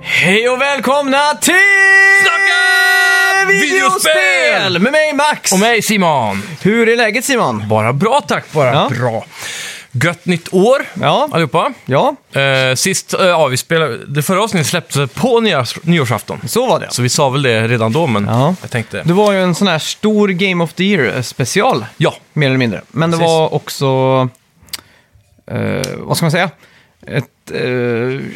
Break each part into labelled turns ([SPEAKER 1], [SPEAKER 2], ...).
[SPEAKER 1] Hej och välkomna till
[SPEAKER 2] Snacka videospel!
[SPEAKER 1] Med mig Max!
[SPEAKER 2] Och mig Simon.
[SPEAKER 1] Hur är läget Simon?
[SPEAKER 2] Bara bra tack, bara
[SPEAKER 1] Ja.
[SPEAKER 2] bra. Gött nytt år
[SPEAKER 1] Ja,
[SPEAKER 2] allihopa.
[SPEAKER 1] ja,
[SPEAKER 2] Eh, sist, eh, ja vi spelade, det förra avsnittet släpptes på nyårs, nyårsafton.
[SPEAKER 1] så var det.
[SPEAKER 2] Så vi sa väl det redan då, men
[SPEAKER 1] Ja.
[SPEAKER 2] jag tänkte,
[SPEAKER 1] Det var ju en sån här stor Game of the Year-special,
[SPEAKER 2] ja,
[SPEAKER 1] mer eller mindre. Men det
[SPEAKER 2] Precis.
[SPEAKER 1] var också, eh, vad ska man säga? Ett, eh,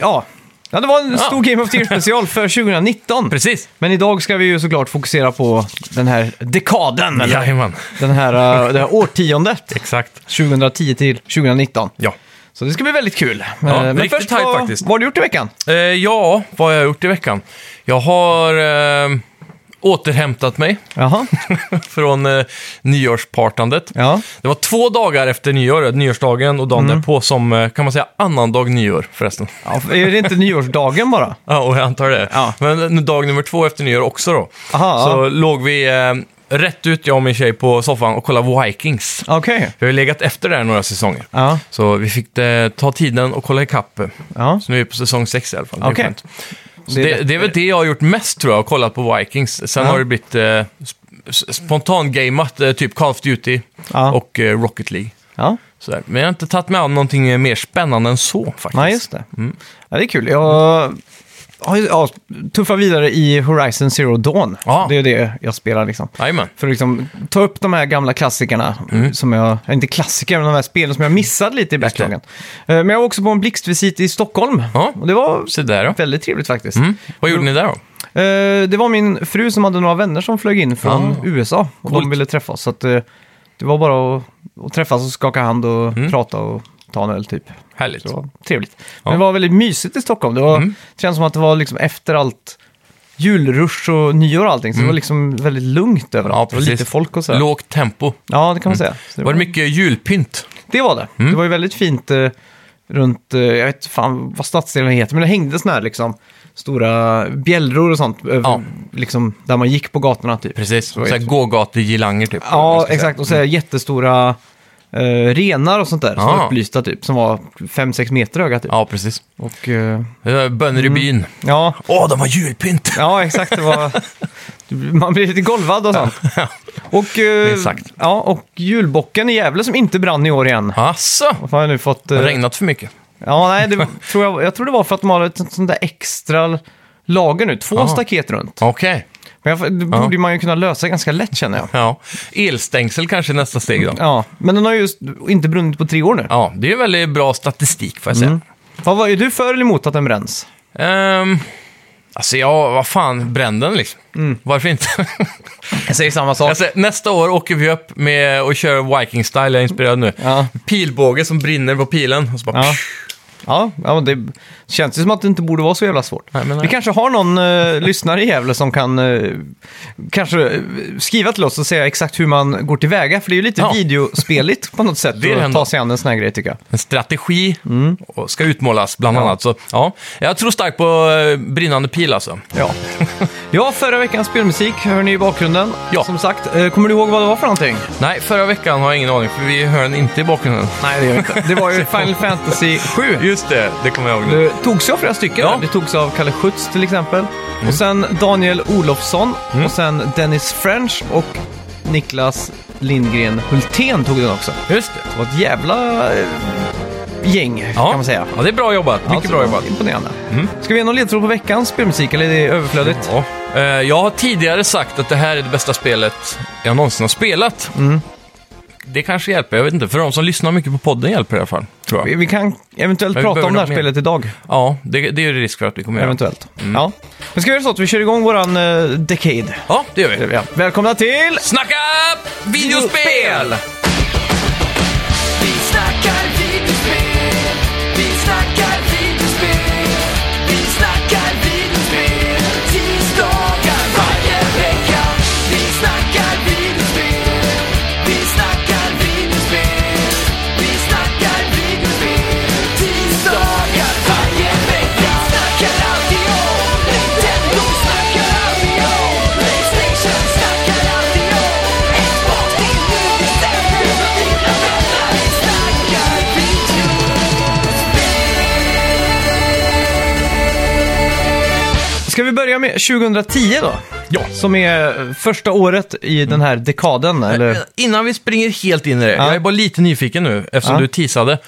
[SPEAKER 1] ja. ja, det var en
[SPEAKER 2] Ja.
[SPEAKER 1] stor Game of the Year-special för 2019.
[SPEAKER 2] precis.
[SPEAKER 1] Men idag ska vi ju såklart fokusera på den här dekaden, eller
[SPEAKER 2] Jajamän,
[SPEAKER 1] den här, eh, det här årtiondet.
[SPEAKER 2] exakt.
[SPEAKER 1] 2010 till 2019.
[SPEAKER 2] Ja.
[SPEAKER 1] Så det ska bli väldigt kul.
[SPEAKER 2] Ja,
[SPEAKER 1] Eh,
[SPEAKER 2] riktigt tajt
[SPEAKER 1] vad,
[SPEAKER 2] faktiskt.
[SPEAKER 1] vad har du gjort i veckan?
[SPEAKER 2] Eh, ja, vad har jag gjort i veckan? Jag har eh, återhämtat mig
[SPEAKER 1] Jaha.
[SPEAKER 2] från eh, nyårspartandet.
[SPEAKER 1] Ja.
[SPEAKER 2] Det var två dagar efter nyår, nyårsdagen och dagen
[SPEAKER 1] Mm.
[SPEAKER 2] därpå som, eh, kan man säga, annandag nyår förresten.
[SPEAKER 1] ja. för Är det inte nyårsdagen bara?
[SPEAKER 2] Ja, och jag antar det.
[SPEAKER 1] Ja.
[SPEAKER 2] Men eh, dag nummer två efter nyår också då.
[SPEAKER 1] Aha,
[SPEAKER 2] så låg vi eh, rätt ut, jag och min tjej, på soffan och kollade Vikings.
[SPEAKER 1] Okej.
[SPEAKER 2] Vi har ju legat efter där några säsonger.
[SPEAKER 1] Ja.
[SPEAKER 2] Så vi fick eh, ta tiden och kolla ikapp.
[SPEAKER 1] Ja.
[SPEAKER 2] Så nu är vi på säsong sex i alla fall. Det är
[SPEAKER 1] Okej.
[SPEAKER 2] skönt. Så
[SPEAKER 1] Det är
[SPEAKER 2] Det,
[SPEAKER 1] lätt-
[SPEAKER 2] det är väl det jag har gjort mest tror jag, och kollat på Vikings. Sen
[SPEAKER 1] Ja.
[SPEAKER 2] har det blivit eh, sp- spontangamat, eh, typ Call of Duty
[SPEAKER 1] Ja.
[SPEAKER 2] och eh, Rocket League.
[SPEAKER 1] Ja.
[SPEAKER 2] Sådär. Men jag har inte tagit med om någonting eh, mer spännande än så faktiskt.
[SPEAKER 1] Nej, just det.
[SPEAKER 2] Mm.
[SPEAKER 1] Ja, det är kul. Jag har ju- ja, tuffar vidare i Horizon Zero Dawn.
[SPEAKER 2] Ja.
[SPEAKER 1] Det är det jag spelar liksom.
[SPEAKER 2] Jajamän.
[SPEAKER 1] För att liksom ta upp de här gamla klassikerna, som jag, ja, inte klassiker, men de här spelen som jag missade lite i
[SPEAKER 2] Mm. det.
[SPEAKER 1] backlogen. Eh, Men jag var också på en blixtvisit i Stockholm.
[SPEAKER 2] Ja.
[SPEAKER 1] Och det var
[SPEAKER 2] Så där då.
[SPEAKER 1] väldigt trevligt faktiskt.
[SPEAKER 2] Mm. Vad gjorde ni där då?
[SPEAKER 1] Eh, det var min fru som hade några vänner som flög in från
[SPEAKER 2] Ah.
[SPEAKER 1] USA och de
[SPEAKER 2] Coolt.
[SPEAKER 1] ville träffas. Så att, eh, det var bara att, att träffas och skaka hand och
[SPEAKER 2] Mm.
[SPEAKER 1] prata och ta en öl typ.
[SPEAKER 2] Härligt.
[SPEAKER 1] Så det var trevligt.
[SPEAKER 2] Ja. Mm.
[SPEAKER 1] Men det var väldigt mysigt i Stockholm. Det var, känns som att det var liksom efter allt julrush och nyår och allting. Så det var liksom väldigt lugnt överallt. det var lite
[SPEAKER 2] Mm. precis.
[SPEAKER 1] folk och så.
[SPEAKER 2] Lågt tempo.
[SPEAKER 1] Ja, det kan man säga. Så det
[SPEAKER 2] Var det mycket julpynt?
[SPEAKER 1] det var det.
[SPEAKER 2] Mm.
[SPEAKER 1] Det var ju väldigt fint eh, runt, eh, jag vet fan vad stadsdelen heter, men det hängde såna här liksom stora bjällror och sånt, över,
[SPEAKER 2] Ja.
[SPEAKER 1] liksom, där man gick på gatorna typ.
[SPEAKER 2] Precis.
[SPEAKER 1] var
[SPEAKER 2] Såhär
[SPEAKER 1] jättefint.
[SPEAKER 2] gågatugirlanger typ. eller vad man
[SPEAKER 1] Ja,
[SPEAKER 2] ska säga.
[SPEAKER 1] exakt. Och så här jättestora eh, renar och sånt där, som
[SPEAKER 2] Ja.
[SPEAKER 1] var upplysta typ, som var 5-6 meter höga typ.
[SPEAKER 2] Ja, precis.
[SPEAKER 1] Och eh,
[SPEAKER 2] Det var Bönder i byn.
[SPEAKER 1] ja,
[SPEAKER 2] Åh, de har julpynt!
[SPEAKER 1] ja, exakt. Det var, man blir lite golvad och sånt. Och, eh,
[SPEAKER 2] Minst sagt.
[SPEAKER 1] ja, och julbocken i Gävle som inte brann i år igen.
[SPEAKER 2] Asså?
[SPEAKER 1] Vad fan har jag nu fått...
[SPEAKER 2] Det
[SPEAKER 1] eh,
[SPEAKER 2] har regnat för mycket.
[SPEAKER 1] Ja, nej, det tror jag, jag tror det var för att de har ett sånt där extra lager nu. Två
[SPEAKER 2] Aha.
[SPEAKER 1] staket runt.
[SPEAKER 2] Okej.
[SPEAKER 1] Men jag, det borde man ju kunna lösa ganska lätt känner jag.
[SPEAKER 2] Ja. Elstängsel kanske är nästa steg då.
[SPEAKER 1] Ja, men den har ju just inte brunnit på tre år nu.
[SPEAKER 2] Ja, det är ju väldigt bra statistik får jag
[SPEAKER 1] Mm.
[SPEAKER 2] säga.
[SPEAKER 1] Vad var, är du för eller emot att den bränns?
[SPEAKER 2] Ehm, alltså, ja, vad fan, bränn den liksom.
[SPEAKER 1] Mm.
[SPEAKER 2] Varför inte?
[SPEAKER 1] Jag säger samma sak.
[SPEAKER 2] Alltså, nästa år åker vi upp med och kör Viking Style, jag är inspirerad nu.
[SPEAKER 1] Ja.
[SPEAKER 2] Pilbåge som brinner på pilen. Och så bara,
[SPEAKER 1] Ja.
[SPEAKER 2] ja.
[SPEAKER 1] Ja, ja, det känns ju som att det inte borde vara så jävla svårt.
[SPEAKER 2] Nej, men nej.
[SPEAKER 1] Vi kanske har någon eh, lyssnare i Gävle som kan eh, kanske eh, skriva till oss och säga exakt hur man går tillväga. För det är ju lite
[SPEAKER 2] Ja.
[SPEAKER 1] videospeligt på något sätt
[SPEAKER 2] Det är det
[SPEAKER 1] att
[SPEAKER 2] ändå.
[SPEAKER 1] ta sig an en sån här grej tycker jag.
[SPEAKER 2] En strategi
[SPEAKER 1] Mm.
[SPEAKER 2] och ska utmålas bland annat. Så, ja. Jag tror starkt på eh, brinnande pil alltså.
[SPEAKER 1] Ja. ja, förra veckans spelmusik hör ni i bakgrunden.
[SPEAKER 2] Ja.
[SPEAKER 1] Som sagt, eh, kommer du ihåg vad det var för någonting?
[SPEAKER 2] Nej, förra veckan har jag ingen aning för vi hör den inte i bakgrunden.
[SPEAKER 1] Nej, det gör inte. Det var ju Final Fantasy 7.
[SPEAKER 2] Just det, det kommer jag ihåg nu.
[SPEAKER 1] Det togs ju av flera stycken.
[SPEAKER 2] Ja. Mm.
[SPEAKER 1] Det togs av Kalle Schütz till exempel. Och sen Daniel Olofsson. Och sen Dennis French och Niklas Lindgren Hultén tog den också.
[SPEAKER 2] Just det.
[SPEAKER 1] Det var ett jävla eh, gäng
[SPEAKER 2] Ja.
[SPEAKER 1] kan man säga.
[SPEAKER 2] ja, det är bra jobbat. Mycket
[SPEAKER 1] Alltså,
[SPEAKER 2] bra Mm. jobbat.
[SPEAKER 1] Imponerande. Ska vi ge någon ledtråd på veckans spelmusik eller är det överflödigt?
[SPEAKER 2] Ja. Eh, Jag har tidigare sagt att det här är det bästa spelet jag någonsin har spelat.
[SPEAKER 1] Mm.
[SPEAKER 2] Det kanske hjälper, jag vet inte. För de som lyssnar mycket på podden hjälper det i alla fall. Tror jag.
[SPEAKER 1] Vi, vi kan eventuellt
[SPEAKER 2] Men Mm. vi
[SPEAKER 1] prata om
[SPEAKER 2] behöver
[SPEAKER 1] det här
[SPEAKER 2] något mer.
[SPEAKER 1] spelet idag.
[SPEAKER 2] Ja, det, det är ju risk för att vi kommer göra.
[SPEAKER 1] Eventuellt. Ja. Men ska vi göra så att vi kör igång våran eh, Decade?
[SPEAKER 2] Ja, det gör vi.
[SPEAKER 1] Ja. Välkomna till...
[SPEAKER 2] Snacka videospel!
[SPEAKER 3] Vi snackar videospel, vi snackar videospel, vi snackar videospel, tisdagar varje vecka. Vi snackar videospel, vi snackar videospel, vi snackar videospel, tisdagar varje vecka. Vi snackar alltid om Nintendo, snackar alltid om Playstation, snackar alltid om Xbox, det är nu vi sänder.
[SPEAKER 1] Ska vi börja med 2010 då?
[SPEAKER 2] Ja. Mm.
[SPEAKER 1] Som är eh, första året i den här dekaden, eller?
[SPEAKER 2] Innan vi springer helt in i det,
[SPEAKER 1] Ja.
[SPEAKER 2] jag är bara lite nyfiken nu eftersom
[SPEAKER 1] Ja.
[SPEAKER 2] du teasade.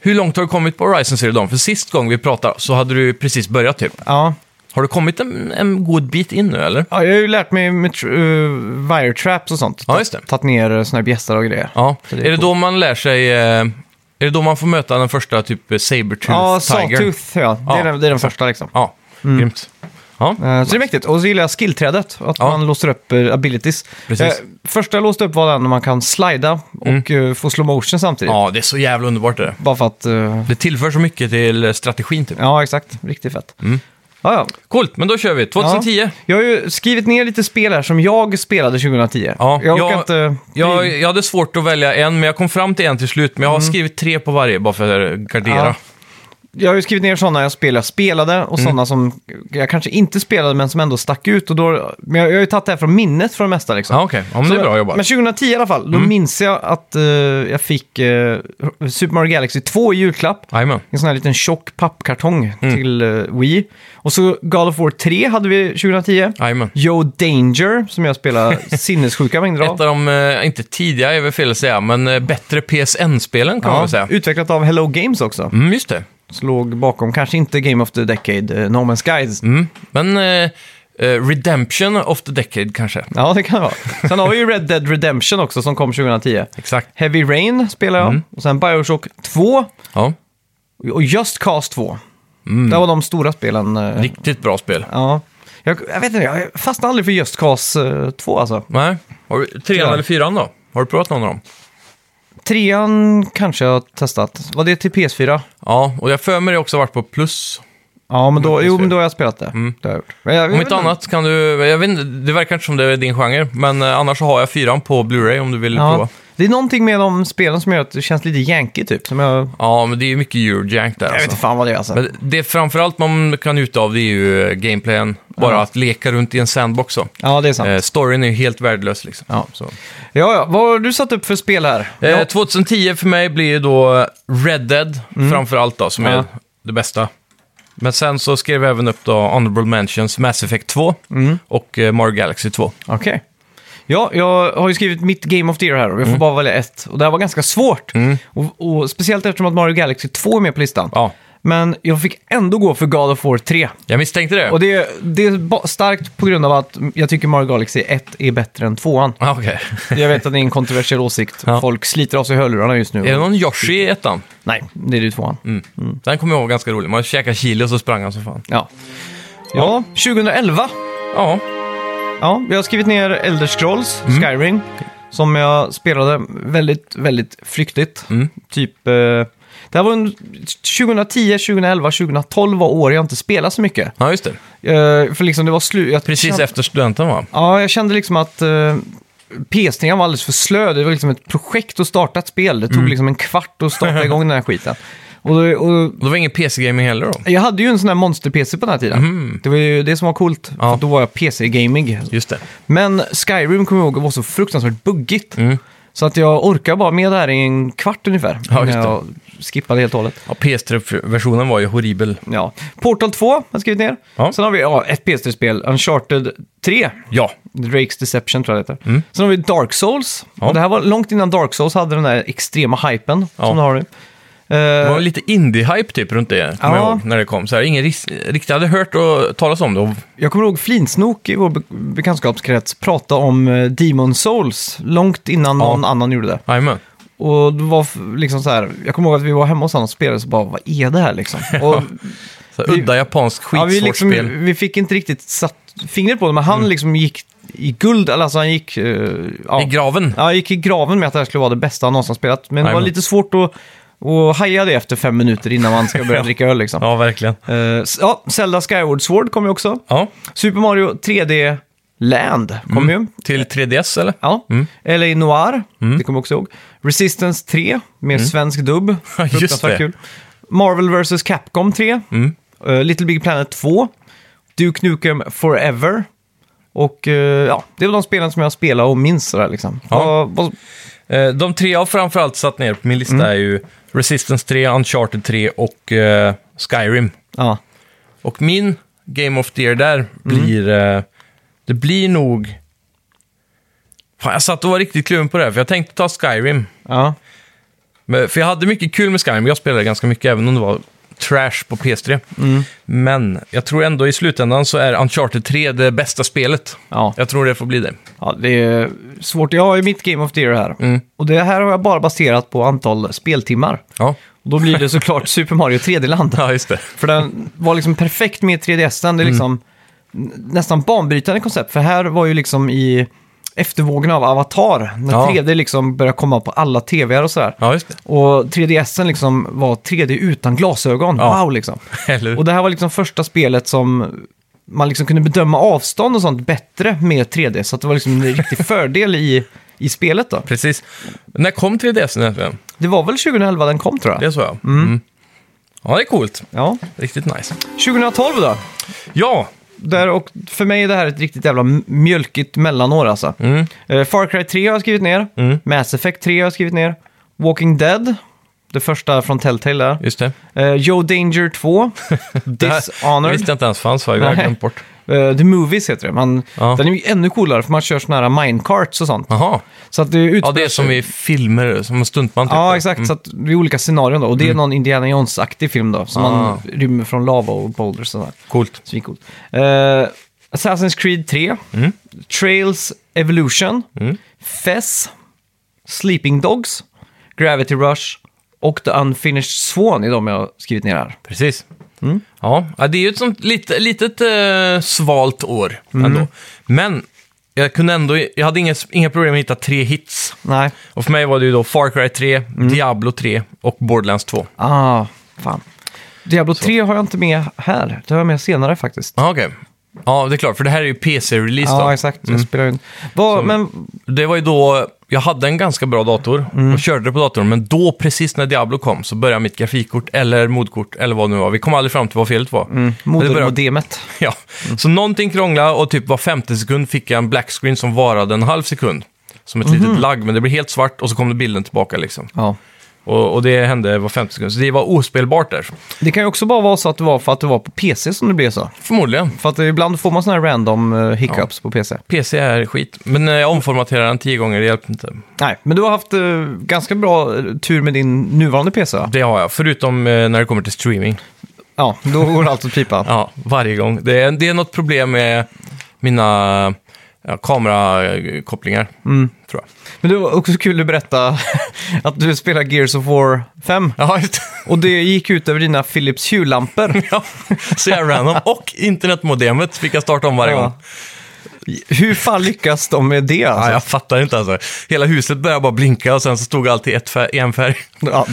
[SPEAKER 2] Hur långt har du kommit på Horizon Zero Dawn? För sist gång vi pratade så hade du precis börjat typ.
[SPEAKER 1] Ja.
[SPEAKER 2] Har du kommit en, en god bit in nu eller?
[SPEAKER 1] ja, jag har ju lärt mig med tr- eh, wire traps och sånt.
[SPEAKER 2] Ja, just det.
[SPEAKER 1] Tagit ner eh, såna här bjässar och grejer.
[SPEAKER 2] Ja.
[SPEAKER 1] Så det är
[SPEAKER 2] Är det då man lär sig... eh, Är det då man får möta den första typ eh, Sabertooth
[SPEAKER 1] Ja,
[SPEAKER 2] Tiger?
[SPEAKER 1] Sawtooth, ja. Det är
[SPEAKER 2] Ja,
[SPEAKER 1] den, det är den första liksom.
[SPEAKER 2] Ja, grymt. Ja.
[SPEAKER 1] Eh, Så det är mäktigt. Och så gillar jag skillträdet, att
[SPEAKER 2] Ja.
[SPEAKER 1] man låser upp eh, abilities.
[SPEAKER 2] Precis. Mm.
[SPEAKER 1] Eh, Första jag låste upp var den när man kan slida och eh, få slow motion samtidigt.
[SPEAKER 2] ja, det är så jävla underbart det.
[SPEAKER 1] Bara för att... eh,
[SPEAKER 2] Det tillför så mycket till strategin typ.
[SPEAKER 1] Ja, exakt. Riktigt fett.
[SPEAKER 2] Mm.
[SPEAKER 1] Ja, ja.
[SPEAKER 2] Coolt, men då kör vi. 2010.
[SPEAKER 1] Ja. Jag har ju skrivit ner lite spel här som jag spelade 2010.
[SPEAKER 2] Ja,
[SPEAKER 1] jag
[SPEAKER 2] jag-
[SPEAKER 1] orkar inte...
[SPEAKER 2] Jag, jag hade svårt att välja en, men jag kom fram till en till slut. Men jag har skrivit tre på varje, bara för att gardera.
[SPEAKER 1] Mm. Ja. Jag har ju skrivit ner sådana jag spelade, spelade och
[SPEAKER 2] Mm.
[SPEAKER 1] sådana som jag kanske inte spelade men som ändå stack ut. Och då, men jag, jag har ju tagit det här från minnet för det mesta. Liksom.
[SPEAKER 2] Ja, okej. Ja, men det är
[SPEAKER 1] Så-
[SPEAKER 2] bra jobbat. Mm.
[SPEAKER 1] Men 2010 i alla fall, då minns jag att eh, jag fick eh, Super Mario Galaxy 2 i julklapp.
[SPEAKER 2] Jajamän.
[SPEAKER 1] En sån här liten tjock pappkartong
[SPEAKER 2] Mm.
[SPEAKER 1] till eh, Wii. Och så God of War 3 hade vi 2010.
[SPEAKER 2] Jajamän.
[SPEAKER 1] Yo Danger, som jag spelade sinnessjuka mängder
[SPEAKER 2] Ett av
[SPEAKER 1] av.
[SPEAKER 2] de, eh, inte tidiga är väl fel att säga, men eh, bättre PSN-spelen kan man
[SPEAKER 1] Ja,
[SPEAKER 2] väl säga.
[SPEAKER 1] utvecklat av Hello Games också.
[SPEAKER 2] Mm, just det.
[SPEAKER 1] Så låg bakom, kanske inte Game of the Decade, eh, No Man's Skies.
[SPEAKER 2] Mm. Men eh, eh, Redemption of the Decade kanske.
[SPEAKER 1] Ja, det kan det vara. Sen har vi ju Red Dead Redemption också som kom 2010.
[SPEAKER 2] Exakt.
[SPEAKER 1] Heavy Rain spelar jag,
[SPEAKER 2] Mm.
[SPEAKER 1] och sen Bioshock 2
[SPEAKER 2] Ja.
[SPEAKER 1] och Just Cause 2. Det var de stora spelen. eh,
[SPEAKER 2] Mm. Riktigt bra spel.
[SPEAKER 1] Ja. Jag, jag vet inte, jag fastnade aldrig för Just Cause eh, 2 alltså.
[SPEAKER 2] Nej. Har du, trean
[SPEAKER 1] Tyvärr.
[SPEAKER 2] eller fyran då? Har du provat någon av dem?
[SPEAKER 1] Trean kanske jag har testat. Var det till PS4?
[SPEAKER 2] Ja, och jag för mig det också varit på plus.
[SPEAKER 1] Ja, men då,
[SPEAKER 2] Mm,
[SPEAKER 1] jo, men
[SPEAKER 2] PS4.
[SPEAKER 1] då har jag spelat det. det har jag gjort. Men jag, jag
[SPEAKER 2] Mm. Om
[SPEAKER 1] vet
[SPEAKER 2] inte annat kan du, jag vet inte, det verkar inte som det är din genre, men eh, annars så har jag fyran på Blu-ray om du vill prova.
[SPEAKER 1] Ja, det är någonting med de spelen som gör att det känns lite yankee typ. Som jag,
[SPEAKER 2] Ja, men det är ju mycket Eurojank där
[SPEAKER 1] jag vet
[SPEAKER 2] alltså.
[SPEAKER 1] inte fan vad det är alltså.
[SPEAKER 2] Men det framförallt man kan njuta av det är ju eh, gameplayen. Bara
[SPEAKER 1] Ja.
[SPEAKER 2] att leka runt i en sandbox så.
[SPEAKER 1] ja, det är sant.
[SPEAKER 2] Eh, storyn är ju helt värdelös liksom.
[SPEAKER 1] Ja.
[SPEAKER 2] Så.
[SPEAKER 1] Ja, ja. Vad har du satt upp för spel här?
[SPEAKER 2] Eh,
[SPEAKER 1] Ja.
[SPEAKER 2] 2010 för mig blir ju då eh, Red Dead framförallt då, som
[SPEAKER 1] Mm. Ja.
[SPEAKER 2] är det bästa. Men sen så skrev jag även upp då Honorable Mentions, Mass Effect 2
[SPEAKER 1] Mm.
[SPEAKER 2] och eh, Mario Galaxy 2.
[SPEAKER 1] Okej. Ja, jag har ju skrivit mitt Game of the Year här
[SPEAKER 2] Mm.
[SPEAKER 1] och jag får bara välja ett. Och det här var ganska svårt. Och, och speciellt eftersom att Mario Galaxy 2 är med på listan.
[SPEAKER 2] Ja,
[SPEAKER 1] Men jag fick ändå gå för God of War 3.
[SPEAKER 2] jag misstänkte det.
[SPEAKER 1] Och det, det är ba- starkt på grund av att jag tycker Mario Galaxy 1 är bättre än 2an.
[SPEAKER 2] Ah, okej.
[SPEAKER 1] Jag vet att det är en kontroversiell åsikt.
[SPEAKER 2] Ja.
[SPEAKER 1] Folk sliter av sig hörlurarna just nu.
[SPEAKER 2] Är det någon Yoshi i ettan?
[SPEAKER 1] Nej, det är ju 2an.
[SPEAKER 2] Den kommer jag ihåg ganska rolig. Man käkade chili och så sprang han som fan.
[SPEAKER 1] Ja. ja, 2011
[SPEAKER 2] Ja,
[SPEAKER 1] Ja, jag har skrivit ner Elder Scrolls, Skyrim, som jag spelade väldigt, väldigt flyktigt. Typ, eh, det här var en 2010, 2011, 2012 var år jag inte spelade så mycket.
[SPEAKER 2] ja just det.
[SPEAKER 1] Eh, för liksom det var slut. Jag
[SPEAKER 2] Precis
[SPEAKER 1] kände,
[SPEAKER 2] efter studenten va?
[SPEAKER 1] Ja, jag kände liksom att eh, PS3 var alldeles för slö. Det var liksom ett projekt att starta ett spel. Det tog liksom en kvart att starta igång den här skiten. Och, då- och
[SPEAKER 2] Och det var ingen PC-gaming heller då?
[SPEAKER 1] jag hade ju en sån här monster-PC på den här tiden. Det var ju det som var coolt.
[SPEAKER 2] Mhm. Ja.
[SPEAKER 1] För Då var jag PC-gaming.
[SPEAKER 2] Just det.
[SPEAKER 1] Men Skyrim kommer jag ihåg var så fruktansvärt buggigt. Så att jag orkar bara med det här i en kvart ungefär.
[SPEAKER 2] Mm. Ja,
[SPEAKER 1] när
[SPEAKER 2] just det.
[SPEAKER 1] jag skippade helt och hållet.
[SPEAKER 2] Ja, PS3-versionen var ju horribel.
[SPEAKER 1] Ja. Portal 2 har jag skrivit ner.
[SPEAKER 2] Ja.
[SPEAKER 1] Sen har vi ja, ett PS3-spel, Uncharted 3.
[SPEAKER 2] Ja,
[SPEAKER 1] Drake's Deception tror jag det heter. Sen har vi Dark Souls.
[SPEAKER 2] Mm. Ja.
[SPEAKER 1] Och det här var långt innan Dark Souls hade den där extrema hypen
[SPEAKER 2] Ja.
[SPEAKER 1] som det har nu.
[SPEAKER 2] det var
[SPEAKER 1] Eh,
[SPEAKER 2] väl lite indie-hype typ runt det, kommer
[SPEAKER 1] Ja.
[SPEAKER 2] jag ihåg, när det kom. Så här, ingen ris- riktigt hade hört och talas om det. Och,
[SPEAKER 1] jag kommer ihåg Flinsnok i vår be- bekantskapskrets prata om eh, Demon Souls långt innan
[SPEAKER 2] Ja.
[SPEAKER 1] någon annan gjorde det.
[SPEAKER 2] Jajamän.
[SPEAKER 1] Och det var f- liksom så här, jag kommer ihåg att vi var hemma hos honom och spelade så bara, vad är det här liksom? Och,
[SPEAKER 2] Så här,
[SPEAKER 1] Vi-
[SPEAKER 2] udda japansk
[SPEAKER 1] ja,
[SPEAKER 2] skitsvårt
[SPEAKER 1] vi, liksom,
[SPEAKER 2] spel. Mm.
[SPEAKER 1] vi fick inte riktigt satt fingret på det, men han liksom gick i guld, eller alltså han gick... eh, ja.
[SPEAKER 2] I graven.
[SPEAKER 1] ja, han gick i graven med att det här skulle vara det bästa han någonsin spelat. Men det var
[SPEAKER 2] Jajamän.
[SPEAKER 1] lite svårt att, att haja det efter fem minuter innan man ska börja dricka öl liksom.
[SPEAKER 2] Ja, verkligen.
[SPEAKER 1] Eh, s- ja, Zelda Skyward Sword kom ju också.
[SPEAKER 2] Ja,
[SPEAKER 1] Super Mario 3D Land kom ju.
[SPEAKER 2] till 3DS eller?
[SPEAKER 1] Ja. LA Noir,
[SPEAKER 2] Mm.
[SPEAKER 1] det kommer jag också ihåg. Resistance 3, med svensk dubb.
[SPEAKER 2] Just
[SPEAKER 1] Fruktansvärt
[SPEAKER 2] det. Mm.
[SPEAKER 1] Kul. Marvel vs. Capcom 3. Eh, Little Big Planet 2. Duke Nukem Forever. Och eh, ja, det var de spelen som jag spelade och minns sådär liksom.
[SPEAKER 2] Ja.
[SPEAKER 1] Vad- vad-
[SPEAKER 2] Eh, De tre jag framförallt satt ner på min lista
[SPEAKER 1] Mm.
[SPEAKER 2] är ju Resistance 3, Uncharted 3 och eh, Skyrim.
[SPEAKER 1] ja.
[SPEAKER 2] Och min Game of the Year där blir... eh, det blir nog... Fan, jag satt och var riktigt kluven på det här, för jag tänkte ta Skyrim.
[SPEAKER 1] Ja.
[SPEAKER 2] Men, för jag hade mycket kul med Skyrim, jag spelade ganska mycket även om det var trash på PS3. Men jag tror ändå i slutändan så är Uncharted 3 det bästa spelet.
[SPEAKER 1] Ja.
[SPEAKER 2] Jag tror det får bli det.
[SPEAKER 1] ja, det är svårt. Jag har ju mitt Game of the Year här.
[SPEAKER 2] Mm.
[SPEAKER 1] Och det här har jag bara baserat på antal speltimmar.
[SPEAKER 2] Ja,
[SPEAKER 1] Och då blir det såklart Super Mario 3D-land.
[SPEAKER 2] ja just det.
[SPEAKER 1] För den var liksom perfekt med 3DS.
[SPEAKER 2] Mm.
[SPEAKER 1] Det är liksom nästan banbrytande koncept. För här var ju liksom i eftervågen av Avatar. När
[SPEAKER 2] Ja.
[SPEAKER 1] 3D liksom började komma på alla TVR och sådär.
[SPEAKER 2] Ja, just det.
[SPEAKER 1] Och 3DSen liksom var 3D utan glasögon.
[SPEAKER 2] Ja.
[SPEAKER 1] Wow liksom.
[SPEAKER 2] Eller
[SPEAKER 1] Och
[SPEAKER 2] hur?
[SPEAKER 1] det här var liksom första spelet som man liksom kunde bedöma avstånd och sånt bättre med 3D. Så att det var liksom en riktig fördel i, i spelet då.
[SPEAKER 2] Precis. När kom 3DS egentligen?
[SPEAKER 1] Det var väl 2011 den kom tror jag.
[SPEAKER 2] Det sa jag. Mm. Ja, det är coolt.
[SPEAKER 1] Ja.
[SPEAKER 2] Riktigt nice.
[SPEAKER 1] 2012 då.
[SPEAKER 2] Ja,
[SPEAKER 1] Där, och för mig är det här ett riktigt jävla m- mjölkigt mellanår alltså.
[SPEAKER 2] Mm.
[SPEAKER 1] Eh, Far Cry 3 har jag skrivit ner. Mass Effect 3 har jag skrivit ner. Walking Dead. Det första från Telltale där.
[SPEAKER 2] just det.
[SPEAKER 1] Eh, Joe Danger 2.
[SPEAKER 2] Det här
[SPEAKER 1] Dishonored.
[SPEAKER 2] visste jag inte ens fanns, va? Jag har
[SPEAKER 1] Nej.
[SPEAKER 2] glömt bort.
[SPEAKER 1] Eh, The Movies heter det. Man,
[SPEAKER 2] Ja.
[SPEAKER 1] Den är ju ännu coolare för man kör såna här minecarts och sånt.
[SPEAKER 2] Jaha.
[SPEAKER 1] Så att det utspelar
[SPEAKER 2] Ja, det är som
[SPEAKER 1] sig-
[SPEAKER 2] i filmer, som en stuntman. typ.
[SPEAKER 1] Ja, exakt. Så att det är olika scenarion då. Och det är någon Indiana Jones-aktig film då. Som man
[SPEAKER 2] Mm. Ah.
[SPEAKER 1] rymmer från lava och boulders och sådär.
[SPEAKER 2] Coolt.
[SPEAKER 1] Svincoolt. Eh, Assassin's Creed 3.
[SPEAKER 2] Mm.
[SPEAKER 1] Trails Evolution. Fess. Sleeping Dogs. Gravity Rush. Och The Unfinished Swan är de jag har skrivit ner här.
[SPEAKER 2] Precis.
[SPEAKER 1] Mm.
[SPEAKER 2] Ja, ja, det är ju ett sånt lit, litet eh, svalt år
[SPEAKER 1] Mm.
[SPEAKER 2] ändå. Men jag kunde ändå, jag hade inga, inga problem att hitta tre hits.
[SPEAKER 1] Nej.
[SPEAKER 2] Och för mig var det ju då Far Cry 3,
[SPEAKER 1] Mm.
[SPEAKER 2] Diablo 3 och Borderlands 2.
[SPEAKER 1] Ah, fan. Diablo 3 har jag inte med här. Det har jag med senare faktiskt.
[SPEAKER 2] Ja, okej. Ja, det är klart, för det här är ju PC-release då.
[SPEAKER 1] Ja, exakt. Jag spelar ju... en- Vad, men
[SPEAKER 2] Det var ju då, jag hade en ganska bra dator och körde det på datorn, men då precis när Diablo kom så började mitt grafikkort eller modkort eller vad det nu var. Vi kom aldrig fram till vad felet var. Mm.
[SPEAKER 1] modermodemet.
[SPEAKER 2] Ja. Så någonting krånglade och typ var femte sekund fick jag en black screen som varade en halv sekund. Som ett litet lagg, men det blev helt svart och så kom det bilden tillbaka liksom.
[SPEAKER 1] Ja.
[SPEAKER 2] Och, och det hände var femte sekund, så det var ospelbart där.
[SPEAKER 1] Det kan ju också bara vara så att det var för att det var på PC som det blev så.
[SPEAKER 2] Förmodligen.
[SPEAKER 1] För att ibland får man sådana här random eh, hiccups på PC.
[SPEAKER 2] PC är skit, men eh, jag omformaterade den tio gånger, det hjälpte inte.
[SPEAKER 1] Nej, men du har haft eh, ganska bra eh, tur med din nuvarande PC va?
[SPEAKER 2] Det har jag, förutom eh, när det kommer till streaming.
[SPEAKER 1] Ja, då går allt åt pipan.
[SPEAKER 2] Ja, varje gång. Det är, det är något problem med mina ja, kamerakopplingar, tror jag.
[SPEAKER 1] Men det var också kul att berätta att du spelar Gears of War 5.
[SPEAKER 2] Ja, just
[SPEAKER 1] Och det gick ut över dina Philips Hue-lampor.
[SPEAKER 2] ja. Så jag random. Och internetmodemet fick jag starta om varje gång.
[SPEAKER 1] Ja. Hur fan lyckas de med det
[SPEAKER 2] Ja,
[SPEAKER 1] alltså?
[SPEAKER 2] jag fattar inte alltså. Hela huset började bara blinka och sen så stod allt i ett fär- en färg.
[SPEAKER 1] Ja.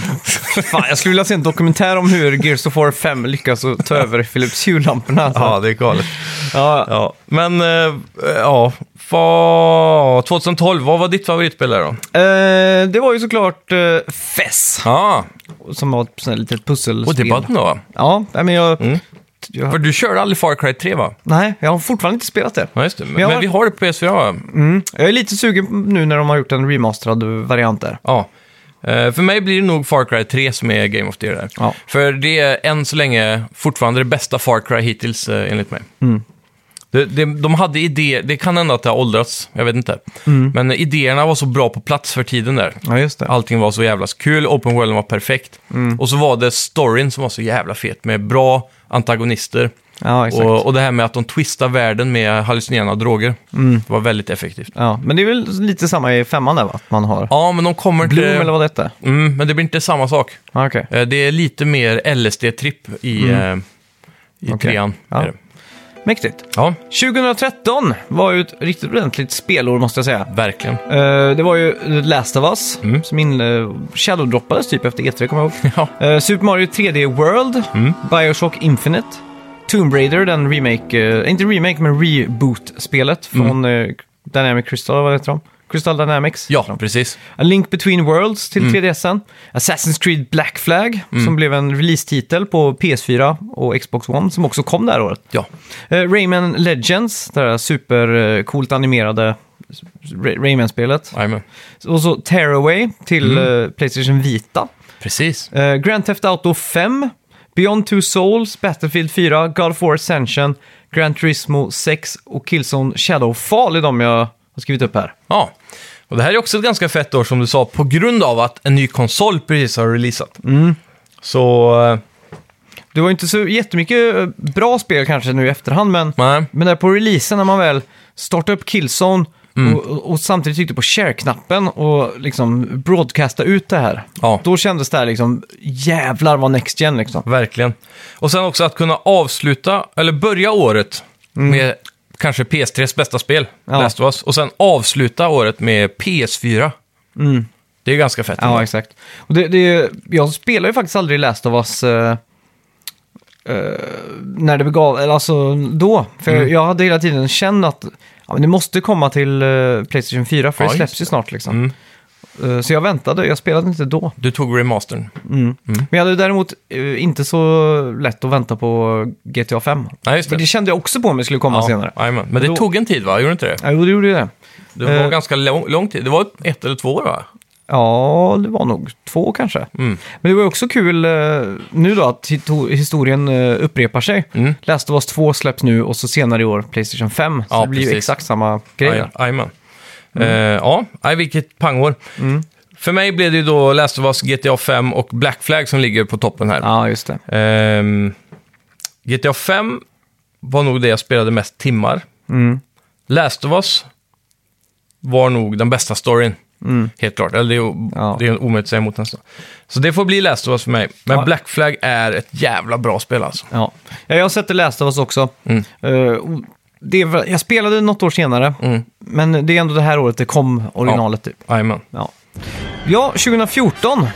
[SPEAKER 1] Fan, jag skulle vilja se en dokumentär om hur Gears of War 5 lyckas att ta över Philips Hue-lamporna. Alltså.
[SPEAKER 2] Ja, det är galet.
[SPEAKER 1] Ja,
[SPEAKER 2] Ja. Men, eh, ja. Vad... 2012, vad var ditt favoritspel där då?
[SPEAKER 1] Eh, det var ju såklart eh, Fess,
[SPEAKER 2] Ja,
[SPEAKER 1] som var ett sånt här litet
[SPEAKER 2] och det
[SPEAKER 1] pusselspel.
[SPEAKER 2] var den då va?
[SPEAKER 1] Ja, nej, men jag, jag...
[SPEAKER 2] För du körde aldrig Far Cry 3 va?
[SPEAKER 1] Nej, jag har fortfarande inte spelat det.
[SPEAKER 2] Ja, just det. Men,
[SPEAKER 1] jag
[SPEAKER 2] men
[SPEAKER 1] har-
[SPEAKER 2] vi har det på PS4 va?
[SPEAKER 1] Jag är lite sugen nu när de har gjort en remasterad variant där.
[SPEAKER 2] Ja. Eh, För mig blir det nog Far Cry 3 som är Game of the Year där.
[SPEAKER 1] Ja.
[SPEAKER 2] För det är än så länge fortfarande det bästa Far Cry hittills eh, enligt mig.
[SPEAKER 1] Mm.
[SPEAKER 2] Det, det, de hade idéer, det kan hända att det har åldrats, jag vet inte.
[SPEAKER 1] Mm.
[SPEAKER 2] Men idéerna var så bra på plats för tiden där.
[SPEAKER 1] Ja, just det.
[SPEAKER 2] Allting var så jävla kul, open worlden var perfekt.
[SPEAKER 1] Mm.
[SPEAKER 2] Och så var det storyn som var så jävla fet med bra antagonister.
[SPEAKER 1] Ja, exakt.
[SPEAKER 2] Och, och det här med att de twistar världen med hallucinerande droger.
[SPEAKER 1] Mm.
[SPEAKER 2] Det var väldigt effektivt.
[SPEAKER 1] Ja, men det är väl lite samma i femman där, va? Att man har
[SPEAKER 2] Ja, men de kommer
[SPEAKER 1] Bloom
[SPEAKER 2] till...
[SPEAKER 1] eller vad det är.
[SPEAKER 2] Mm, men det blir inte samma sak.
[SPEAKER 1] Ja, okej.
[SPEAKER 2] Eh, Det är lite mer LSD-tripp i, eh, i
[SPEAKER 1] Mm. Okej.
[SPEAKER 2] trean.
[SPEAKER 1] Ja.
[SPEAKER 2] är det.
[SPEAKER 1] Mäktigt.
[SPEAKER 2] ja,
[SPEAKER 1] 2013 var ju ett riktigt ordentligt spelår, måste jag säga.
[SPEAKER 2] verkligen.
[SPEAKER 1] Eh, det var ju The Last of Us,
[SPEAKER 2] Mm.
[SPEAKER 1] som in, eh, shadow-droppades typ efter E3, kommer jag ihåg.
[SPEAKER 2] Ja. Mm.
[SPEAKER 1] Eh, Super Mario 3D World, Bioshock Infinite, Tomb Raider, den remake, eh, inte remake men reboot-spelet
[SPEAKER 2] Mm.
[SPEAKER 1] från eh, Dynamic Crystal, vad heter de? Crystal Dynamics. heter
[SPEAKER 2] Ja,
[SPEAKER 1] de.
[SPEAKER 2] precis. Mm.
[SPEAKER 1] A Link Between Worlds till 3DSen, Assassin's Creed Black Flag, som blev en release-titel på PS4 och Xbox One, som också kom det här året.
[SPEAKER 2] Ja.
[SPEAKER 1] Eh, Rayman Legends, det här supercoolt animerade Ray- Rayman-spelet.
[SPEAKER 2] Jajamän.
[SPEAKER 1] Och så
[SPEAKER 2] Mm.
[SPEAKER 1] Tearaway till eh, Playstation Vita.
[SPEAKER 2] Precis.
[SPEAKER 1] Eh, Grand Theft Auto 5, Beyond Two Souls, Battlefield 4, God of War Ascension, Gran Turismo 6 och Killzone Shadowfall är de jag har skrivit upp här.
[SPEAKER 2] Ja. Och det här är också ett ganska fett år som du sa, på grund av att en ny konsol precis har releasat.
[SPEAKER 1] Mm.
[SPEAKER 2] Så, eh,
[SPEAKER 1] Det var inte så jättemycket eh, bra spel kanske nu i efterhand, men,
[SPEAKER 2] nej.
[SPEAKER 1] men där på releasen när man väl startade upp Killzone
[SPEAKER 2] Mm.
[SPEAKER 1] och, och, och samtidigt tryckte på share-knappen och liksom broadcasta ut det här.
[SPEAKER 2] Ja.
[SPEAKER 1] Då kändes det här liksom, jävlar vad next gen liksom.
[SPEAKER 2] Verkligen. Och sen också att kunna avsluta, eller börja året med kanske PS3s bästa spel,
[SPEAKER 1] Mm. Ja.
[SPEAKER 2] Last of Us, och sen avsluta året med PS4. Det är ganska fett.
[SPEAKER 1] Mm. Ja, exakt. Och det, det, jag spelar ju faktiskt aldrig Last of Us eh, eh, när det begav, eller alltså då. För
[SPEAKER 2] Mm.
[SPEAKER 1] jag hade hela tiden känt att ja, men det måste komma till eh, Playstation 4 för
[SPEAKER 2] Ja,
[SPEAKER 1] det
[SPEAKER 2] just
[SPEAKER 1] släpps ju snart liksom.
[SPEAKER 2] Mm.
[SPEAKER 1] Eh, så jag väntade, jag spelade inte då.
[SPEAKER 2] Du tog remastern.
[SPEAKER 1] Men jag hade däremot eh, inte så lätt att vänta på GTA 5.
[SPEAKER 2] Nej, just det.
[SPEAKER 1] För det kände jag också på mig skulle komma
[SPEAKER 2] Ja,
[SPEAKER 1] senare.
[SPEAKER 2] jajamän. Men det
[SPEAKER 1] Då-
[SPEAKER 2] tog en tid, va? Gjorde det inte det?
[SPEAKER 1] Ja, jo, det gjorde ju det.
[SPEAKER 2] Det var
[SPEAKER 1] Eh.
[SPEAKER 2] ganska lång, lång tid. Det var ett eller två år, va?
[SPEAKER 1] Ja, det var nog två kanske.
[SPEAKER 2] Mm.
[SPEAKER 1] Men det var ju också kul eh, nu då att hito- historien eh, upprepar sig.
[SPEAKER 2] Mm.
[SPEAKER 1] Last of Us 2 släpps nu och så senare i år Playstation 5. Så
[SPEAKER 2] Ja,
[SPEAKER 1] det blir ju
[SPEAKER 2] precis.
[SPEAKER 1] exakt samma grej. där.
[SPEAKER 2] Aj- Jajamän. Eh, ja, aj, vilket pangår.
[SPEAKER 1] Mm.
[SPEAKER 2] För mig blev det ju då Last of Us, GTA 5 och Black Flag som ligger på toppen här.
[SPEAKER 1] Ja, just det.
[SPEAKER 2] Ehm, GTA 5 var nog det jag spelade mest timmar.
[SPEAKER 1] Mm.
[SPEAKER 2] Last of Us var nog den bästa storyn. Helt klart. Eller det är, o-
[SPEAKER 1] Mm. Ja.
[SPEAKER 2] det är omöjligt att säga emot nästan. Så det får bli Last of Us för mig. Men
[SPEAKER 1] Ja.
[SPEAKER 2] Black Flag är ett jävla bra spel alltså.
[SPEAKER 1] Ja. Ja, jag har sett det Last of Us också.
[SPEAKER 2] Mm.
[SPEAKER 1] Eh, och det är, väl- jag spelade något år senare,
[SPEAKER 2] Mm.
[SPEAKER 1] men det är ändå det här året det kom originalet typ.
[SPEAKER 2] Jajamän.
[SPEAKER 1] Ja. Ja, 2014.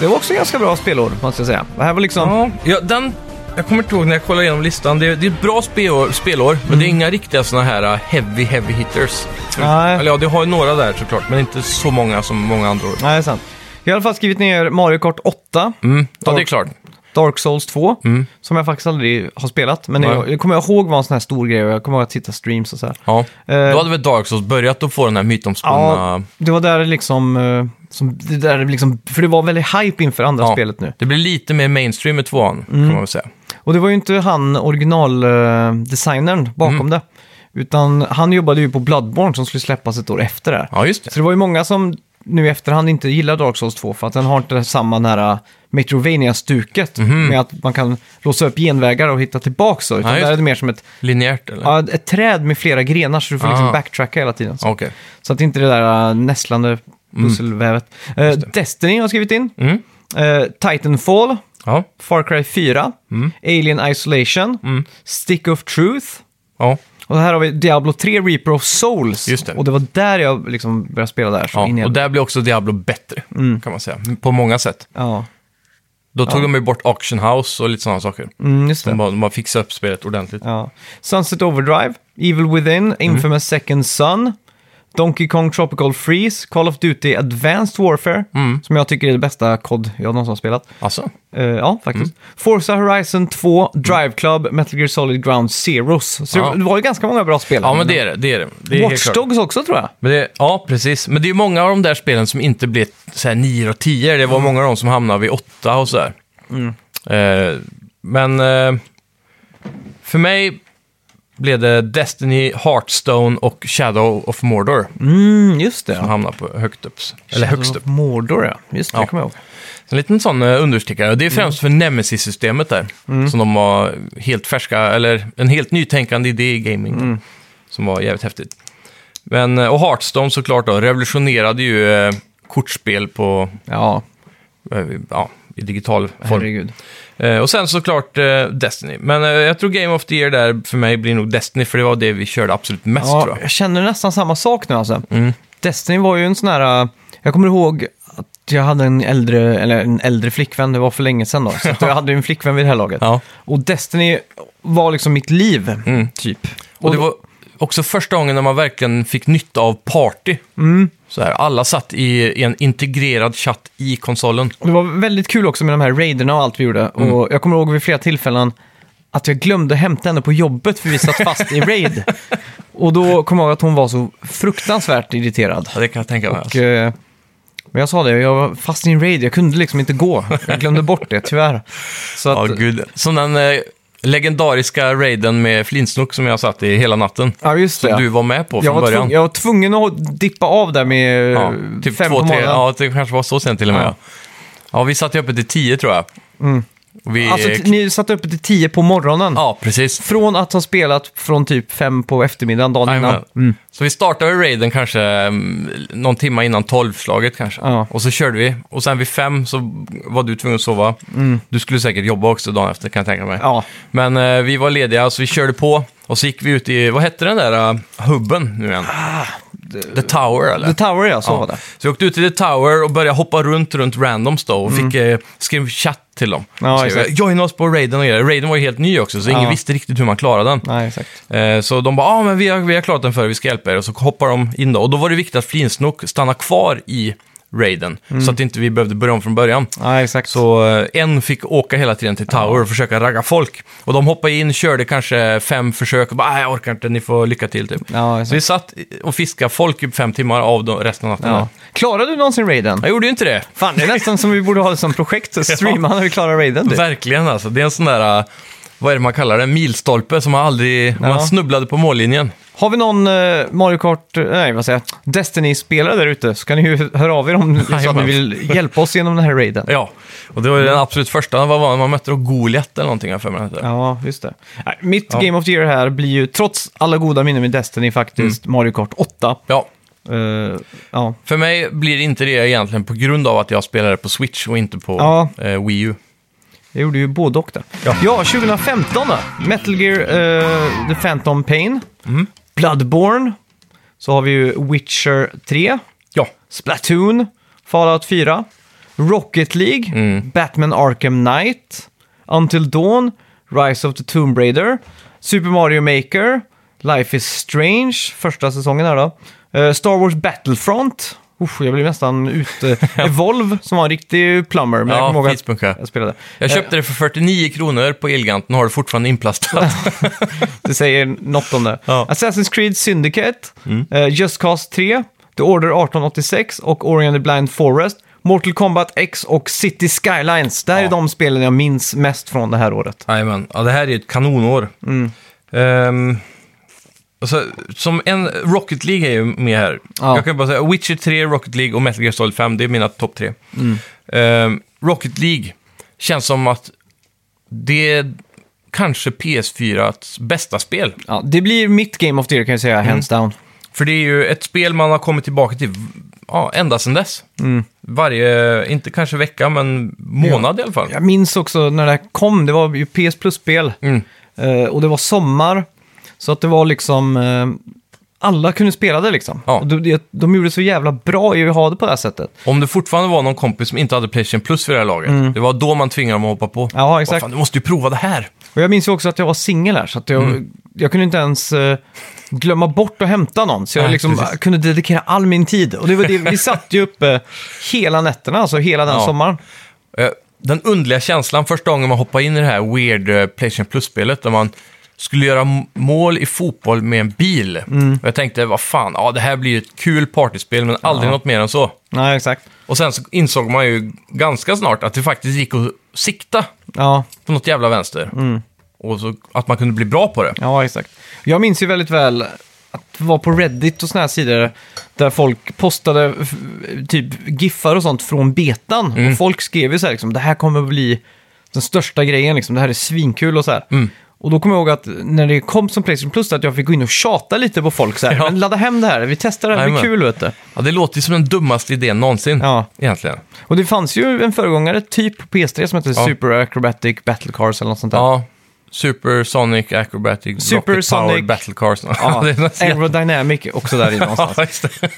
[SPEAKER 1] Det var också ganska bra spelår, måste jag säga. Det här var liksom...
[SPEAKER 2] Mm. Ja, ja, den... Jag kommer inte ihåg när jag kollade igenom listan. Det är, det är ett bra spelår, spelår men det
[SPEAKER 1] Mm.
[SPEAKER 2] är inga riktiga såna här uh, heavy, heavy hitters.
[SPEAKER 1] Nej.
[SPEAKER 2] Eller ja, det har ju några där såklart, men inte så många som många andra år.
[SPEAKER 1] Nej, det är sant. Jag har i alla fall skrivit ner Mario Kart 8.
[SPEAKER 2] Mm. Ja, det är klart.
[SPEAKER 1] Dark Souls 2, som jag faktiskt aldrig har spelat. Men
[SPEAKER 2] Mm. Nej.
[SPEAKER 1] jag, jag kommer ihåg var en sån här stor grej och jag kommer ihåg att titta streams och så här.
[SPEAKER 2] Ja.
[SPEAKER 1] Eh,
[SPEAKER 2] Då hade väl Dark Souls börjat att få den här mytomspunna...
[SPEAKER 1] det var där det liksom, eh, som, det där det liksom... För det var väldigt hype inför andra
[SPEAKER 2] Ja.
[SPEAKER 1] spelet nu.
[SPEAKER 2] Det blir lite mer mainstream med tvåan,
[SPEAKER 1] Mm.
[SPEAKER 2] kan man väl säga.
[SPEAKER 1] Och det var ju inte han originaldesignern bakom
[SPEAKER 2] Mm.
[SPEAKER 1] det. Utan han jobbade ju på Bloodborne som skulle släppas ett år efter det här.
[SPEAKER 2] Ja, just det.
[SPEAKER 1] Så det var ju många som nu i efterhand inte gillar Dark Souls 2 för att den har inte samma nära Metrovania-stuket med att man kan låsa upp genvägar och hitta tillbaka. Så. Utan
[SPEAKER 2] Mhm. Ja, just
[SPEAKER 1] där är
[SPEAKER 2] det.
[SPEAKER 1] det mer som ett,
[SPEAKER 2] Linjärt, eller?
[SPEAKER 1] ja, ett träd med flera grenar så du får liksom
[SPEAKER 2] Ah.
[SPEAKER 1] backtracka hela tiden. Så,
[SPEAKER 2] Okej.
[SPEAKER 1] så att inte det där äh, nästlande pusselvävet. Eh, Destiny har jag skrivit in.
[SPEAKER 2] Mm.
[SPEAKER 1] Eh, Titanfall,
[SPEAKER 2] Ja.
[SPEAKER 1] Far Cry 4,
[SPEAKER 2] Mm.
[SPEAKER 1] Alien Isolation, Stick of Truth.
[SPEAKER 2] Ja.
[SPEAKER 1] Och här har vi Diablo 3 Reaper of Souls.
[SPEAKER 2] Just det.
[SPEAKER 1] Och det var där jag liksom började spela där. så
[SPEAKER 2] ja.
[SPEAKER 1] in i
[SPEAKER 2] Och
[SPEAKER 1] helvete.
[SPEAKER 2] där blir också Diablo bättre,
[SPEAKER 1] Mm.
[SPEAKER 2] kan man säga. På många sätt.
[SPEAKER 1] Ja,
[SPEAKER 2] Då tog de ju bort Auction House och lite sådana saker.
[SPEAKER 1] mm, just
[SPEAKER 2] De
[SPEAKER 1] det.
[SPEAKER 2] bara, de bara fixade upp spelet ordentligt.
[SPEAKER 1] Ja. Sunset Overdrive, Evil Within,
[SPEAKER 2] Mm.
[SPEAKER 1] Infamous Second Son, Donkey Kong Tropical Freeze, Call of Duty Advanced Warfare,
[SPEAKER 2] Mm.
[SPEAKER 1] som jag tycker är det bästa COD jag någonsin har spelat.
[SPEAKER 2] Alltså,
[SPEAKER 1] Eh, ja,
[SPEAKER 2] Mm.
[SPEAKER 1] faktiskt. Forza Horizon 2, Drive Club, Metal Gear Solid Ground Zeros. Så
[SPEAKER 2] Ja.
[SPEAKER 1] det var ju ganska många bra spel.
[SPEAKER 2] ja men det är det. det, är det. det är helt
[SPEAKER 1] Watch
[SPEAKER 2] klart.
[SPEAKER 1] Dogs också tror jag.
[SPEAKER 2] Men det, ja, precis. Men det är ju många av de där spelen som inte blev så här 9 och 10. Det var många av dem som hamnade vid 8 och sådär. Eh, men eh, för mig blev det Destiny, Hearthstone och Shadow of Mordor
[SPEAKER 1] Mm, just det.
[SPEAKER 2] som
[SPEAKER 1] Ja.
[SPEAKER 2] hamnade på högt upp. Eller högst upp.
[SPEAKER 1] Mordor, ja. Just det,
[SPEAKER 2] Ja.
[SPEAKER 1] det kommer jag ihåg.
[SPEAKER 2] Så En liten sån eh, understickare. Och Det är
[SPEAKER 1] Mm.
[SPEAKER 2] främst för Nemesis-systemet där. Som de var helt färska, eller en helt nytänkande idé i gaming.
[SPEAKER 1] Mm.
[SPEAKER 2] Som var jävligt häftigt. Men, eh, och Hearthstone såklart då, revolutionerade ju eh, kortspel på,
[SPEAKER 1] Ja,
[SPEAKER 2] eh, ja, i digital form.
[SPEAKER 1] herregud.
[SPEAKER 2] Eh, och sen såklart eh, Destiny. Men eh, jag tror Game of the Year där för mig blir nog Destiny, för det var det vi körde absolut mest
[SPEAKER 1] Ja,
[SPEAKER 2] tror jag. Mm.
[SPEAKER 1] jag känner nästan samma sak nu alltså. Destiny var ju en sån här... äh, Jag kommer ihåg att jag hade en äldre, eller en äldre flickvän, det var för länge sedan då. Så att jag hade ju en flickvän vid det här laget.
[SPEAKER 2] Ja. Mm,
[SPEAKER 1] Och Destiny var liksom mitt liv, typ.
[SPEAKER 2] Och det var också första gången när man verkligen fick nytta av party.
[SPEAKER 1] Mm.
[SPEAKER 2] Så här, alla satt i, i en integrerad chatt i konsolen.
[SPEAKER 1] Det var väldigt kul också med de här raiderna och allt vi gjorde.
[SPEAKER 2] Mm.
[SPEAKER 1] Och jag kommer ihåg vid flera tillfällen att jag glömde hämta henne på jobbet för vi satt fast i raid. Och då kommer jag ihåg att hon var så fruktansvärt irriterad.
[SPEAKER 2] Ja, det kan jag tänka mig.
[SPEAKER 1] Och,
[SPEAKER 2] alltså.
[SPEAKER 1] eh, men jag sa det, jag var fast i en raid, jag kunde liksom inte gå. Jag glömde bort det, tyvärr. Så
[SPEAKER 2] Ja,
[SPEAKER 1] att,
[SPEAKER 2] gud. Som den eh, legendariska raiden med Flintsnock som jag satt i hela natten.
[SPEAKER 1] ja just det.
[SPEAKER 2] Som
[SPEAKER 1] ja.
[SPEAKER 2] du var med på
[SPEAKER 1] jag,
[SPEAKER 2] från
[SPEAKER 1] var
[SPEAKER 2] början.
[SPEAKER 1] tvungen, jag var tvungen att dippa av där med
[SPEAKER 2] Ja,
[SPEAKER 1] eh,
[SPEAKER 2] typ
[SPEAKER 1] fem
[SPEAKER 2] två,
[SPEAKER 1] på
[SPEAKER 2] tre.
[SPEAKER 1] morgonen.
[SPEAKER 2] Ja, det kanske var så sen till och med. Ja,
[SPEAKER 1] Ja. Mm.
[SPEAKER 2] ja vi satt ju uppe till tio tror jag. Och Vi,
[SPEAKER 1] Alltså, t- ni satt uppe till tio på morgonen.
[SPEAKER 2] Ja, precis.
[SPEAKER 1] Från att ha spelat från typ fem på eftermiddagen dagen innan.
[SPEAKER 2] Jajamän. Så vi startade raiden kanske mm, någon timma innan tolvslaget kanske.
[SPEAKER 1] Ja.
[SPEAKER 2] Och så körde vi. Och sen vid fem så var du tvungen att sova. Du skulle säkert jobba också dagen efter kan jag tänka mig.
[SPEAKER 1] Mm. Ja,
[SPEAKER 2] Men eh, vi var lediga så vi körde på. Och så gick vi ut i, vad hette den där uh, hubben nu igen? the Tower eller?
[SPEAKER 1] Ah, The Tower ja, så var det.
[SPEAKER 2] Så jag åkte ut till The Tower och började hoppa runt, runt randoms då och fick, eh, skrev chatt till dem.
[SPEAKER 1] Mm. Ja,
[SPEAKER 2] skrev,
[SPEAKER 1] exakt.
[SPEAKER 2] Joina oss på Raiden och grejer. Raiden var ju helt ny också, så ingen
[SPEAKER 1] Ja.
[SPEAKER 2] visste riktigt hur man klarade den.
[SPEAKER 1] Nej, exakt.
[SPEAKER 2] Eh, så de bara, ja ah, men vi har, vi har klarat den för vi ska hjälpa er. Och så hoppar de in då. Och då var det viktigt att Flinsnook stannar kvar i Raiden,
[SPEAKER 1] Mm.
[SPEAKER 2] så att inte vi behövde börja om från början.
[SPEAKER 1] Nej, exakt.
[SPEAKER 2] Så eh, en fick åka hela tiden till Tower och försöka ragga folk. Och de hoppade in, körde kanske fem försök och bara, "Ah, jag orkar inte, ni får lycka till typ.
[SPEAKER 1] Ja,
[SPEAKER 2] Så
[SPEAKER 1] exakt.
[SPEAKER 2] vi satt och fiskade folk i fem timmar av de- resten av natten. där.
[SPEAKER 1] Ja. Klarade du någonsin raiden?
[SPEAKER 2] Jag gjorde ju inte det.
[SPEAKER 1] Fan, det är nästan som vi borde ha det som projekt. att Streama när vi klarar raiden. typ. Du.
[SPEAKER 2] Verkligen alltså. Det är en sån där, äh, vad är det man kallar det, En milstolpe som man aldrig, man snubblade på mållinjen.
[SPEAKER 1] Har vi någon eh, Mario Kart, eh, nej vad säger jag, Destiny-spelare där ute så kan ni ju höra av er om så att ni
[SPEAKER 2] Jajamän.
[SPEAKER 1] vill hjälpa oss genom den här raiden.
[SPEAKER 2] Ja, och det var ju den absolut första, vad var det, man mötte då Goliat eller någonting, jag har för mig det hette.
[SPEAKER 1] Mm. Ja, just det. Nej, mitt Game of the Year här blir ju, trots alla goda minnen med Destiny faktiskt, Mario Kart 8.
[SPEAKER 2] Mm. Ja,
[SPEAKER 1] Eh, ja.
[SPEAKER 2] för mig blir inte det egentligen på grund av att jag spelade på Switch och inte på
[SPEAKER 1] Ja.
[SPEAKER 2] eh, Wii U.
[SPEAKER 1] Jag gjorde ju både och där. Ja,
[SPEAKER 2] Ja.
[SPEAKER 1] 2015 då. Metal Gear eh, The Phantom Pain.
[SPEAKER 2] Mm.
[SPEAKER 1] Bloodborne. Så har vi ju Witcher 3.
[SPEAKER 2] Ja,
[SPEAKER 1] Splatoon. Fallout 4. Rocket League. Batman Arkham Knight. Until Dawn. Rise of the Tomb Raider. Super Mario Maker. Life is Strange. Första säsongen här då. Eh, Star Wars Battlefront. Usch, jag blev nästan ute. Evolve, som var en riktig plumber. Men jag
[SPEAKER 2] ja
[SPEAKER 1] kommer ihåg att
[SPEAKER 2] fispunka.
[SPEAKER 1] jag spelade.
[SPEAKER 2] Jag
[SPEAKER 1] Eh,
[SPEAKER 2] köpte det för 49 kronor på Elganten och har det fortfarande inplastat.
[SPEAKER 1] Det säger något om det.
[SPEAKER 2] Ja. Mm.
[SPEAKER 1] Assassin's Creed Syndicate, eh, Just Cause 3, The Order 1886 och Ori and the Blind Forest, Mortal Kombat X och City Skylines. Det här är
[SPEAKER 2] Ja.
[SPEAKER 1] de spelen jag minns mest från det här året.
[SPEAKER 2] Jajamän, ja, det här är ju ett kanonår. Ehm, alltså, som en, Rocket League är ju med här.
[SPEAKER 1] Ja.
[SPEAKER 2] Jag kan bara säga Witcher 3, Rocket League och Metal Gear Solid 5, det är mina topp tre. Ehm, Rocket League känns som att det är kanske PS4s bästa spel.
[SPEAKER 1] Ja, det blir mitt Game of the Year kan jag säga,
[SPEAKER 2] Mm.
[SPEAKER 1] hands down.
[SPEAKER 2] För det är ju ett spel man har kommit tillbaka till ja, ända sedan dess. Varje, inte kanske vecka, men månad i alla fall.
[SPEAKER 1] Jag minns också när det här kom, det var ju PS Plus-spel.
[SPEAKER 2] Mm.
[SPEAKER 1] Eh, och det var sommar, så att det var liksom... Eh, alla kunde spela det liksom.
[SPEAKER 2] Ja.
[SPEAKER 1] Och de, de gjorde så jävla bra i att ha det på det här sättet.
[SPEAKER 2] Om det fortfarande var någon kompis som inte hade Playstation Plus vid det här laget, det var då man tvingade dem att hoppa på.
[SPEAKER 1] Mm. Ja, exakt.
[SPEAKER 2] Vad Fan, du måste ju prova det här.
[SPEAKER 1] Och jag minns ju också att jag var singel här, så att jag,
[SPEAKER 2] Mm.
[SPEAKER 1] jag kunde inte ens eh, glömma bort att hämta någon. Så jag
[SPEAKER 2] Nej,
[SPEAKER 1] liksom
[SPEAKER 2] precis.
[SPEAKER 1] kunde dedikera all min tid. Och det var det, vi satt ju uppe hela nätterna, alltså hela den
[SPEAKER 2] Ja.
[SPEAKER 1] sommaren.
[SPEAKER 2] Eh, Den underliga känslan första gången man hoppade in i det här weird eh, Playstation Plus-spelet, där man skulle göra m- mål i fotboll med en bil.
[SPEAKER 1] Mm.
[SPEAKER 2] Och jag tänkte, vad fan, ja, det här blir ju ett kul partyspel, men aldrig något mer än så.
[SPEAKER 1] Nej, exakt.
[SPEAKER 2] Och sen så insåg man ju ganska snart att det faktiskt gick att sikta
[SPEAKER 1] Ja,
[SPEAKER 2] på något jävla vänster.
[SPEAKER 1] Mm.
[SPEAKER 2] Och så, att man kunde bli bra på det.
[SPEAKER 1] ja, exakt. Jag minns ju väldigt väl att vara på Reddit och såna här sidor där folk postade f- typ giffar och sånt från betan.
[SPEAKER 2] Mm.
[SPEAKER 1] Och folk skrev ju så här liksom, det här kommer bli den största grejen liksom, det här är svinkul och så här.
[SPEAKER 2] Mm.
[SPEAKER 1] Och då kommer jag ihåg att när det kom som Playstation Plus att jag fick gå in och tjata lite på folk så här.
[SPEAKER 2] Ja.
[SPEAKER 1] Men ladda hem det här, vi testar det här, det blir
[SPEAKER 2] Jajamän.
[SPEAKER 1] kul vet du.
[SPEAKER 2] Ja, det låter ju som den dummaste idén någonsin,
[SPEAKER 1] Ja.
[SPEAKER 2] egentligen.
[SPEAKER 1] Och det fanns ju en föregångare typ på PS3 som hette
[SPEAKER 2] Ja.
[SPEAKER 1] Super Acrobatic Battle Cars eller något sånt där.
[SPEAKER 2] Ja, Super Sonic Acrobatic
[SPEAKER 1] Super
[SPEAKER 2] Rocket Powered
[SPEAKER 1] Sonic-
[SPEAKER 2] Battle Cars.
[SPEAKER 1] Ja,
[SPEAKER 2] det är nästan jätte-
[SPEAKER 1] Aerodynamic också där i någonstans.
[SPEAKER 2] Ja, just det.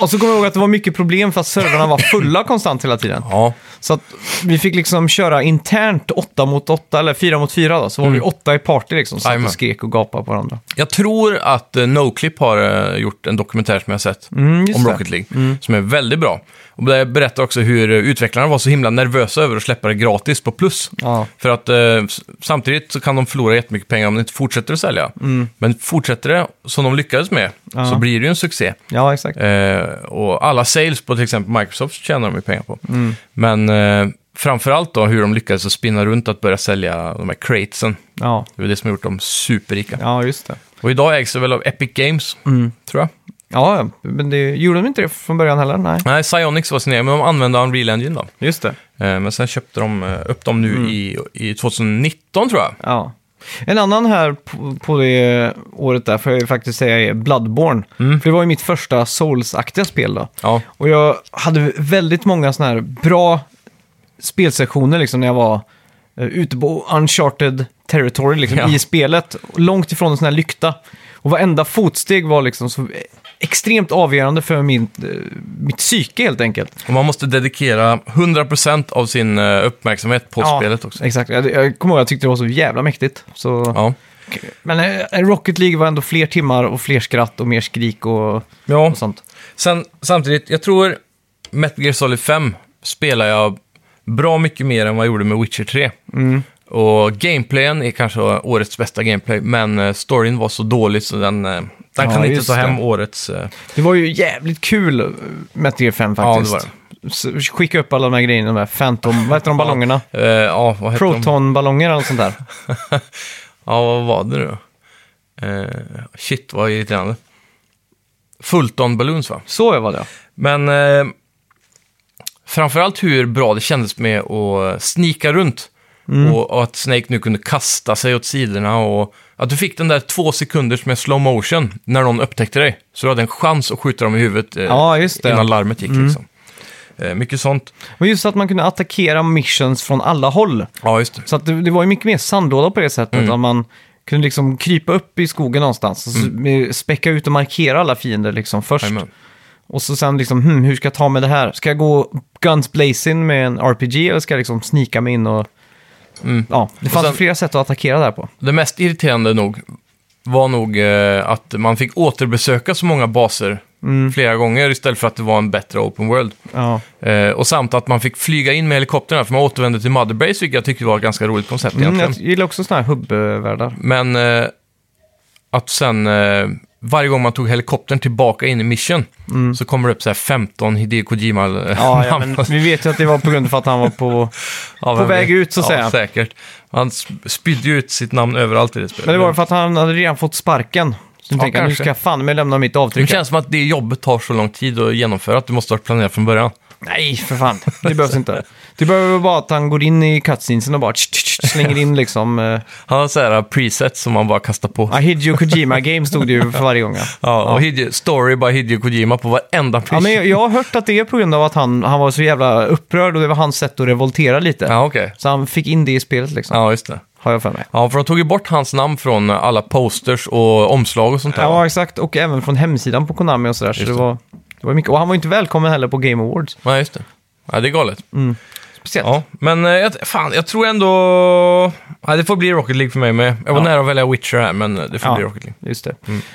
[SPEAKER 1] Och så kommer jag ihåg att det var mycket problem för att servrarna var fulla konstant hela tiden.
[SPEAKER 2] ja,
[SPEAKER 1] Så att vi fick liksom köra internt 8 mot 8, eller 4 mot 4 då, så var vi åtta i party liksom, satt
[SPEAKER 2] Jajamän.
[SPEAKER 1] och skrek och gapade på varandra.
[SPEAKER 2] jag tror att eh, Noclip har eh, gjort en dokumentär som jag har sett
[SPEAKER 1] Mm, just
[SPEAKER 2] om
[SPEAKER 1] det.
[SPEAKER 2] Rocket League, som är väldigt bra. Och det berättar också hur eh, utvecklarna var så himla nervösa över att släppa det gratis på plus.
[SPEAKER 1] Ja.
[SPEAKER 2] För att eh, s- samtidigt så kan de förlora jättemycket pengar om de inte fortsätter att sälja.
[SPEAKER 1] Mm.
[SPEAKER 2] Men fortsätter det som de lyckades med så blir det ju en succé.
[SPEAKER 1] Ja, exakt. Mm.
[SPEAKER 2] Eh, och alla sales på till exempel Microsoft tjänar de ju pengar på. Men eh, framförallt då hur de lyckades att spinna runt att börja sälja de här cratesen.
[SPEAKER 1] Ja,
[SPEAKER 2] Det är det som har gjort dem superrika.
[SPEAKER 1] ja Mm. just det.
[SPEAKER 2] Och idag ägs det väl av Epic Games, tror jag.
[SPEAKER 1] Ja, ja, men det gjorde de inte det från början heller? Nej,
[SPEAKER 2] Nej, Psyonix var sin egen, men de använde Unreal Engine då.
[SPEAKER 1] just det.
[SPEAKER 2] Eh, Men sen köpte de eh, upp dem
[SPEAKER 1] Mm.
[SPEAKER 2] nu i, i 2019 tror jag.
[SPEAKER 1] Ja. En annan här på, på det året där får jag ju faktiskt säga är Bloodborne. För det var ju mitt första Souls-aktiga spel då.
[SPEAKER 2] Ja,
[SPEAKER 1] Och jag hade väldigt många sådana här bra spelsessioner liksom när jag var eh, ute på uncharted territory liksom,
[SPEAKER 2] Ja.
[SPEAKER 1] i spelet. Långt ifrån en sån här lykta. Och varenda fotsteg var liksom så extremt avgörande för min, eh, mitt psyke helt enkelt.
[SPEAKER 2] och man måste dedikera 100% av sin eh, uppmärksamhet på spelet också.
[SPEAKER 1] Exakt. Jag, jag kommer ihåg att jag tyckte det var så jävla mäktigt. Så...
[SPEAKER 2] Ja.
[SPEAKER 1] Men eh, Rocket League var ändå fler timmar och fler skratt och mer skrik och,
[SPEAKER 2] ja.
[SPEAKER 1] och sånt.
[SPEAKER 2] Sen, samtidigt, jag tror Metal Gear Solid 5 spelar jag bra mycket mer än vad jag gjorde med Witcher 3.
[SPEAKER 1] Mm.
[SPEAKER 2] Och gameplayen är kanske årets bästa gameplay, men eh, storyn var så dålig så den, eh, den kan inte
[SPEAKER 1] just
[SPEAKER 2] ta hem
[SPEAKER 1] det.
[SPEAKER 2] årets... eh,
[SPEAKER 1] Det var ju jävligt kul eh, Metal Gear 5
[SPEAKER 2] Ja, det
[SPEAKER 1] faktiskt.
[SPEAKER 2] var
[SPEAKER 1] Så Skicka upp alla de här grejerna, de här Phantom, vad heter de ballongerna?
[SPEAKER 2] eh, ja, vad heter de?
[SPEAKER 1] Protonballonger eller något sånt där.
[SPEAKER 2] Ja, vad var det nu då? Eh, shit, vad irriterande. Fulton Balloons va?
[SPEAKER 1] Så var det
[SPEAKER 2] Men eh, framförallt hur bra det kändes med att snika runt.
[SPEAKER 1] Mm.
[SPEAKER 2] Och, och att Snake nu kunde kasta sig åt sidorna och att du fick den där två sekunders med slow motion när någon upptäckte dig. Så du hade en chans att skjuta dem i huvudet eh,
[SPEAKER 1] Ja, just det. Mm.
[SPEAKER 2] innan larmet gick liksom. Eh, mycket sånt.
[SPEAKER 1] Men just att man kunde attackera missions från alla håll.
[SPEAKER 2] Ja, just det.
[SPEAKER 1] Så att det, det var ju mycket mer sandlåda på det sättet.
[SPEAKER 2] Mm.
[SPEAKER 1] Att man kunde liksom krypa upp i skogen någonstans och så späcka ut och markera alla fiender liksom först.
[SPEAKER 2] Mm. Jajamän.
[SPEAKER 1] Och så sen liksom, hmm, hur ska jag ta med det här? Ska jag gå guns blazing med en RPG eller ska jag liksom snika mig in och... Ja, det fanns
[SPEAKER 2] Mm. sen-
[SPEAKER 1] flera sätt att attackera där på.
[SPEAKER 2] Det mest irriterande nog var nog eh, att man fick återbesöka så många baser
[SPEAKER 1] Mm.
[SPEAKER 2] flera gånger istället för att det var en bättre open world.
[SPEAKER 1] Ja,
[SPEAKER 2] Eh, och samt att man fick flyga in med helikopterna för man återvände till Mother Base, vilket jag tyckte var ett ganska roligt koncept
[SPEAKER 1] mm,
[SPEAKER 2] egentligen.
[SPEAKER 1] jag gillar också sådana här hubbvärldar.
[SPEAKER 2] Men eh, att sen eh, varje gång man tog helikoptern tillbaka in i mission så kommer det upp så här 15 Hideo Kojima.
[SPEAKER 1] Mm.
[SPEAKER 2] eh,
[SPEAKER 1] Ja, ja, men vi vet ju att det var på grund av att han var på... på väg ut, så att
[SPEAKER 2] ja,
[SPEAKER 1] säga.
[SPEAKER 2] säkert. Han sp- spydde ju ut sitt namn överallt i det spelet.
[SPEAKER 1] Men det var ju för att han hade redan fått sparken. Så nu
[SPEAKER 2] Ja,
[SPEAKER 1] tänker jag, nu
[SPEAKER 2] kanske.
[SPEAKER 1] ska jag fan med lämna mitt
[SPEAKER 2] det
[SPEAKER 1] avtryck. här.
[SPEAKER 2] känns som att det jobbet tar så lång tid att genomföra att du måste ha planerat från början.
[SPEAKER 1] Nej, för fan. Det behövs inte. Det behöver bara att han går in i cutscenesen och bara tsch, tsch, tsch, slänger in liksom... eh,
[SPEAKER 2] Han har så här presets som man bara kastar på.
[SPEAKER 1] Ja, Hideo Kojima Game stod det ju för varje gång. Ja.
[SPEAKER 2] Ja, och Hideo, story by Hideo Kojima på varenda
[SPEAKER 1] Ja,
[SPEAKER 2] preset.
[SPEAKER 1] men jag, jag har hört att det är på grund av att han, han var så jävla upprörd och det var hans sätt att revoltera lite.
[SPEAKER 2] Ja, okej.
[SPEAKER 1] Så han fick in det i spelet liksom,
[SPEAKER 2] Ja, just det.
[SPEAKER 1] har jag för mig.
[SPEAKER 2] Ja, för de tog ju bort hans namn från alla posters och omslag och sånt där.
[SPEAKER 1] Ja, exakt. Och även från hemsidan på Konami och sådär. Så
[SPEAKER 2] Just
[SPEAKER 1] det
[SPEAKER 2] det.
[SPEAKER 1] var, det var mycket. Och han var ju inte välkommen heller på Game Awards.
[SPEAKER 2] Nej, just det. Ja, det är galet.
[SPEAKER 1] Mm. Speciellt.
[SPEAKER 2] Ja, men eh, jag, fan, jag tror ändå... Ja, det får bli Rocket League för mig med. Jag var
[SPEAKER 1] Ja.
[SPEAKER 2] nära att välja Witcher här, men eh, det får
[SPEAKER 1] Ja,
[SPEAKER 2] bli Rocket League.
[SPEAKER 1] just det.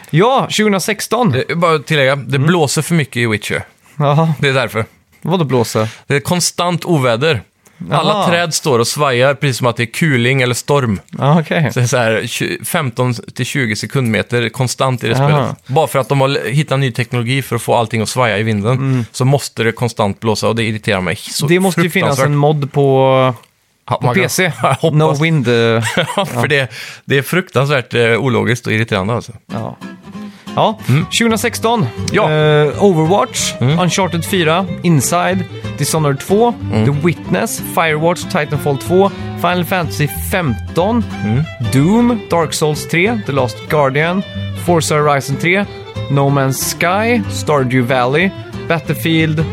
[SPEAKER 1] Ja, 2016.
[SPEAKER 2] Mm. Det, bara att tillägga, det
[SPEAKER 1] Mm.
[SPEAKER 2] blåser för mycket i Witcher.
[SPEAKER 1] Jaha,
[SPEAKER 2] Det är därför.
[SPEAKER 1] vadå blåser?
[SPEAKER 2] Det är konstant oväder. Alla
[SPEAKER 1] Jaha.
[SPEAKER 2] träd står och svajar precis som att det är kuling eller storm.
[SPEAKER 1] Ja, okej.
[SPEAKER 2] Så det är så här 20 15-20 sekundmeter konstant i det
[SPEAKER 1] Jaha.
[SPEAKER 2] spelet. Bara för att de har hittat ny teknologi för att få allting att svaja i vinden så måste det konstant blåsa och det irriterar mig så
[SPEAKER 1] Mm. Det måste ju finnas en
[SPEAKER 2] fruktansvärt.
[SPEAKER 1] mod på,
[SPEAKER 2] Ja,
[SPEAKER 1] på
[SPEAKER 2] man kan-
[SPEAKER 1] PC.
[SPEAKER 2] Jag hoppas.
[SPEAKER 1] No Wind. eh,
[SPEAKER 2] Ja, för det, det är fruktansvärt eh, ologiskt och irriterande alltså.
[SPEAKER 1] Ja. Ja, 2016.
[SPEAKER 2] Ja.
[SPEAKER 1] Eh, Overwatch, Uncharted 4, Inside, Dishonored 2, The Witness, Firewatch, Titanfall 2, Final Fantasy 15, Doom, Dark Souls 3, The Last Guardian, Forza Horizon 3, No Man's Sky, Stardew Valley, Battlefield 1,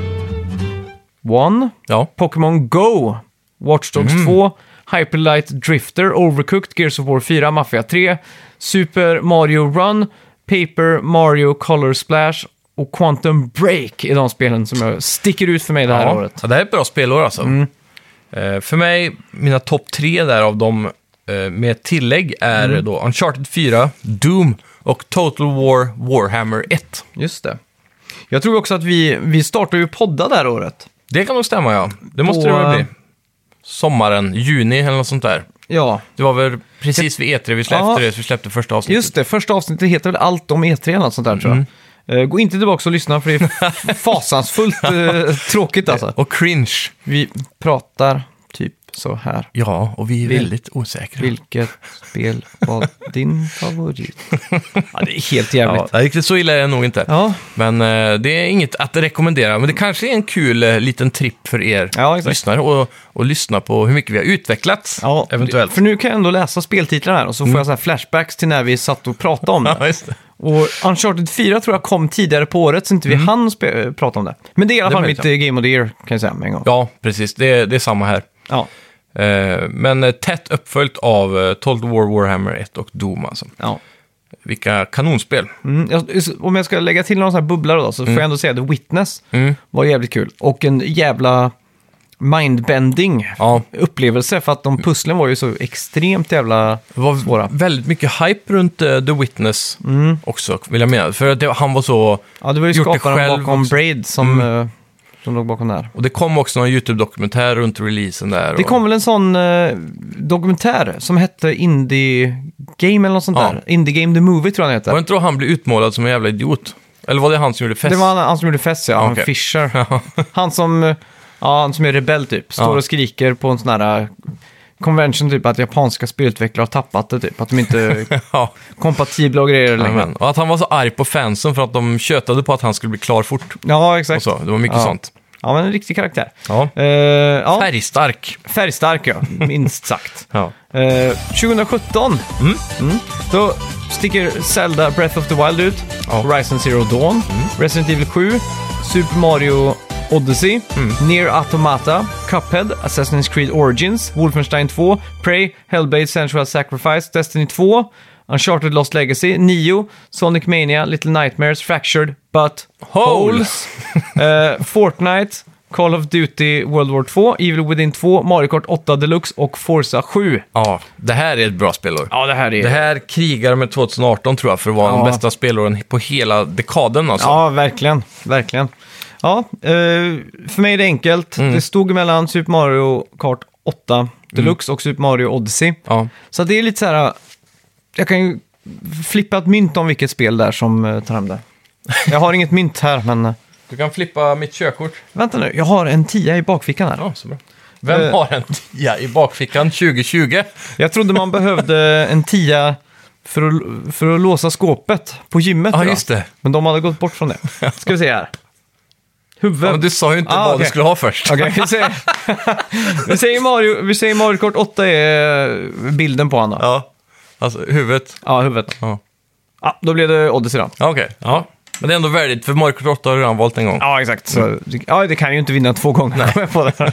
[SPEAKER 2] Ja,
[SPEAKER 1] Pokémon Go, Watch Dogs 2, Hyperlight Drifter, Overcooked, Gears of War 4, Mafia 3, Super Mario Run, Paper Mario Color Splash och Quantum Break är de spelen som jag sticker ut för mig det här
[SPEAKER 2] ja.
[SPEAKER 1] året. Mm.
[SPEAKER 2] ja det här är ett bra spelår alltså. Eh, för mig, mina topp tre där av dem eh, med tillägg är
[SPEAKER 1] Mm.
[SPEAKER 2] då Uncharted 4, Doom och Total War Warhammer 1.
[SPEAKER 1] Just det. Jag tror också att vi, vi startar ju podda det här året.
[SPEAKER 2] Det kan nog stämma, ja. Det måste
[SPEAKER 1] På,
[SPEAKER 2] det väl
[SPEAKER 1] eh,
[SPEAKER 2] bli. Sommaren, juni eller något sånt där.
[SPEAKER 1] Ja,
[SPEAKER 2] Det var väl precis vid E3 vi släppte,
[SPEAKER 1] Ja.
[SPEAKER 2] det, så vi släppte första avsnittet.
[SPEAKER 1] just det. Första avsnittet heter väl Allt om E3 eller något sånt där tror jag. Eh, Gå inte tillbaka och lyssna för det är fasansfullt eh, tråkigt alltså.
[SPEAKER 2] Och cringe.
[SPEAKER 1] Vi pratar typ så här.
[SPEAKER 2] Ja, och vi är
[SPEAKER 1] Vil-
[SPEAKER 2] väldigt osäkra.
[SPEAKER 1] Vilket spel var din favorit? Ja, det är helt
[SPEAKER 2] Ja,
[SPEAKER 1] jävligt.
[SPEAKER 2] nej, riktigt så illa är det nog inte.
[SPEAKER 1] Ja,
[SPEAKER 2] Men eh, det är inget att rekommendera. Men det kanske är en kul eh, liten tripp för er
[SPEAKER 1] Ja, exakt.
[SPEAKER 2] lyssnare och, och lyssna på hur mycket vi har utvecklats.
[SPEAKER 1] ja.
[SPEAKER 2] Eventuellt. Mm.
[SPEAKER 1] För nu kan jag ändå läsa speltitlar här och så får jag så här flashbacks till när vi satt och pratade om det.
[SPEAKER 2] Ja, just det.
[SPEAKER 1] Och Uncharted 4 tror jag kom tidigare på året så inte vi hann spe- prata om det. Men det är i alla
[SPEAKER 2] Mm. Det är möjligt,
[SPEAKER 1] fall mitt eh, Game of the Year kan jag säga med en gång.
[SPEAKER 2] ja precis. Det, det är samma här.
[SPEAKER 1] Ja.
[SPEAKER 2] Eh, men eh, tätt uppföljt av eh, Total War, Warhammer 1 och Doom alltså.
[SPEAKER 1] ja.
[SPEAKER 2] Vilka kanonspel.
[SPEAKER 1] Mm, jag, om jag ska lägga till någon sån här bubblare då så
[SPEAKER 2] Mm.
[SPEAKER 1] får jag ändå säga The Witness var jävligt kul. Och en jävla mindbending
[SPEAKER 2] Ja,
[SPEAKER 1] upplevelse för att de pusslen var ju så extremt jävla
[SPEAKER 2] det var
[SPEAKER 1] svåra. Mm.
[SPEAKER 2] väldigt mycket hype runt eh, The Witness också, vill jag mena. För att det, han var så...
[SPEAKER 1] Ja, det var ju
[SPEAKER 2] Gjort det
[SPEAKER 1] skaparen
[SPEAKER 2] själv
[SPEAKER 1] bakom
[SPEAKER 2] också.
[SPEAKER 1] Braid som, eh, som låg bakom det här.
[SPEAKER 2] Och det kom också någon YouTube-dokumentär runt releasen där.
[SPEAKER 1] Det
[SPEAKER 2] och-
[SPEAKER 1] kom väl en sån eh, dokumentär som hette Indie Game eller något sånt
[SPEAKER 2] Ja.
[SPEAKER 1] där. Indie Game The Movie tror jag den
[SPEAKER 2] Var det
[SPEAKER 1] heter.
[SPEAKER 2] inte då han blev utmålad som en jävla idiot? Eller var det han som gjorde fest?
[SPEAKER 1] Det var han, han som gjorde Fess, ja.
[SPEAKER 2] Ja,
[SPEAKER 1] Han
[SPEAKER 2] okej.
[SPEAKER 1] Fisher. han som... eh, Ja, han som är rebell typ. Står
[SPEAKER 2] Ja.
[SPEAKER 1] och skriker på en sån här eh, convention typ att japanska spelutvecklare har tappat det typ. Att de inte är
[SPEAKER 2] ja,
[SPEAKER 1] kompatibla och grejer längre.
[SPEAKER 2] amen. Och att han var så arg på fansen för att de tjötade på att han skulle bli klar fort.
[SPEAKER 1] Ja,
[SPEAKER 2] Och
[SPEAKER 1] exakt.
[SPEAKER 2] så. Det var mycket
[SPEAKER 1] Ja.
[SPEAKER 2] sånt.
[SPEAKER 1] Ja, men en riktig karaktär.
[SPEAKER 2] Ja.
[SPEAKER 1] Eh, ja.
[SPEAKER 2] Färgstark.
[SPEAKER 1] Färgstark ja, minst sagt.
[SPEAKER 2] Ja.
[SPEAKER 1] Eh, 2017, Mm. då sticker Zelda Breath of the Wild ut,
[SPEAKER 2] Ja.
[SPEAKER 1] Horizon Zero Dawn, Resident Evil 7, Super Mario Odyssey, Near Automata, Cuphead, Assassin's Creed Origins, Wolfenstein 2, Prey, Hellblade Sensual Sacrifice, Destiny 2, Uncharted Lost Legacy, Nio, Sonic Mania, Little Nightmares, Fractured, But
[SPEAKER 2] Holes.
[SPEAKER 1] Holes, Eh, Fortnite, Call of Duty World War 2, Evil Within 2, Mario Kart 8 Deluxe och Forza 7.
[SPEAKER 2] Ja, det här är ett bra spelår.
[SPEAKER 1] Ja, det här är...
[SPEAKER 2] Det här krigar med 2018 tror jag för att vara
[SPEAKER 1] Ja.
[SPEAKER 2] den bästa spelåren på hela dekaden alltså.
[SPEAKER 1] Ja, verkligen. Verkligen. Ja, eh, för mig är det enkelt.
[SPEAKER 2] Mm.
[SPEAKER 1] Det stod mellan Super Mario Kart 8 Deluxe och Super Mario Odyssey.
[SPEAKER 2] Mm. Ja.
[SPEAKER 1] Så det är lite så här... Jag kan ju flippa ett mynt om vilket spel där som eh, tar hem det. Jag har inget mynt här, men... eh,
[SPEAKER 2] Du kan flippa mitt körkort.
[SPEAKER 1] Vänta nu, jag har en tia i bakfickan här.
[SPEAKER 2] Ja, så bra. Vem
[SPEAKER 1] Eh.
[SPEAKER 2] har en tia i bakfickan 2020?
[SPEAKER 1] Jag trodde man behövde en tia för att, för att låsa skåpet på gymmet.
[SPEAKER 2] Ja,
[SPEAKER 1] idag.
[SPEAKER 2] just det.
[SPEAKER 1] Men de hade gått bort från det. Ska vi se här. Huvud.
[SPEAKER 2] Ja, men du sa ju inte
[SPEAKER 1] Ah,
[SPEAKER 2] vad
[SPEAKER 1] okej.
[SPEAKER 2] du skulle ha först.
[SPEAKER 1] Okej, vi säger, vi säger Mario, vi säger Mario Kart 8 är bilden på honom. Ja,
[SPEAKER 2] Ja, alltså huvudet.
[SPEAKER 1] ja huvudet.
[SPEAKER 2] Ja.
[SPEAKER 1] Ja, då blev det Odyssey då.
[SPEAKER 2] Ja, Okej, ja. Men det är ändå värdigt, för Mario Kart 8 har du redan valt en gång. Ja,
[SPEAKER 1] Ja, exakt. Så, ja, det kan ju inte vinna två gånger. kom jag På det.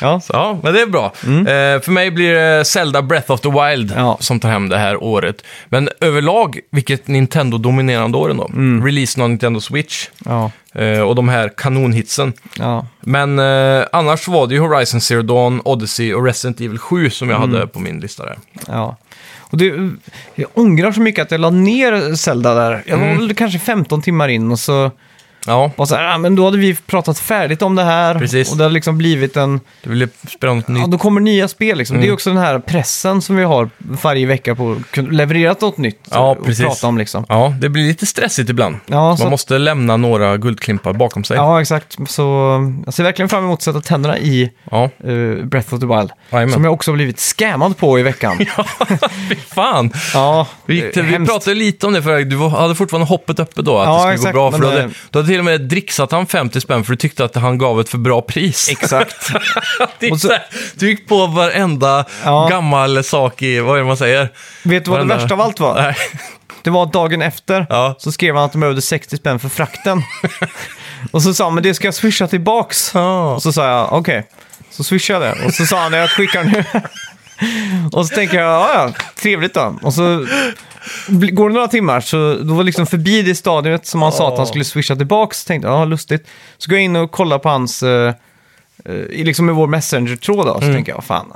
[SPEAKER 1] Ja.
[SPEAKER 2] men det är bra. Eh, för mig blir det Zelda Breath of the Wild
[SPEAKER 1] Mm. Ja.
[SPEAKER 2] som tar hem det här året. Men överlag, vilket Nintendo-dominerande år ändå. Releasen av Nintendo Switch
[SPEAKER 1] Mm. Ja.
[SPEAKER 2] eh, och de här kanonhitsen.
[SPEAKER 1] Ja.
[SPEAKER 2] Men eh, annars var det ju Horizon Zero Dawn, Odyssey och Resident Evil 7 som
[SPEAKER 1] Mm.
[SPEAKER 2] jag hade på min lista där.
[SPEAKER 1] Ja. Och det, jag ångrar så mycket att jag la ner Zelda där. Jag var väl kanske 15 timmar in och så
[SPEAKER 2] Ja,
[SPEAKER 1] var så här, ah, men då hade vi pratat färdigt om det här.
[SPEAKER 2] Precis.
[SPEAKER 1] Och det har liksom blivit en...
[SPEAKER 2] du ville spela något
[SPEAKER 1] Ja,
[SPEAKER 2] nytt. Mm.
[SPEAKER 1] då kommer nya spel liksom. Det är också den här pressen som vi har varje vecka på att kunna- leverera något nytt.
[SPEAKER 2] Ja,
[SPEAKER 1] att
[SPEAKER 2] precis.
[SPEAKER 1] prata om liksom.
[SPEAKER 2] Ja, det blir lite stressigt ibland.
[SPEAKER 1] Ja, så
[SPEAKER 2] Man
[SPEAKER 1] att-
[SPEAKER 2] måste lämna några guldklimpar bakom sig.
[SPEAKER 1] Ja, exakt. Så jag ser verkligen fram emot att sätta tänderna i
[SPEAKER 2] ja.
[SPEAKER 1] eh, Breath of the Wild.
[SPEAKER 2] Jajamän.
[SPEAKER 1] Som jag också har blivit scammad på i veckan.
[SPEAKER 2] Fy fan!
[SPEAKER 1] ja,
[SPEAKER 2] Vi, gick till, vi
[SPEAKER 1] hemskt.
[SPEAKER 2] pratade lite om det förra du var- hade fortfarande hoppet uppe då, att
[SPEAKER 1] Ja,
[SPEAKER 2] det skulle
[SPEAKER 1] exakt,
[SPEAKER 2] gå bra. För du,
[SPEAKER 1] men,
[SPEAKER 2] hade,
[SPEAKER 1] eh,
[SPEAKER 2] du hade till och med dricksat han 50 spänn för du tyckte att han gav ett för bra pris.
[SPEAKER 1] Exakt.
[SPEAKER 2] Det är
[SPEAKER 1] och så-
[SPEAKER 2] så här, du gick på varenda
[SPEAKER 1] Ja.
[SPEAKER 2] gammal sak i, vad är det man säger?
[SPEAKER 1] Vet du vad det
[SPEAKER 2] Varenda-
[SPEAKER 1] värsta av allt var?
[SPEAKER 2] Nej.
[SPEAKER 1] Det var att dagen efter
[SPEAKER 2] Ja.
[SPEAKER 1] så skrev han att de behövde 60 spänn för frakten. och så sa han, men det ska jag swisha tillbaks.
[SPEAKER 2] Ja.
[SPEAKER 1] Och så sa jag, okej. Så swishade jag det. Och så sa han, jag skickar nu. och så tänker jag, "Ja, ja, trevligt då. Och så bli- går det några timmar, så då var liksom förbi det stadiet som han sa att han skulle swisha tillbaka. Så tänkte jag, ja, lustigt. Så går jag in och kollar på hans, eh, eh, i liksom i vår Messenger-tråd då. Så tänker jag, fan.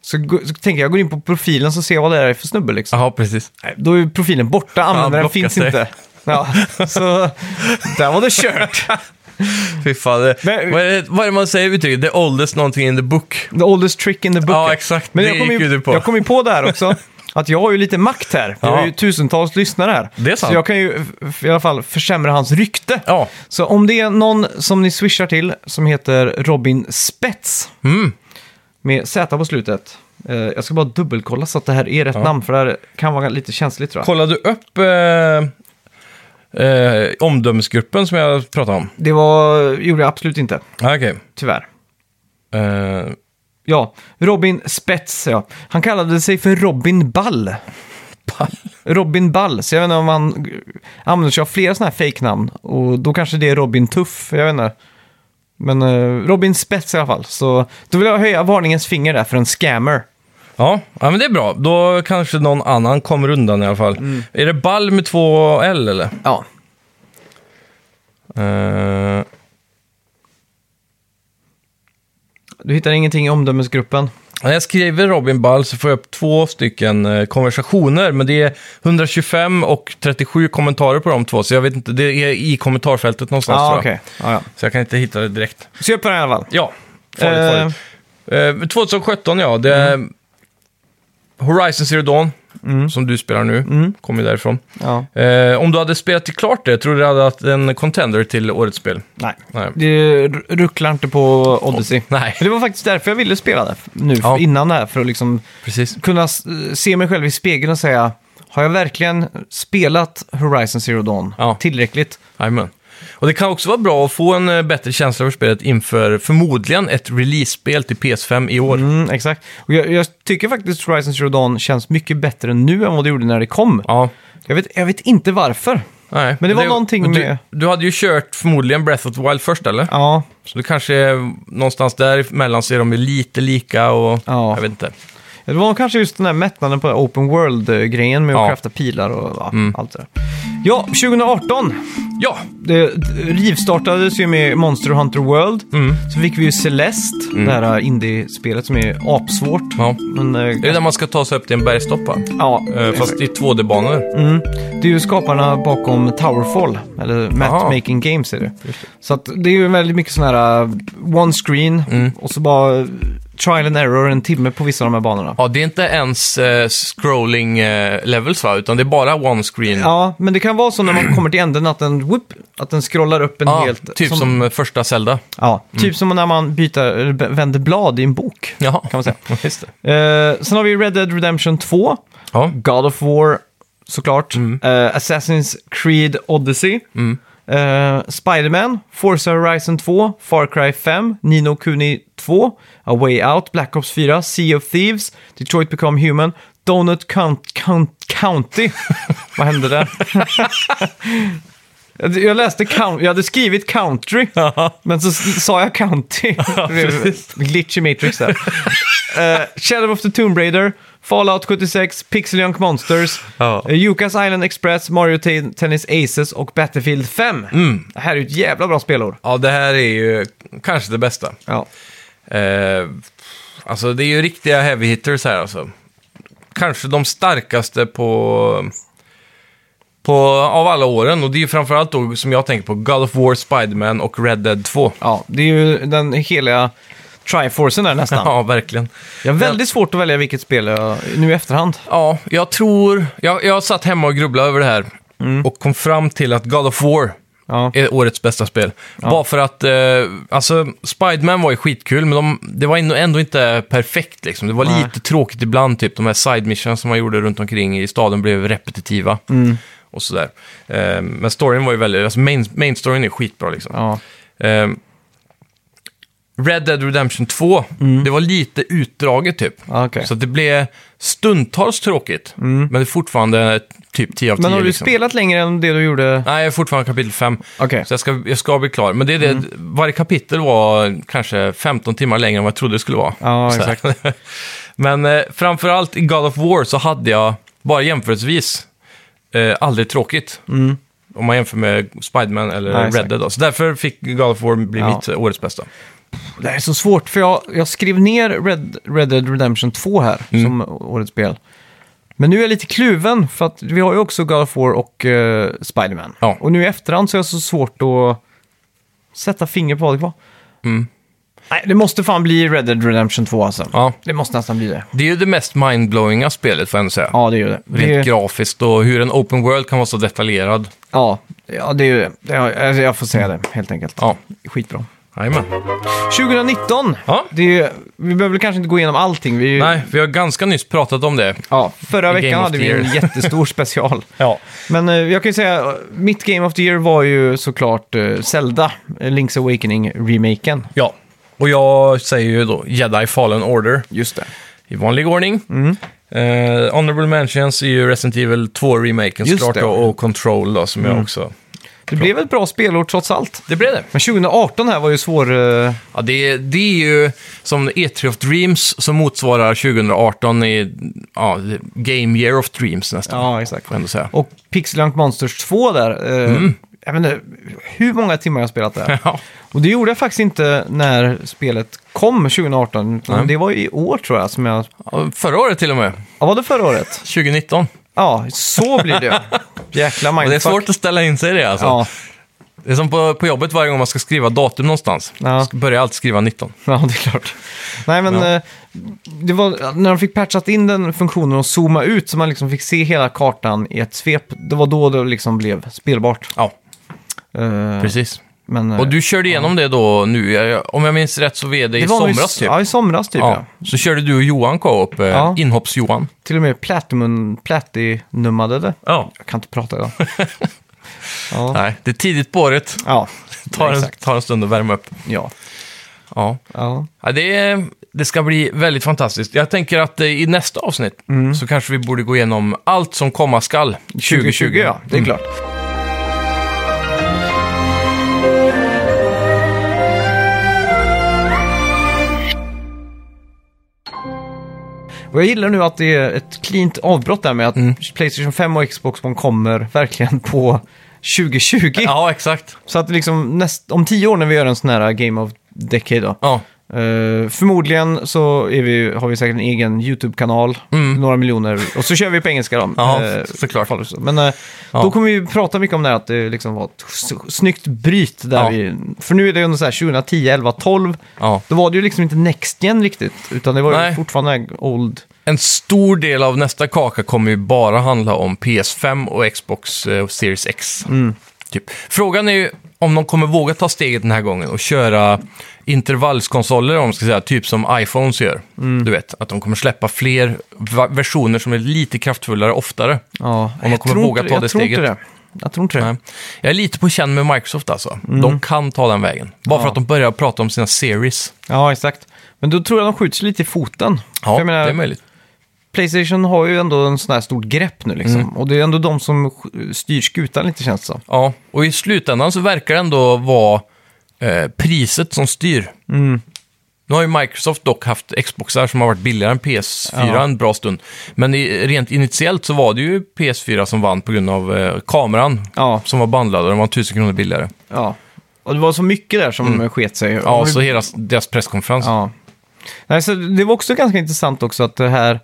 [SPEAKER 1] Så, gå- så tänker jag, jag går in på profilen så ser jag vad det är för snubbe liksom.
[SPEAKER 2] Jaha, precis.
[SPEAKER 1] Nej, Då är ju profilen borta, användaren
[SPEAKER 2] blockat
[SPEAKER 1] finns
[SPEAKER 2] dig.
[SPEAKER 1] inte. Ja, så där var det kört.
[SPEAKER 2] Fy fan. Det,
[SPEAKER 1] Men-
[SPEAKER 2] vad, är det, vad är det man säger i uttrycket? The oldest någonting in the book.
[SPEAKER 1] The oldest trick in the book.
[SPEAKER 2] Ja, exakt. Det
[SPEAKER 1] jag kom
[SPEAKER 2] gick ju du på.
[SPEAKER 1] Jag kom ju på det här också. Att jag har ju lite makt här. Jag har ju
[SPEAKER 2] Ja.
[SPEAKER 1] tusentals lyssnare här.
[SPEAKER 2] Det är sant.
[SPEAKER 1] Så jag kan ju f- i alla fall försämra hans rykte.
[SPEAKER 2] Ja.
[SPEAKER 1] Så
[SPEAKER 2] Mm.
[SPEAKER 1] om det är någon som ni swishar till som heter Robin Spets. Med Z på slutet. Eh, jag ska bara dubbelkolla så att det här är rätt
[SPEAKER 2] Ja.
[SPEAKER 1] namn, för det här kan vara lite känsligt tror jag.
[SPEAKER 2] Kollade du upp eh, eh, omdömesgruppen som jag pratade om?
[SPEAKER 1] Det var, gjorde jag absolut inte,
[SPEAKER 2] Ah, Okej.
[SPEAKER 1] tyvärr.
[SPEAKER 2] Eh,
[SPEAKER 1] Ja, Robin Spets, ja. Han kallade sig för Robin Ball.
[SPEAKER 2] pall.
[SPEAKER 1] Robin Ball, så jag vet inte om han eh, använder sig av flera sådana här fejknamn. Och då kanske det är Robin Tuff, jag vet inte. Men eh, Robin Spets i alla fall. Så då vill jag höja varningens finger där för en scammer.
[SPEAKER 2] Ja, ja, men det är bra. Då kanske någon annan kommer undan i alla fall.
[SPEAKER 1] Mm.
[SPEAKER 2] Är det ball med två L eller?
[SPEAKER 1] Ja.
[SPEAKER 2] Eh,
[SPEAKER 1] Du hittar ingenting i omdömesgruppen.
[SPEAKER 2] när jag skriver Robin Ball så får jag upp två stycken eh, konversationer, men det är 125 och 37 kommentarer på de två, så jag vet inte, det är i kommentarfältet någonstans tror jag.
[SPEAKER 1] Ja, ja.
[SPEAKER 2] Så jag kan inte hitta det direkt.
[SPEAKER 1] Så jag på den i alla fall.
[SPEAKER 2] Ja, farligt,
[SPEAKER 1] Eh. Mm.
[SPEAKER 2] farligt. Eh, 2017 ja, det Horizon Zero Dawn, som du spelar nu,
[SPEAKER 1] Mm.
[SPEAKER 2] kommer ju därifrån.
[SPEAKER 1] Ja.
[SPEAKER 2] Eh, om du hade spelat till klart det, tror du det hade varit en contender till årets spel?
[SPEAKER 1] Nej.
[SPEAKER 2] Nej.
[SPEAKER 1] Det r- rucklar inte på Odyssey.
[SPEAKER 2] Nej.
[SPEAKER 1] Men Det var faktiskt därför jag ville spela det nu,
[SPEAKER 2] Ja.
[SPEAKER 1] innan det här, för att liksom
[SPEAKER 2] Precis.
[SPEAKER 1] kunna s- se mig själv i spegeln och säga har jag verkligen spelat Horizon Zero Dawn
[SPEAKER 2] Ja.
[SPEAKER 1] tillräckligt?
[SPEAKER 2] Jajamän. Och det kan också vara bra att få en eh, bättre känsla för spelet inför förmodligen ett release-spel till PS5 i år.
[SPEAKER 1] Mm, exakt. Och jag, jag tycker faktiskt Horizon Zero Dawn känns mycket bättre nu än vad det gjorde när det kom.
[SPEAKER 2] Ja. Jag vet,
[SPEAKER 1] Jag vet inte varför.
[SPEAKER 2] nej.
[SPEAKER 1] Men det var någonting
[SPEAKER 2] du,
[SPEAKER 1] med-
[SPEAKER 2] Du hade ju kört förmodligen Breath of the Wild först, eller?
[SPEAKER 1] Ja,
[SPEAKER 2] Så du kanske är någonstans däremellan ser de ju lite lika och...
[SPEAKER 1] Ja.
[SPEAKER 2] Jag vet inte.
[SPEAKER 1] det var nog kanske just den här mättnaden på open world-grejen med att
[SPEAKER 2] Ja. Mm.
[SPEAKER 1] crafta pilar och ja, allt det där. Ja, 2018.
[SPEAKER 2] Ja,
[SPEAKER 1] Det rivstartades ju med Monster Hunter World.
[SPEAKER 2] Mm.
[SPEAKER 1] Så fick vi ju Celeste, det här indie-spelet som är apsvårt.
[SPEAKER 2] Ja.
[SPEAKER 1] Men, eh,
[SPEAKER 2] det är där man ska ta sig upp till en bergstopp, va?
[SPEAKER 1] ja,
[SPEAKER 2] Eh, Fast i 2D-banor.
[SPEAKER 1] Mm. Det är ju skaparna bakom Towerfall, eller Matchmaking Games är det. Så att det är ju väldigt mycket sådana här uh, one screen
[SPEAKER 2] Mm.
[SPEAKER 1] och så bara uh, trial and error en timme på vissa av de här banorna.
[SPEAKER 2] Ja, det är inte ens eh, scrolling eh, levels, va? Utan det är bara one screen.
[SPEAKER 1] Ja, men det kan vara så när man kommer till änden att den, whoop, att den scrollar upp en
[SPEAKER 2] Ja,
[SPEAKER 1] helt...
[SPEAKER 2] typ som... Mm. första Zelda.
[SPEAKER 1] ja, typ som när man byter, eller b- vänder blad i en bok.
[SPEAKER 2] Ja,
[SPEAKER 1] Kan man säga.
[SPEAKER 2] Just det.
[SPEAKER 1] Eh, sen har vi Red Dead Redemption 2,
[SPEAKER 2] Ja. Mm.
[SPEAKER 1] God of War såklart, eh, Assassin's Creed Odyssey, eh, Spider-Man, Forza Horizon 2, Far Cry 5, Nino Kuni 2, A Way Out, Black Ops 4, Sea of Thieves, Detroit Become Human, Donut Count, Count, County. Vad hände där? Jag läste count, jag hade skrivit country, men så s- sa jag county.
[SPEAKER 2] precis.
[SPEAKER 1] Glitch i Matrix där. Eh, Shadow of the Tomb Raider, Fallout 76, Pixel Junk Monsters,
[SPEAKER 2] Ja.
[SPEAKER 1] eh, Yukas Island Express, Mario Te- Tennis Aces och Battlefield 5.
[SPEAKER 2] Mm.
[SPEAKER 1] Det här är ju ett jävla bra spelår.
[SPEAKER 2] Ja, det här är ju kanske det bästa.
[SPEAKER 1] Ja.
[SPEAKER 2] Eh, alltså, det är ju riktiga heavy hitters här alltså. Kanske de starkaste på... På, av alla åren, och det är ju framförallt då som jag tänker på God of War, Spiderman och Red Dead 2.
[SPEAKER 1] ja, det är ju den heliga Triforcen där nästan.
[SPEAKER 2] Ja, verkligen.
[SPEAKER 1] Jag har väldigt svårt att välja vilket spel jag, nu i efterhand.
[SPEAKER 2] Ja, jag tror... Jag, jag satt hemma och grubblade över det här och kom fram till att God of War
[SPEAKER 1] Mm. Ja.
[SPEAKER 2] är årets bästa spel. Bara för att, eh, alltså, Spiderman var ju skitkul, men de, det var ändå- ändå inte perfekt liksom. Det var
[SPEAKER 1] Nej.
[SPEAKER 2] lite tråkigt ibland, typ de här side missions som man gjorde runt omkring i staden blev repetitiva.
[SPEAKER 1] Mm.
[SPEAKER 2] Och sådär. Eh, men storyn var ju väldigt, alltså main, main storyn är skitbra liksom.
[SPEAKER 1] Ja.
[SPEAKER 2] Ehm, Red Dead Redemption 2, det var lite utdraget typ.
[SPEAKER 1] Mm. Ah, okej. Mm.
[SPEAKER 2] Så det blev stundtals tråkigt, men det är fortfarande typ 10 av 10.
[SPEAKER 1] Men har du
[SPEAKER 2] liksom.
[SPEAKER 1] spelat längre än det du gjorde?
[SPEAKER 2] Nej, jag är fortfarande kapitel 5.
[SPEAKER 1] Okej. Mm.
[SPEAKER 2] Så jag ska, jag ska bli klar. Men det är det, varje kapitel var kanske 15 timmar längre än vad jag trodde det skulle vara.
[SPEAKER 1] Ja,
[SPEAKER 2] Så här. Men eh, framförallt i God of War så hade jag, bara jämförelsevis, eh, aldrig tråkigt. Om man jämför med Spiderman eller
[SPEAKER 1] Nej,
[SPEAKER 2] Red
[SPEAKER 1] Mm. exakt.
[SPEAKER 2] Dead. då. Så därför fick God of War bli
[SPEAKER 1] Ja.
[SPEAKER 2] mitt eh, årets bästa.
[SPEAKER 1] Det här är så svårt, för jag, jag skrev ner Red, Red Dead Redemption 2 här
[SPEAKER 2] Mm.
[SPEAKER 1] som årets spel. Men nu är jag lite kluven, för att vi har ju också God of War och eh, Spider-Man.
[SPEAKER 2] Ja.
[SPEAKER 1] Och nu i efterhand så är jag så svårt att sätta finger på vad det var. Nej, det måste fan bli Red Dead Redemption 2 alltså.
[SPEAKER 2] Mm. Ja.
[SPEAKER 1] Det måste nästan bli det.
[SPEAKER 2] Det är ju det mest mindblowinga spelet får jag ändå säga.
[SPEAKER 1] Ja, det är ju det.
[SPEAKER 2] Rent
[SPEAKER 1] det
[SPEAKER 2] grafiskt och hur en open world kan vara så detaljerad.
[SPEAKER 1] alltså, ja, ja, det är ju det. Jag, jag får säga det, helt enkelt.
[SPEAKER 2] Mm. Ja.
[SPEAKER 1] Skitbra.
[SPEAKER 2] Jajamän.
[SPEAKER 1] 2019.
[SPEAKER 2] Ja.
[SPEAKER 1] Det är, ju- vi behöver väl kanske inte gå igenom allting. Vi,
[SPEAKER 2] Nej, vi har ganska nyss pratat om det.
[SPEAKER 1] Ja, förra
[SPEAKER 2] Game
[SPEAKER 1] veckan
[SPEAKER 2] of
[SPEAKER 1] hade
[SPEAKER 2] the
[SPEAKER 1] vi en
[SPEAKER 2] year.
[SPEAKER 1] jättestor special.
[SPEAKER 2] Ja.
[SPEAKER 1] Men eh, jag kan ju säga, eh, mitt Game of the Year var ju såklart eh, Zelda, eh, Link's Awakening-remaken.
[SPEAKER 2] Ja. Och jag säger ju då Jedi Fallen Order
[SPEAKER 1] Just det.
[SPEAKER 2] i vanlig ordning.
[SPEAKER 1] Mm.
[SPEAKER 2] Eh, honorable Mentions är ju Resident Evil 2-remaken
[SPEAKER 1] Just
[SPEAKER 2] såklart
[SPEAKER 1] det. Mm.
[SPEAKER 2] då, och Control då, som jag också...
[SPEAKER 1] Det blev ett bra spelår trots allt.
[SPEAKER 2] Det blev det.
[SPEAKER 1] Men 2018 här var ju svår... eh,
[SPEAKER 2] Ja, det, det är ju som E3 of Dreams som motsvarar 2018 i ja, Game Year of Dreams nästan.
[SPEAKER 1] Ja, exakt.
[SPEAKER 2] Får jag ändå säga. Mm.
[SPEAKER 1] Och Pixel Junk Monsters 2 där. eh, Jag vet inte hur många timmar jag har spelat där.
[SPEAKER 2] Ja.
[SPEAKER 1] Och det gjorde jag faktiskt inte när spelet kom 2018. utan
[SPEAKER 2] Nej.
[SPEAKER 1] Det var i år tror jag som jag...
[SPEAKER 2] Ja, Förra året till och med,
[SPEAKER 1] Ja, var det förra året?
[SPEAKER 2] 2019.
[SPEAKER 1] Ja, så blir det. Jäkla mindfuck.
[SPEAKER 2] Och det är svårt att ställa in sig i det alltså.
[SPEAKER 1] Ja,
[SPEAKER 2] Det är som på, på jobbet varje gång man ska skriva datum någonstans.
[SPEAKER 1] Ja.
[SPEAKER 2] Ska börja alltid skriva 19.
[SPEAKER 1] ja, det är klart. Nej, men
[SPEAKER 2] Ja.
[SPEAKER 1] eh, det var när de fick patchat in den funktionen och zooma ut så man liksom fick se hela kartan i ett svep. Det var då det liksom blev spelbart.
[SPEAKER 2] Ja,
[SPEAKER 1] Eh,
[SPEAKER 2] precis.
[SPEAKER 1] Men, eh,
[SPEAKER 2] Och du körde igenom det då nu, Jag- om jag minns rätt så var det, i
[SPEAKER 1] det var nog
[SPEAKER 2] somras typ.
[SPEAKER 1] Ja, i somras typ. Ja.
[SPEAKER 2] Ja. Så körde du och Johan co-op, eh,
[SPEAKER 1] Ja.
[SPEAKER 2] inhopps-Johan.
[SPEAKER 1] Till och med platinum, platinummade det.
[SPEAKER 2] Ja.
[SPEAKER 1] Jag kan inte prata idag. ja.
[SPEAKER 2] Nej, det är tidigt på året.
[SPEAKER 1] ja,
[SPEAKER 2] Tar en,
[SPEAKER 1] Exakt.
[SPEAKER 2] tar en stund att värma upp.
[SPEAKER 1] ja,
[SPEAKER 2] Ja.
[SPEAKER 1] ja.
[SPEAKER 2] Ja, det, är- det ska bli väldigt fantastiskt. Jag tänker att eh, i nästa avsnitt så kanske vi borde gå igenom allt som komma skall 2020.
[SPEAKER 1] 2020 Mm.
[SPEAKER 2] Mm.
[SPEAKER 1] ja, det är klart. Och jag gillar nu att det är ett cleant avbrott där med att Playstation 5 och Xbox One kommer verkligen på 2020.
[SPEAKER 2] Ja, exakt.
[SPEAKER 1] Så att liksom näst, om tio år när vi gör en sån här Game of Decade då.
[SPEAKER 2] Ja,
[SPEAKER 1] Eh, förmodligen så är vi, har vi säkert en egen YouTube-kanal, några miljoner, och så kör vi på engelska då.
[SPEAKER 2] Mm. ja
[SPEAKER 1] Eh,
[SPEAKER 2] såklart.
[SPEAKER 1] Follows. Men eh, då
[SPEAKER 2] Ja.
[SPEAKER 1] kommer vi prata mycket om det här att det liksom var ett s- snyggt bryt där
[SPEAKER 2] Ja.
[SPEAKER 1] vi... För nu är det ju ändå så här 2010, 11, 12.
[SPEAKER 2] Ja.
[SPEAKER 1] Då var det ju liksom inte Next Gen riktigt, utan det var ju
[SPEAKER 2] Nej.
[SPEAKER 1] fortfarande old.
[SPEAKER 2] En stor del av nästa kaka kommer ju bara handla om PS5 och Xbox eh, Series X.
[SPEAKER 1] Mm.
[SPEAKER 2] Typ. Frågan är ju om de kommer våga ta steget den här gången och köra intervallskonsoler, om man ska säga, typ som iPhones gör.
[SPEAKER 1] Mm.
[SPEAKER 2] Du vet, att de kommer släppa fler va- versioner som är lite kraftfullare oftare.
[SPEAKER 1] Ja,
[SPEAKER 2] de
[SPEAKER 1] jag
[SPEAKER 2] kommer
[SPEAKER 1] tror
[SPEAKER 2] våga
[SPEAKER 1] inte-
[SPEAKER 2] ta
[SPEAKER 1] jag
[SPEAKER 2] det
[SPEAKER 1] tror inte
[SPEAKER 2] steget.
[SPEAKER 1] det. Jag tror inte det.
[SPEAKER 2] Nej. Jag är lite på känn med Microsoft alltså.
[SPEAKER 1] Mm.
[SPEAKER 2] De kan ta den vägen. Bara för att de börjar prata om sina series.
[SPEAKER 1] Ja, exakt. Men då tror jag de skjuts lite i foten. För
[SPEAKER 2] Ja,
[SPEAKER 1] jag menar,
[SPEAKER 2] det är möjligt.
[SPEAKER 1] Playstation har ju ändå en sån här stort grepp nu liksom. Och det är ändå de som sk- styr skutan lite känns det som.
[SPEAKER 2] Ja, och i slutändan så verkar det ändå vara eh, priset som styr. Nu har ju Microsoft dock haft Xboxar som har varit billigare än PS4
[SPEAKER 1] Ja.
[SPEAKER 2] en bra stund. Men i, rent initiellt så var det ju PS4 som vann på grund av eh, kameran
[SPEAKER 1] Ja.
[SPEAKER 2] som var bandlad och den var 1000 kronor billigare.
[SPEAKER 1] ja. Och det var så mycket där som sket sig.
[SPEAKER 2] Ja,
[SPEAKER 1] Och-
[SPEAKER 2] så hela s- deras presskonferens. Ja.
[SPEAKER 1] Ja. Nej, så det var också ganska intressant också att det här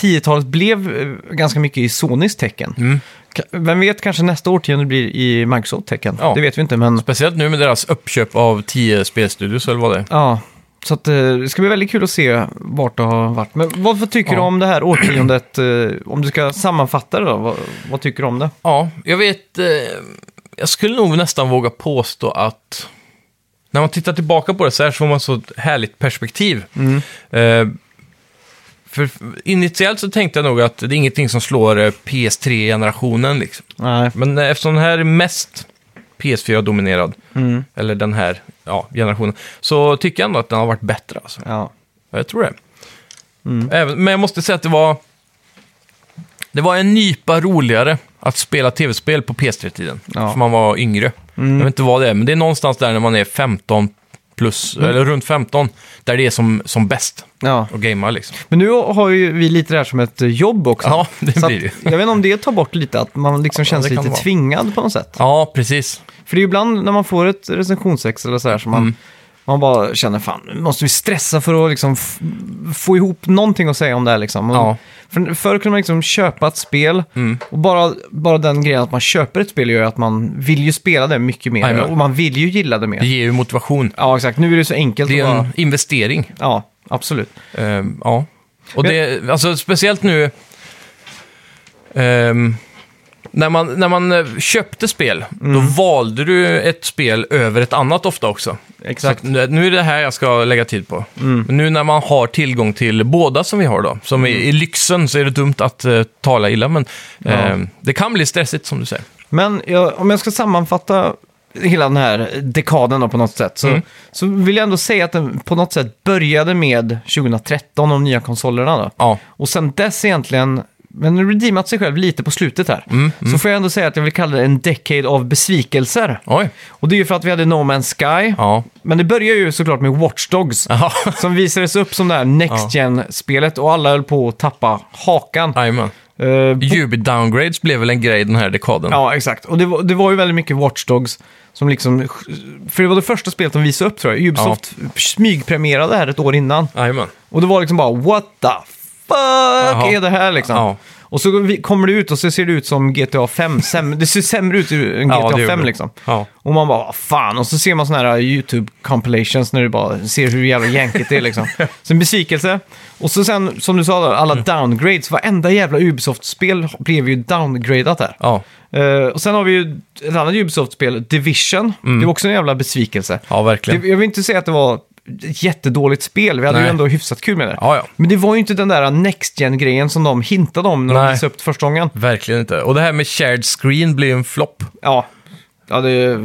[SPEAKER 1] 10-talet blev eh, ganska mycket i Sonys tecken. Ka- Vem vet, kanske nästa årtionde blir i Microsoft tecken.
[SPEAKER 2] Ja.
[SPEAKER 1] Det vet vi inte, men
[SPEAKER 2] Speciellt nu med deras uppköp av 10 spelstudios eller vad det är.
[SPEAKER 1] ja. Så att, eh, det ska bli väldigt kul att se vart det har varit. Men vad vad tycker
[SPEAKER 2] Ja.
[SPEAKER 1] du om det här årtiondet? eh, Om du ska sammanfatta det då, vad, vad tycker du om det?
[SPEAKER 2] Ja, jag vet... Eh, jag skulle nog nästan våga påstå att... När man tittar tillbaka på det så här så får man så ett härligt perspektiv. Eh, för initiellt så tänkte jag nog att det är ingenting som slår eh, PS3-generationen. Liksom.
[SPEAKER 1] Nej.
[SPEAKER 2] Men eh, eftersom den här är mest PS4-dominerad, eller den här ja, generationen, så tycker jag ändå att den har varit bättre. Alltså.
[SPEAKER 1] Ja.
[SPEAKER 2] Ja, Jag tror det.
[SPEAKER 1] Mm.
[SPEAKER 2] Även, men jag måste säga att det var... Det var en nypa roligare att spela tv-spel på PS3-tiden.
[SPEAKER 1] Ja. Mm.
[SPEAKER 2] För man var yngre. Jag vet inte vad det är, men det är någonstans där när man är 15 plus,
[SPEAKER 1] Mm.
[SPEAKER 2] eller runt 15, där det är som, som bäst
[SPEAKER 1] ja.
[SPEAKER 2] att gamea liksom.
[SPEAKER 1] Men nu har ju vi lite det här som ett eh, jobb också.
[SPEAKER 2] Ja, det
[SPEAKER 1] Så
[SPEAKER 2] blir det ju.
[SPEAKER 1] att, jag vet inte om det tar bort lite, att man liksom känns
[SPEAKER 2] det kan
[SPEAKER 1] lite
[SPEAKER 2] det vara.
[SPEAKER 1] tvingad på något sätt.
[SPEAKER 2] Ja, precis.
[SPEAKER 1] För det är ju ibland när man får ett recensionsex eller så här som man,
[SPEAKER 2] Mm.
[SPEAKER 1] man bara känner fan, nu måste vi stressa för att liksom f- få ihop någonting att säga om det här liksom. Och
[SPEAKER 2] Ja. Mm.
[SPEAKER 1] För, förr kunde man liksom köpa ett spel och bara, bara den grejen att man köper ett spel gör ju att man vill ju spela det mycket mer
[SPEAKER 2] Jajamän.
[SPEAKER 1] och man vill ju gilla
[SPEAKER 2] Det
[SPEAKER 1] det mer.
[SPEAKER 2] ger ju motivation.
[SPEAKER 1] Ja, exakt. Nu är det så enkelt
[SPEAKER 2] Det är
[SPEAKER 1] att bara...
[SPEAKER 2] en investering.
[SPEAKER 1] Ja, absolut.
[SPEAKER 2] Ehm, ja. Och
[SPEAKER 1] Men-
[SPEAKER 2] det, alltså speciellt nu... ehm, När man, när man eh, köpte spel,
[SPEAKER 1] Mm.
[SPEAKER 2] då valde du ett spel över ett annat ofta också.
[SPEAKER 1] Exakt. Mm.
[SPEAKER 2] Så att nu- nu är det här jag ska lägga tid på. Men nu när man har tillgång till båda som vi har då, som i, i lyxen, så är det dumt att eh, tala illa, men eh, det kan bli stressigt som du säger.
[SPEAKER 1] Men jag, om jag ska sammanfatta hela den här dekaden då på något sätt så,
[SPEAKER 2] Mm.
[SPEAKER 1] så vill jag ändå säga att den på något sätt började med 2013, de nya konsolerna då.
[SPEAKER 2] Ja,
[SPEAKER 1] Och sen dess egentligen, men nu redeemat sig själv lite på slutet här.
[SPEAKER 2] Mm,
[SPEAKER 1] Så får jag ändå säga att jag vill kalla det en decade av besvikelser.
[SPEAKER 2] oj.
[SPEAKER 1] Och det är ju för att vi hade No Man's Sky.
[SPEAKER 2] Ja.
[SPEAKER 1] Men det börjar ju såklart med Watch Dogs.
[SPEAKER 2] Ja,
[SPEAKER 1] Som visades upp som det här Next Gen-spelet och alla höll på att tappa hakan.
[SPEAKER 2] jajamän.
[SPEAKER 1] Eh, bo-
[SPEAKER 2] Jubi-downgrades blev väl en grej den här dekaden.
[SPEAKER 1] Ja, exakt. Och det var, det var ju väldigt mycket Watch Dogs som liksom... För det var det första spelet de visade upp tror jag. Ubisoft smygpremierade det här ett år innan.
[SPEAKER 2] Jajamän.
[SPEAKER 1] Och det var liksom bara what the fuck är det här liksom?
[SPEAKER 2] Ja.
[SPEAKER 1] Och så vi- kommer det ut och så ser det ut som GTA 5. Säm, det ser sämre ut än
[SPEAKER 2] Ja,
[SPEAKER 1] GTA
[SPEAKER 2] det gjorde
[SPEAKER 1] 5
[SPEAKER 2] det.
[SPEAKER 1] liksom.
[SPEAKER 2] Ja.
[SPEAKER 1] Och man bara, "Vad fan. Och så ser man sådana här YouTube-compilations när du bara ser hur jävla jänkigt det är liksom. Så en besvikelse. Och så sen, som du sa, då,
[SPEAKER 2] Mm.
[SPEAKER 1] alla downgrades. Varenda jävla Ubisoft-spel blev ju downgradat där.
[SPEAKER 2] Ja.
[SPEAKER 1] Eh, och sen har vi ju ett annat Ubisoft-spel, Division. Det var också en jävla besvikelse.
[SPEAKER 2] Mm. ja, verkligen.
[SPEAKER 1] Det, jag vill inte säga att det var ett jättedåligt spel, vi hade ju
[SPEAKER 2] Nej.
[SPEAKER 1] ändå hyfsat kul med det.
[SPEAKER 2] Ja, ja.
[SPEAKER 1] Men det var ju inte den där next gen-grejen som de hintade om när de
[SPEAKER 2] Nej.
[SPEAKER 1] visade upp det första gången.
[SPEAKER 2] Verkligen inte. Och det här med shared screen blev en flopp.
[SPEAKER 1] Ja, ja det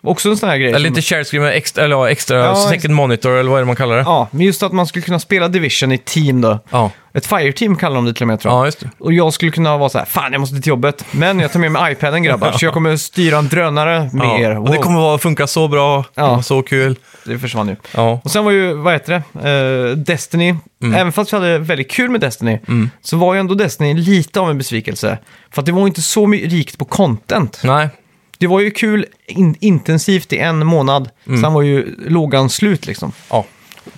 [SPEAKER 1] var också en sån här grej.
[SPEAKER 2] Eller
[SPEAKER 1] som-
[SPEAKER 2] inte shared screen, men extra, eller ja, extra
[SPEAKER 1] Ja, ex-
[SPEAKER 2] second monitor, eller vad är det man kallar det?
[SPEAKER 1] Ja, men just att man skulle kunna spela Division i team då.
[SPEAKER 2] Ja,
[SPEAKER 1] Ett fireteam kallar de det till och med tror jag.
[SPEAKER 2] ja just det.
[SPEAKER 1] Och jag skulle kunna vara så här, fan jag måste till jobbet, men jag tar med mig iPaden grabbar, så jag kommer styra en drönare med
[SPEAKER 2] Ja.
[SPEAKER 1] er.
[SPEAKER 2] Och det
[SPEAKER 1] Wow.
[SPEAKER 2] kommer vara, funka så bra, det
[SPEAKER 1] Ja.
[SPEAKER 2] var så kul.
[SPEAKER 1] det försvann ju.
[SPEAKER 2] Ja.
[SPEAKER 1] Och sen var ju, vad heter det, Eh, Destiny.
[SPEAKER 2] Mm.
[SPEAKER 1] Även fast vi hade väldigt kul med Destiny, så var ju ändå Destiny lite av en besvikelse. För att det var ju inte så my- rikt på content.
[SPEAKER 2] Nej,
[SPEAKER 1] Det var ju kul in- intensivt i en månad,
[SPEAKER 2] Mm.
[SPEAKER 1] sen var ju lågan slut liksom,
[SPEAKER 2] ja.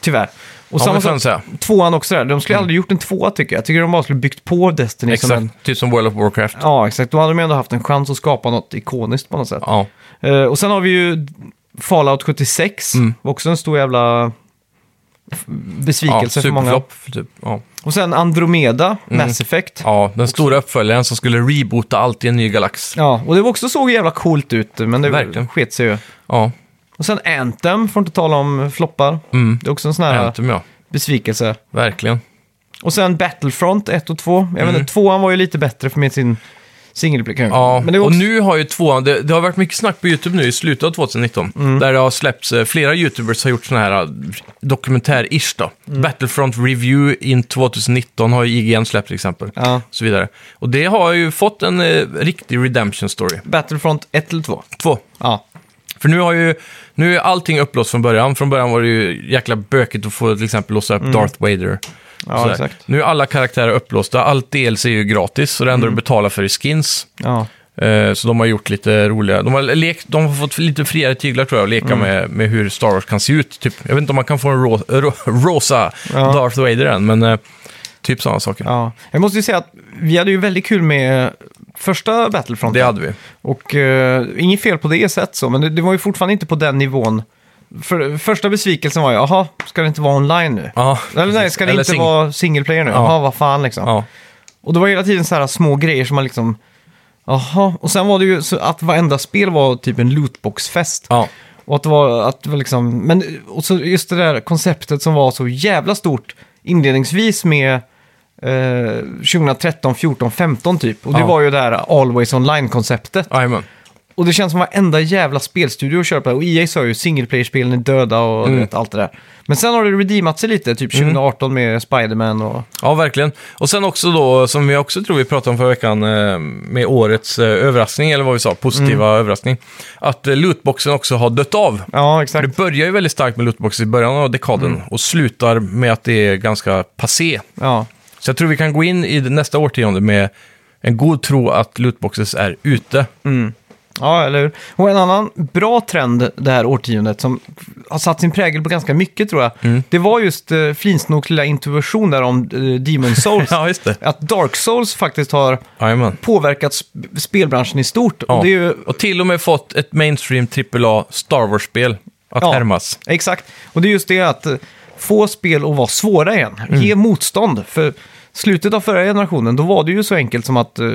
[SPEAKER 1] tyvärr. Och
[SPEAKER 2] Ja,
[SPEAKER 1] samma
[SPEAKER 2] men sen
[SPEAKER 1] sak,
[SPEAKER 2] så här.
[SPEAKER 1] tvåan också där. De skulle aldrig gjort en tvåa tycker jag. Jag tycker de bara skulle byggt på Destiny. Som en,
[SPEAKER 2] Exakt, typ som World of Warcraft.
[SPEAKER 1] ja, exakt. Då hade de ändå haft en chans att skapa något ikoniskt på något sätt.
[SPEAKER 2] Ja,
[SPEAKER 1] Eh, och sen har vi ju Fallout 76.
[SPEAKER 2] Mm.
[SPEAKER 1] Var också en stor jävla f-
[SPEAKER 2] ja
[SPEAKER 1] besvikelse för många.
[SPEAKER 2] superflopp. Typ. Ja.
[SPEAKER 1] Och sen Andromeda, Mass Effect. Ja.
[SPEAKER 2] ja, den stora uppföljaren som skulle reboota allt i en ny galax.
[SPEAKER 1] och det var också såg jävla coolt ut, men det
[SPEAKER 2] Verkligen.
[SPEAKER 1] sket sig ju.
[SPEAKER 2] Ja,
[SPEAKER 1] Och sen Anthem, får inte tala om floppar.
[SPEAKER 2] Mm.
[SPEAKER 1] Det är också en sån här
[SPEAKER 2] Anthem ja.
[SPEAKER 1] besvikelse.
[SPEAKER 2] Verkligen.
[SPEAKER 1] Och sen Battlefront 1 och 2. Jag vet inte, tvåan var ju lite bättre för med sin singelblick.
[SPEAKER 2] Mm. Ja,
[SPEAKER 1] men det var
[SPEAKER 2] och
[SPEAKER 1] också...
[SPEAKER 2] nu har ju tvåan, det, det har varit mycket snack på YouTube nu i slutet av 2019,
[SPEAKER 1] Mm.
[SPEAKER 2] där det har släppts, eh, flera YouTubers har gjort sådana här eh, dokumentär-ish då.
[SPEAKER 1] Mm.
[SPEAKER 2] Battlefront Review in 2019 har ju IGN släppt till exempel,
[SPEAKER 1] Ja.
[SPEAKER 2] och så vidare. Och det har ju fått en eh, riktig redemption story.
[SPEAKER 1] Battlefront 1 eller 2.
[SPEAKER 2] Två.
[SPEAKER 1] Ja,
[SPEAKER 2] För nu har ju, nu är allting upplåst från början. Från början var det ju jäkla bökigt att få till exempel låsa upp Darth Vader.
[SPEAKER 1] Mm. Ja,
[SPEAKER 2] Sådär.
[SPEAKER 1] exakt.
[SPEAKER 2] Nu är alla karaktärer upplåsta, allt DLC är ju gratis och det
[SPEAKER 1] Mm.
[SPEAKER 2] enda du betalar för är skins.
[SPEAKER 1] ja.
[SPEAKER 2] Eh, Så de har gjort lite roliga, de har, lekt, de har fått lite friare tyglar tror jag att leka
[SPEAKER 1] Mm.
[SPEAKER 2] med, med hur Star Wars kan se ut. Typ. Jag vet inte om man kan få en ro, ro, rosa
[SPEAKER 1] Ja.
[SPEAKER 2] Darth Vader än, men eh, typ sådana saker.
[SPEAKER 1] ja. Jag måste ju säga att vi hade ju väldigt kul med första Battlefront.
[SPEAKER 2] Det hade vi.
[SPEAKER 1] Och eh, inget fel på det sätt så, men det, det var ju fortfarande inte på den nivån. För, första besvikelsen var ju, jaha, ska det inte vara online nu?
[SPEAKER 2] Ja,
[SPEAKER 1] Eller nej,
[SPEAKER 2] precis.
[SPEAKER 1] ska det
[SPEAKER 2] Eller
[SPEAKER 1] inte
[SPEAKER 2] sing-
[SPEAKER 1] vara single player nu?
[SPEAKER 2] Ja.
[SPEAKER 1] Jaha, vad fan liksom.
[SPEAKER 2] Ja,
[SPEAKER 1] Och det var hela tiden så här små grejer som man liksom, jaha. Och sen var det ju så att varenda spel var typ en lootbox-fest.
[SPEAKER 2] ja.
[SPEAKER 1] Och att det var, att det var liksom, men och så just det där konceptet som var så jävla stort inledningsvis med eh, 2013, 14, 15 typ. Och det
[SPEAKER 2] Ja.
[SPEAKER 1] var ju det här Always Online-konceptet.
[SPEAKER 2] Jajamän.
[SPEAKER 1] Och det känns som varenda jävla spelstudio kör på det här. Och EA sa ju single player-spelen är döda och du vet, allt det där. Men sen har det redeemat sig lite, typ 2018 med Spider-Man och...
[SPEAKER 2] Ja, verkligen. Och sen också då, som vi också tror vi pratade om förra veckan, eh, med årets eh, överraskning, eller vad vi sa, positiva överraskning, att eh, lootboxen också har dött av.
[SPEAKER 1] Mm. Ja,
[SPEAKER 2] För
[SPEAKER 1] exakt. Mm.
[SPEAKER 2] det börjar ju väldigt starkt med lootboxen i början av dekaden och slutar med att det är ganska passé.
[SPEAKER 1] Ja,
[SPEAKER 2] Så jag tror vi kan gå in i det nästa årtionde med en god tro att lootboxes är ute.
[SPEAKER 1] Mm. ja eller hur? Och en annan bra trend det här årtiondet som har satt sin prägel på ganska mycket tror jag. Det var just eh, Flinsnoks lilla intuition där om eh, Demon Souls.
[SPEAKER 2] Ja, just det.
[SPEAKER 1] Att Dark Souls faktiskt har
[SPEAKER 2] Jajamän.
[SPEAKER 1] påverkat sp- spelbranschen i stort.
[SPEAKER 2] Ja.
[SPEAKER 1] Och det är ju
[SPEAKER 2] Och till och med fått ett mainstream AAA Star Wars-spel att
[SPEAKER 1] Ja.
[SPEAKER 2] härmas.
[SPEAKER 1] Exakt, och det är just det att eh, få spel att vara svåra igen.
[SPEAKER 2] Mm.
[SPEAKER 1] Ge motstånd. För slutet av förra generationen, då var det ju så enkelt som att eh,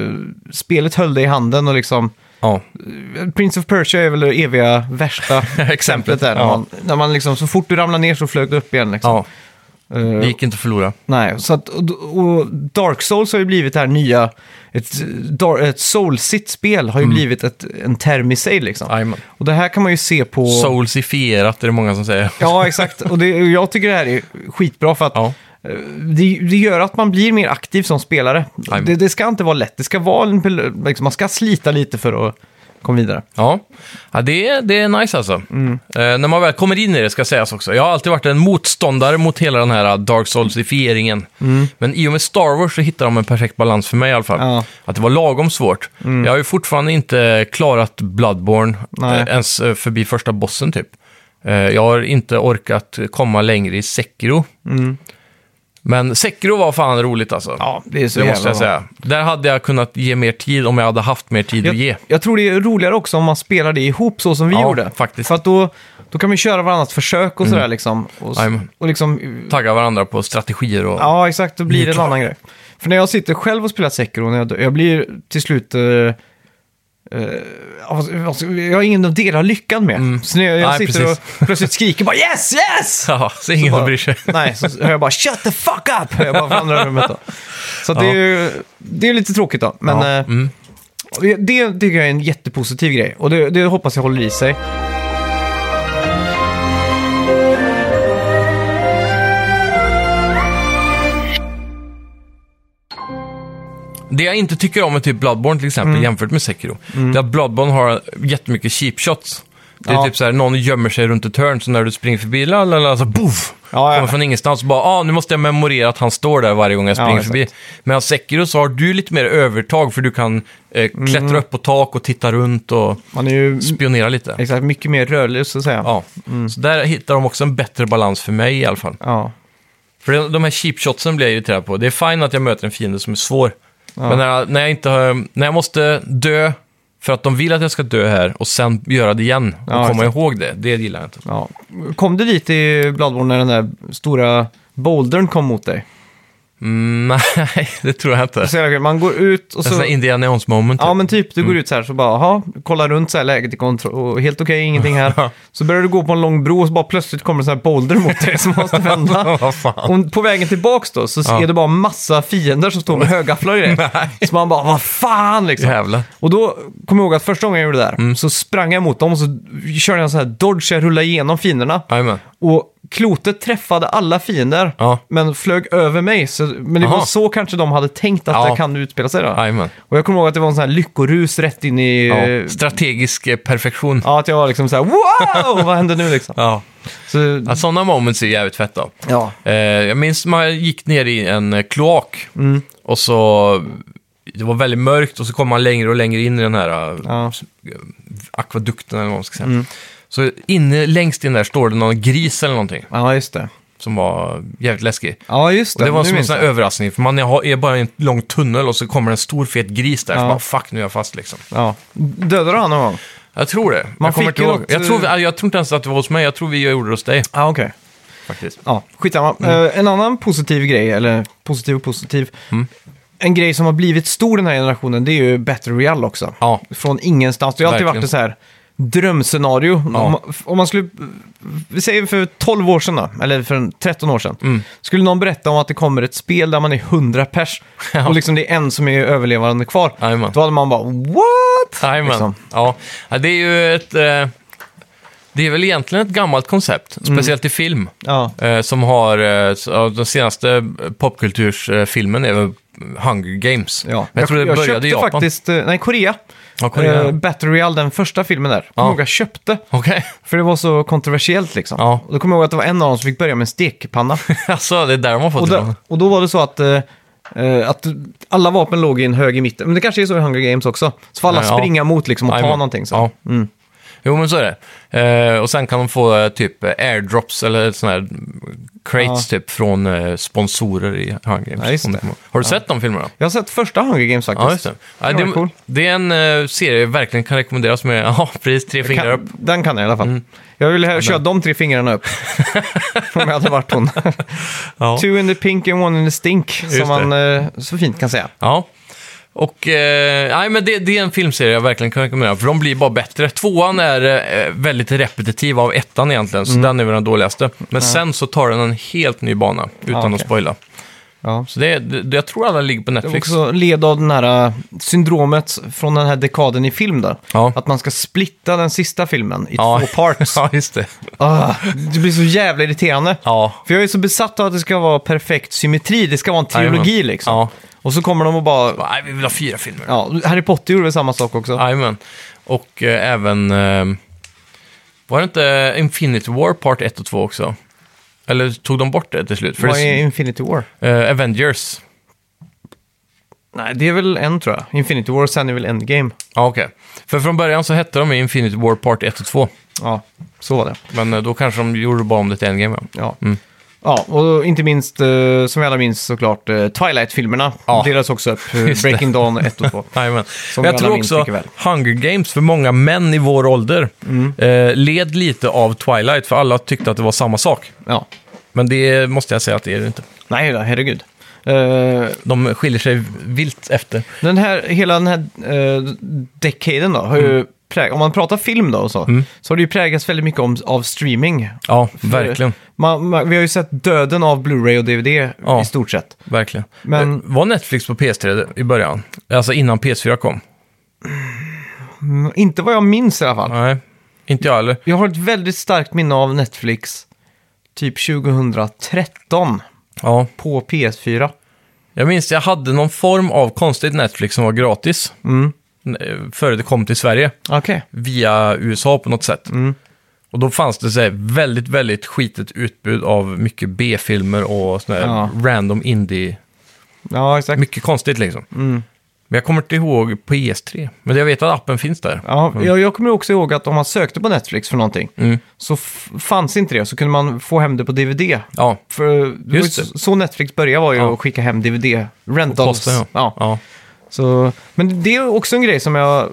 [SPEAKER 1] spelet höll dig i handen och liksom... eh,
[SPEAKER 2] Ja,
[SPEAKER 1] Prince of Persia är väl det eviga värsta exemplet där. När,
[SPEAKER 2] Ja.
[SPEAKER 1] man, när man liksom, så fort du ramlade ner så flög du upp igen. Liksom.
[SPEAKER 2] ja.
[SPEAKER 1] Eh,
[SPEAKER 2] det gick inte att förlora.
[SPEAKER 1] Nej, så att, och, och Dark Souls har ju blivit det här nya, ett, dar- ett Soulsit-spel har ju blivit ett, en term i sig liksom.
[SPEAKER 2] Mm. Jajamän.
[SPEAKER 1] Och det här kan man ju se på...
[SPEAKER 2] Soulsifierat är det många som säger.
[SPEAKER 1] Ja, exakt. Och det, och jag tycker det här är skitbra för att
[SPEAKER 2] Ja.
[SPEAKER 1] eh, det, det gör att man blir mer aktiv som spelare.
[SPEAKER 2] Jajamän.
[SPEAKER 1] Det, det ska inte vara lätt, det ska vara en, bel- liksom, man ska slita lite för att komma vidare.
[SPEAKER 2] Ja, ja det, är, det är nice alltså.
[SPEAKER 1] Mm.
[SPEAKER 2] Eh, när man väl kommer in i det ska sägas också. Jag har alltid varit en motståndare mot hela den här eh, Dark Souls-ifieringen. Men i och med Star Wars så hittar de en perfekt balans för mig i alla fall.
[SPEAKER 1] Mm. Ja. Mm.
[SPEAKER 2] Att det var lagom svårt. Jag har ju fortfarande inte klarat Bloodborne
[SPEAKER 1] Nej.
[SPEAKER 2] eh, ens eh, förbi första bossen typ. Eh, jag har inte orkat komma längre i Sekiro. Men Sekiro var fan roligt alltså.
[SPEAKER 1] Mm. Ja, det är så
[SPEAKER 2] det
[SPEAKER 1] jävla
[SPEAKER 2] måste jag
[SPEAKER 1] bra.
[SPEAKER 2] säga. Där hade jag kunnat ge mer tid om jag hade haft mer tid att ge.
[SPEAKER 1] Jag, jag tror det är roligare också om man spelar det ihop så som vi
[SPEAKER 2] Ja,
[SPEAKER 1] gjorde.
[SPEAKER 2] faktiskt. Mm.
[SPEAKER 1] För att då, då kan vi köra varannat försök och sådär liksom. Och,
[SPEAKER 2] Jajamän.
[SPEAKER 1] och liksom...
[SPEAKER 2] tagga varandra på strategier och...
[SPEAKER 1] Ja, exakt. Då blir det en
[SPEAKER 2] Nycklar.
[SPEAKER 1] annan grej. För när jag sitter själv och spelar Sekiro, när jag, dö- jag blir till slut... eh, eh, alltså, alltså, jag har ingen att dela lyckan med. Så när jag, jag
[SPEAKER 2] Mm. Nej,
[SPEAKER 1] sitter och plötsligt skriker bara yes, yes!
[SPEAKER 2] Ja, så ingen
[SPEAKER 1] bara-
[SPEAKER 2] som bryr sig.
[SPEAKER 1] Nej, så hör jag bara shut the fuck up! Hör Jag bara från andra rummet då. Så att det, är ju, det är lite tråkigt då. Men
[SPEAKER 2] Ja, Mm.
[SPEAKER 1] eh, det, det tycker jag är en jättepositiv grej. Och det, det hoppas jag håller i sig.
[SPEAKER 2] Det jag inte tycker om är typ Bloodborne till
[SPEAKER 1] Mm.
[SPEAKER 2] exempel, jämfört med Sekiro. Det är att Bloodborne har jättemycket cheap shots. Det är
[SPEAKER 1] Ja.
[SPEAKER 2] typ så här, någon gömmer sig runt ett hörn, så när du springer förbi, la, la, la, så boff!
[SPEAKER 1] Ja, ja.
[SPEAKER 2] Kommer från ingenstans och bara, ah, nu måste jag memorera att han står där varje gång jag
[SPEAKER 1] Ja,
[SPEAKER 2] springer
[SPEAKER 1] exakt.
[SPEAKER 2] förbi. Medan Sekiro så har du lite mer övertag, för du kan eh, klättra
[SPEAKER 1] Mm.
[SPEAKER 2] upp på tak och titta runt och
[SPEAKER 1] Man är ju
[SPEAKER 2] spionera lite.
[SPEAKER 1] exakt, mycket mer rörlig, så att säga.
[SPEAKER 2] Ja.
[SPEAKER 1] Mm.
[SPEAKER 2] Så där hittar de också en bättre balans för mig i alla fall.
[SPEAKER 1] Ja.
[SPEAKER 2] För de- de här cheap shotsen blir jag irriterad på. Det är fine att jag möter en fiende som är svår. Men när jag, när, jag inte, har- när jag måste dö för att de vill att jag ska dö här och sen göra det igen och
[SPEAKER 1] Ja,
[SPEAKER 2] komma ihåg det, det gillar jag inte.
[SPEAKER 1] Ja. Kom du dit i Bloodborne när den där stora bouldern kom mot dig?
[SPEAKER 2] Mm, nej, det tror jag inte.
[SPEAKER 1] Så jävla kul. man går ut och
[SPEAKER 2] En sån
[SPEAKER 1] så...
[SPEAKER 2] här Indiana Jones moment.
[SPEAKER 1] Ja, men typ du
[SPEAKER 2] Mm.
[SPEAKER 1] går ut så här så bara, aha, kollar runt så här läget i kontroll, och helt okej, ingenting här. Så börjar du gå på en lång bro och så bara plötsligt kommer en sån här boulder mot dig som måste vända.
[SPEAKER 2] Vad fan.
[SPEAKER 1] Och på vägen tillbaks då så
[SPEAKER 2] Ja.
[SPEAKER 1] är det bara massa fiender som står med högafflar och grejer.
[SPEAKER 2] Nej.
[SPEAKER 1] Så man bara, vad fan liksom.
[SPEAKER 2] Jävlar. Mm.
[SPEAKER 1] Och då kommer jag ihåg att första gången jag gjorde det där så sprang jag mot dem och så körde jag en sån här dodge, jag rullade igenom fienderna.
[SPEAKER 2] Jajamän.
[SPEAKER 1] Och klotet träffade alla fiender,
[SPEAKER 2] Ja.
[SPEAKER 1] men flög över mig. Så, men det
[SPEAKER 2] Aha.
[SPEAKER 1] var så kanske de hade tänkt att
[SPEAKER 2] Ja.
[SPEAKER 1] det kan utspela sig då.
[SPEAKER 2] Jajamän.
[SPEAKER 1] Och jag kommer ihåg att det var en sån här lyckorus rätt in i...
[SPEAKER 2] Ja.
[SPEAKER 1] Ja,
[SPEAKER 2] Strategisk eh, perfektion.
[SPEAKER 1] ja att jag var liksom så här wow, vad händer nu liksom?
[SPEAKER 2] Ja.
[SPEAKER 1] Så,
[SPEAKER 2] Ja, sådana moments är jävligt fett då.
[SPEAKER 1] ja.
[SPEAKER 2] Eh, jag minns man gick ner i en eh, kloak
[SPEAKER 1] Mm.
[SPEAKER 2] och så... Det var väldigt mörkt och så kom man längre och längre in i den här eh,
[SPEAKER 1] Ja. Mm.
[SPEAKER 2] akvadukten eller vad man ska säga. Så inne längst in där står det någon gris eller någonting
[SPEAKER 1] ja, just det.
[SPEAKER 2] som var jävligt läskig.
[SPEAKER 1] Ja, just det.
[SPEAKER 2] Och det var
[SPEAKER 1] Nu
[SPEAKER 2] som en
[SPEAKER 1] minns
[SPEAKER 2] sån här
[SPEAKER 1] jag.
[SPEAKER 2] överraskning, för man har- är bara i en lång tunnel och så kommer en stor fet gris där. Så
[SPEAKER 1] Ja.
[SPEAKER 2] bara, fuck, nu är jag fast liksom.
[SPEAKER 1] Ja. Dödade du han någon gång?
[SPEAKER 2] Jag tror det.
[SPEAKER 1] Man
[SPEAKER 2] jag kommer
[SPEAKER 1] fick
[SPEAKER 2] inte
[SPEAKER 1] ju
[SPEAKER 2] ihåg.
[SPEAKER 1] något,
[SPEAKER 2] Jag, tror,
[SPEAKER 1] eh,
[SPEAKER 2] jag, tror inte ens att det var hos mig, jag tror vi gjorde det hos dig
[SPEAKER 1] Ja, okej.
[SPEAKER 2] faktiskt.
[SPEAKER 1] Ja, skitsamma.
[SPEAKER 2] Mm.
[SPEAKER 1] Eh, en annan positiv grej, eller positiv och positiv.
[SPEAKER 2] Mm.
[SPEAKER 1] En grej som har blivit stor den här generationen, det är ju Battle Royale också.
[SPEAKER 2] Ja.
[SPEAKER 1] Från ingenstans. Det har alltid
[SPEAKER 2] Verkligen.
[SPEAKER 1] varit ett så här drömscenario. Om, man, om man skulle, vi säger för 12 år sedan då, eller för en 13 år sedan.
[SPEAKER 2] Mm.
[SPEAKER 1] Skulle någon berätta om att det kommer ett spel där man är 100 pers
[SPEAKER 2] Ja.
[SPEAKER 1] och liksom det är en som är överlevande kvar.
[SPEAKER 2] Jajamän.
[SPEAKER 1] Då hade man bara what?
[SPEAKER 2] Jajamän.
[SPEAKER 1] Liksom.
[SPEAKER 2] Ja. ja, det är ju ett... Eh, det är väl egentligen ett gammalt koncept, speciellt i film.
[SPEAKER 1] Mm. Ja.
[SPEAKER 2] Eh, som har... Eh, så- ja, den senaste eh, popkultursfilmen är väl Hunger Games.
[SPEAKER 1] Ja.
[SPEAKER 2] Men jag tror det
[SPEAKER 1] jag
[SPEAKER 2] började
[SPEAKER 1] köpte
[SPEAKER 2] i Japan.
[SPEAKER 1] faktiskt, eh, nej Korea.
[SPEAKER 2] Ja, Korea.
[SPEAKER 1] Eh, Battle Royale, den första filmen där.
[SPEAKER 2] Ja.
[SPEAKER 1] Ja. Jag köpte.
[SPEAKER 2] Okej.
[SPEAKER 1] För det var så kontroversiellt liksom.
[SPEAKER 2] Ja.
[SPEAKER 1] Och då kommer jag ihåg att det var en av dem som fick börja med en stekpanna.
[SPEAKER 2] alltså, det är där de har fått
[SPEAKER 1] och,
[SPEAKER 2] det
[SPEAKER 1] då,
[SPEAKER 2] ifrån.
[SPEAKER 1] och då var det så att, eh, eh, att alla vapen låg i en hög i mitten. Men det kanske är så i Hunger Games också. Så får alla
[SPEAKER 2] Ja, ja.
[SPEAKER 1] springa mot liksom och ta
[SPEAKER 2] Jajamän.
[SPEAKER 1] någonting. Så.
[SPEAKER 2] Ja. Jo, men så är det. Eh, och sen kan de få eh, typ eh, airdrops eller såna här mm, crates typ från eh, sponsorer i Hunger Games.
[SPEAKER 1] Ja, just
[SPEAKER 2] Om
[SPEAKER 1] det.
[SPEAKER 2] kommer ihåg. Har du sett de filmerna?
[SPEAKER 1] Jag har sett första Hunger Games faktiskt.
[SPEAKER 2] Ja, just det. Ja,
[SPEAKER 1] Den
[SPEAKER 2] det,
[SPEAKER 1] var cool.
[SPEAKER 2] det är en eh, serie jag verkligen kan rekommenderas med, ja, precis, tre fingrar upp. Mm.
[SPEAKER 1] Kan, den kan jag i alla fall. Jag ville hellre köra de tre fingrarna upp. Om jag hade varit hon.
[SPEAKER 2] Ja.
[SPEAKER 1] Two in the pink and one in the stink,
[SPEAKER 2] det.
[SPEAKER 1] som man eh, så fint kan säga.
[SPEAKER 2] ja. Och, eh, nej men det, det är en filmserie jag verkligen kan rekommendera, för de blir bara bättre. Tvåan är eh, väldigt repetitiv av ettan egentligen, så
[SPEAKER 1] Mm.
[SPEAKER 2] den är väl den dåligaste. Men sen så tar den en helt ny bana, utan att
[SPEAKER 1] Ah, okej.
[SPEAKER 2] spoila.
[SPEAKER 1] Ja.
[SPEAKER 2] Så det, det, jag tror alla ligger på
[SPEAKER 1] Det var
[SPEAKER 2] Netflix.
[SPEAKER 1] också led av den här eh, syndromet från den här dekaden i film där.
[SPEAKER 2] Ja.
[SPEAKER 1] Att man ska splitta den sista filmen i
[SPEAKER 2] Ja.
[SPEAKER 1] två parts.
[SPEAKER 2] Ja, just det.
[SPEAKER 1] Ah, det blir så jävla irriterande.
[SPEAKER 2] Ja.
[SPEAKER 1] För jag är så besatt av att det ska vara perfekt symmetri, det ska vara en trilogi
[SPEAKER 2] Jajamän.
[SPEAKER 1] liksom.
[SPEAKER 2] Ja.
[SPEAKER 1] Och så kommer de och bara...
[SPEAKER 2] Nej, vi vill ha fyra filmer.
[SPEAKER 1] Ja, Harry Potter gjorde väl samma sak också?
[SPEAKER 2] Jajamän. Och eh, även... Eh, var det inte Infinity War Part 1 och 2 också? Eller tog de bort det till slut? För
[SPEAKER 1] Vad är
[SPEAKER 2] det,
[SPEAKER 1] Infinity War?
[SPEAKER 2] eh, Avengers.
[SPEAKER 1] Nej, det är väl en tror jag. Infinity War och sen är väl Endgame.
[SPEAKER 2] Ja, okej. För från början så hette de Infinity War Part 1 och 2.
[SPEAKER 1] Ja, så var det.
[SPEAKER 2] Men eh, då kanske de gjorde bara om det till Endgame. Ja.
[SPEAKER 1] Ja, ja och inte minst, eh, som vi alla minns såklart, eh, Twilight-filmerna
[SPEAKER 2] Ja.
[SPEAKER 1] delades också upp. eh,
[SPEAKER 2] Just det.
[SPEAKER 1] Breaking Dawn 1 och 2.
[SPEAKER 2] Jajamän.
[SPEAKER 1] Som
[SPEAKER 2] Men Jag
[SPEAKER 1] alla
[SPEAKER 2] tror
[SPEAKER 1] minns
[SPEAKER 2] också
[SPEAKER 1] mycket väl. Mm.
[SPEAKER 2] Hunger Games för många män i vår ålder eh, led lite av Twilight, för alla tyckte att det var samma sak.
[SPEAKER 1] Ja,
[SPEAKER 2] Men det måste jag säga att det är det inte.
[SPEAKER 1] nej då, herregud. Eh,
[SPEAKER 2] De skiljer sig vilt efter.
[SPEAKER 1] Den här, hela den här uh, decaden då, har
[SPEAKER 2] Mm.
[SPEAKER 1] ju prä- om man pratar film då och så, så har det ju präglats väldigt mycket om, av streaming.
[SPEAKER 2] Ja, verkligen.
[SPEAKER 1] Man, man, vi har ju sett döden av Blu-ray och DVD
[SPEAKER 2] Ja.
[SPEAKER 1] i stort sett.
[SPEAKER 2] verkligen.
[SPEAKER 1] Men-
[SPEAKER 2] Men... Var Netflix på PS3 i början? Alltså innan PS4 kom?
[SPEAKER 1] Mm, Inte vad jag minns i alla fall.
[SPEAKER 2] Nej, inte jag heller.
[SPEAKER 1] Jag har ett väldigt starkt minne av Netflix typ 2013
[SPEAKER 2] Ja.
[SPEAKER 1] på PS4.
[SPEAKER 2] Jag minns jag hade någon form av konstigt Netflix som var gratis.
[SPEAKER 1] Mm.
[SPEAKER 2] N- Före det kom till Sverige.
[SPEAKER 1] Okej.
[SPEAKER 2] Via USA på något sätt.
[SPEAKER 1] Mm.
[SPEAKER 2] Och då fanns det så här väldigt, väldigt skitet utbud av mycket B-filmer och såna här
[SPEAKER 1] Ja.
[SPEAKER 2] random indie.
[SPEAKER 1] Ja, exakt.
[SPEAKER 2] Mycket konstigt liksom.
[SPEAKER 1] Mm.
[SPEAKER 2] Men jag kommer inte ihåg PS3. Men jag vet att appen finns där.
[SPEAKER 1] Ja, jag, jag kommer också ihåg att om man sökte på Netflix för någonting
[SPEAKER 2] Mm.
[SPEAKER 1] så f- fanns inte det, så kunde man få hem det på DVD.
[SPEAKER 2] Ja.
[SPEAKER 1] För det
[SPEAKER 2] Just
[SPEAKER 1] var ju så- så Netflix började var ju
[SPEAKER 2] Ja.
[SPEAKER 1] att skicka hem DVD, rentals.
[SPEAKER 2] Posten, ja.
[SPEAKER 1] Ja.
[SPEAKER 2] ja.
[SPEAKER 1] Så, men det är också en grej som jag,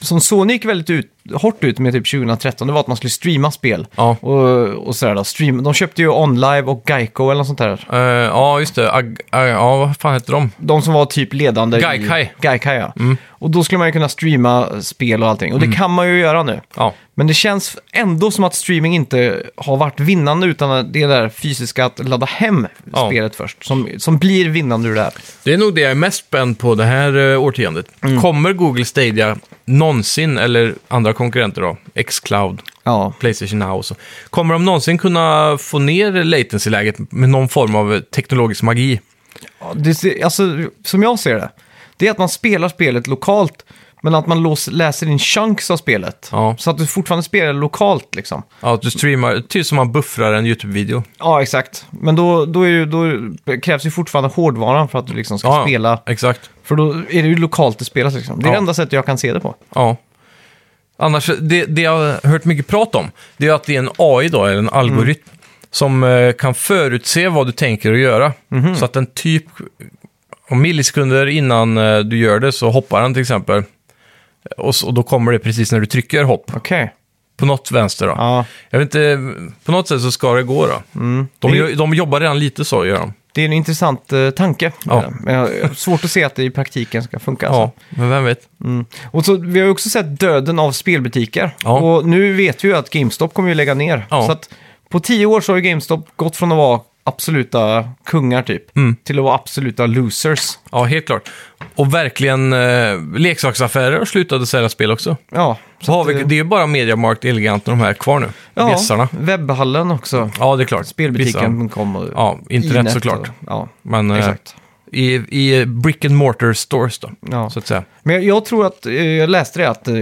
[SPEAKER 1] som Sony gick väldigt ut, hårt ut med typ 2013, det var att man skulle streama spel.
[SPEAKER 2] Ja.
[SPEAKER 1] Och, och sådär då, stream, de köpte ju OnLive och Geico eller något sånt där.
[SPEAKER 2] Eh, ja, just det. Ag- ag- ja, vad fan heter de?
[SPEAKER 1] De som var typ ledande
[SPEAKER 2] Gaikai. Mm.
[SPEAKER 1] i... Gaikai. ja. Och då skulle man ju kunna streama spel och allting. Och det kan man ju göra nu.
[SPEAKER 2] Ja,
[SPEAKER 1] Men det känns ändå som att streaming inte har varit vinnande utan att det där fysiska att ladda hem
[SPEAKER 2] Ja.
[SPEAKER 1] spelet först. Som, som blir vinnande ur det här.
[SPEAKER 2] det är nog det jag är mest spänd på det här uh, årtiondet. Kommer Google Stadia någonsin, eller andra konkurrenter då, Xcloud,
[SPEAKER 1] Ja,
[SPEAKER 2] Playstation Now och så, kommer de någonsin kunna få ner latency-läget med någon form av eh, teknologisk magi?
[SPEAKER 1] Ja, det, ser- alltså, som jag ser det, det är att man spelar spelet lokalt, men att man lås, läser in chunks av spelet.
[SPEAKER 2] Ja.
[SPEAKER 1] Så att du fortfarande spelar lokalt liksom.
[SPEAKER 2] Ja, att du streamar, typ som man buffrar en YouTube-video.
[SPEAKER 1] Ja, exakt. Men då, då, är ju, då krävs ju fortfarande hårdvaran för att du liksom ska
[SPEAKER 2] Ja,
[SPEAKER 1] spela.
[SPEAKER 2] Exakt.
[SPEAKER 1] För då är det ju lokalt det spelas liksom. Det är
[SPEAKER 2] Ja.
[SPEAKER 1] det enda sättet jag kan se det på.
[SPEAKER 2] Ja. Annars, det, det jag har hört mycket prat om, det är att det är en AI då, eller en algoritm, som eh, kan förutse vad du tänker att göra. Så att den typ, om millisekunder innan eh, du gör det så hoppar den till exempel. Eh, Och, så, och då kommer det precis när du trycker hopp,
[SPEAKER 1] Okej.
[SPEAKER 2] på något vänster då.
[SPEAKER 1] Ja.
[SPEAKER 2] Jag vet inte, på något sätt så ska Mm. det gå då. De, gör- de jobbar redan lite så, gör de.
[SPEAKER 1] Det är en intressant eh, tanke.
[SPEAKER 2] Ja.
[SPEAKER 1] Men jag jag har svårt att se att det i praktiken ska funka.
[SPEAKER 2] Ja,
[SPEAKER 1] Alltså.
[SPEAKER 2] men vem vet.
[SPEAKER 1] Och så, vi har ju också sett döden av spelbutiker.
[SPEAKER 2] Ja.
[SPEAKER 1] Och nu vet vi ju att GameStop kommer ju lägga ner.
[SPEAKER 2] Ja.
[SPEAKER 1] Så att på tio år så har ju GameStop gått från att vara absoluta kungar typ,
[SPEAKER 2] Mm.
[SPEAKER 1] till att vara absoluta losers.
[SPEAKER 2] Ja, helt klart. Och verkligen, eh, leksaksaffärer slutade sälja spel också.
[SPEAKER 1] Ja,
[SPEAKER 2] Så har
[SPEAKER 1] att,
[SPEAKER 2] vi,
[SPEAKER 1] eh,
[SPEAKER 2] det är ju bara Mediamarkt, Elegant och de här kvar nu.
[SPEAKER 1] ja,
[SPEAKER 2] Bjässarna.
[SPEAKER 1] webbhallen också.
[SPEAKER 2] Ja, det är klart. Vissa.
[SPEAKER 1] Spelbutiken kom och...
[SPEAKER 2] Ja, internet
[SPEAKER 1] Inet
[SPEAKER 2] såklart.
[SPEAKER 1] och- ja,
[SPEAKER 2] Men eh,
[SPEAKER 1] exakt.
[SPEAKER 2] i, i brick and mortar stores då,
[SPEAKER 1] Ja.
[SPEAKER 2] så att säga.
[SPEAKER 1] Men jag, jag tror att, eh, jag läste det att eh,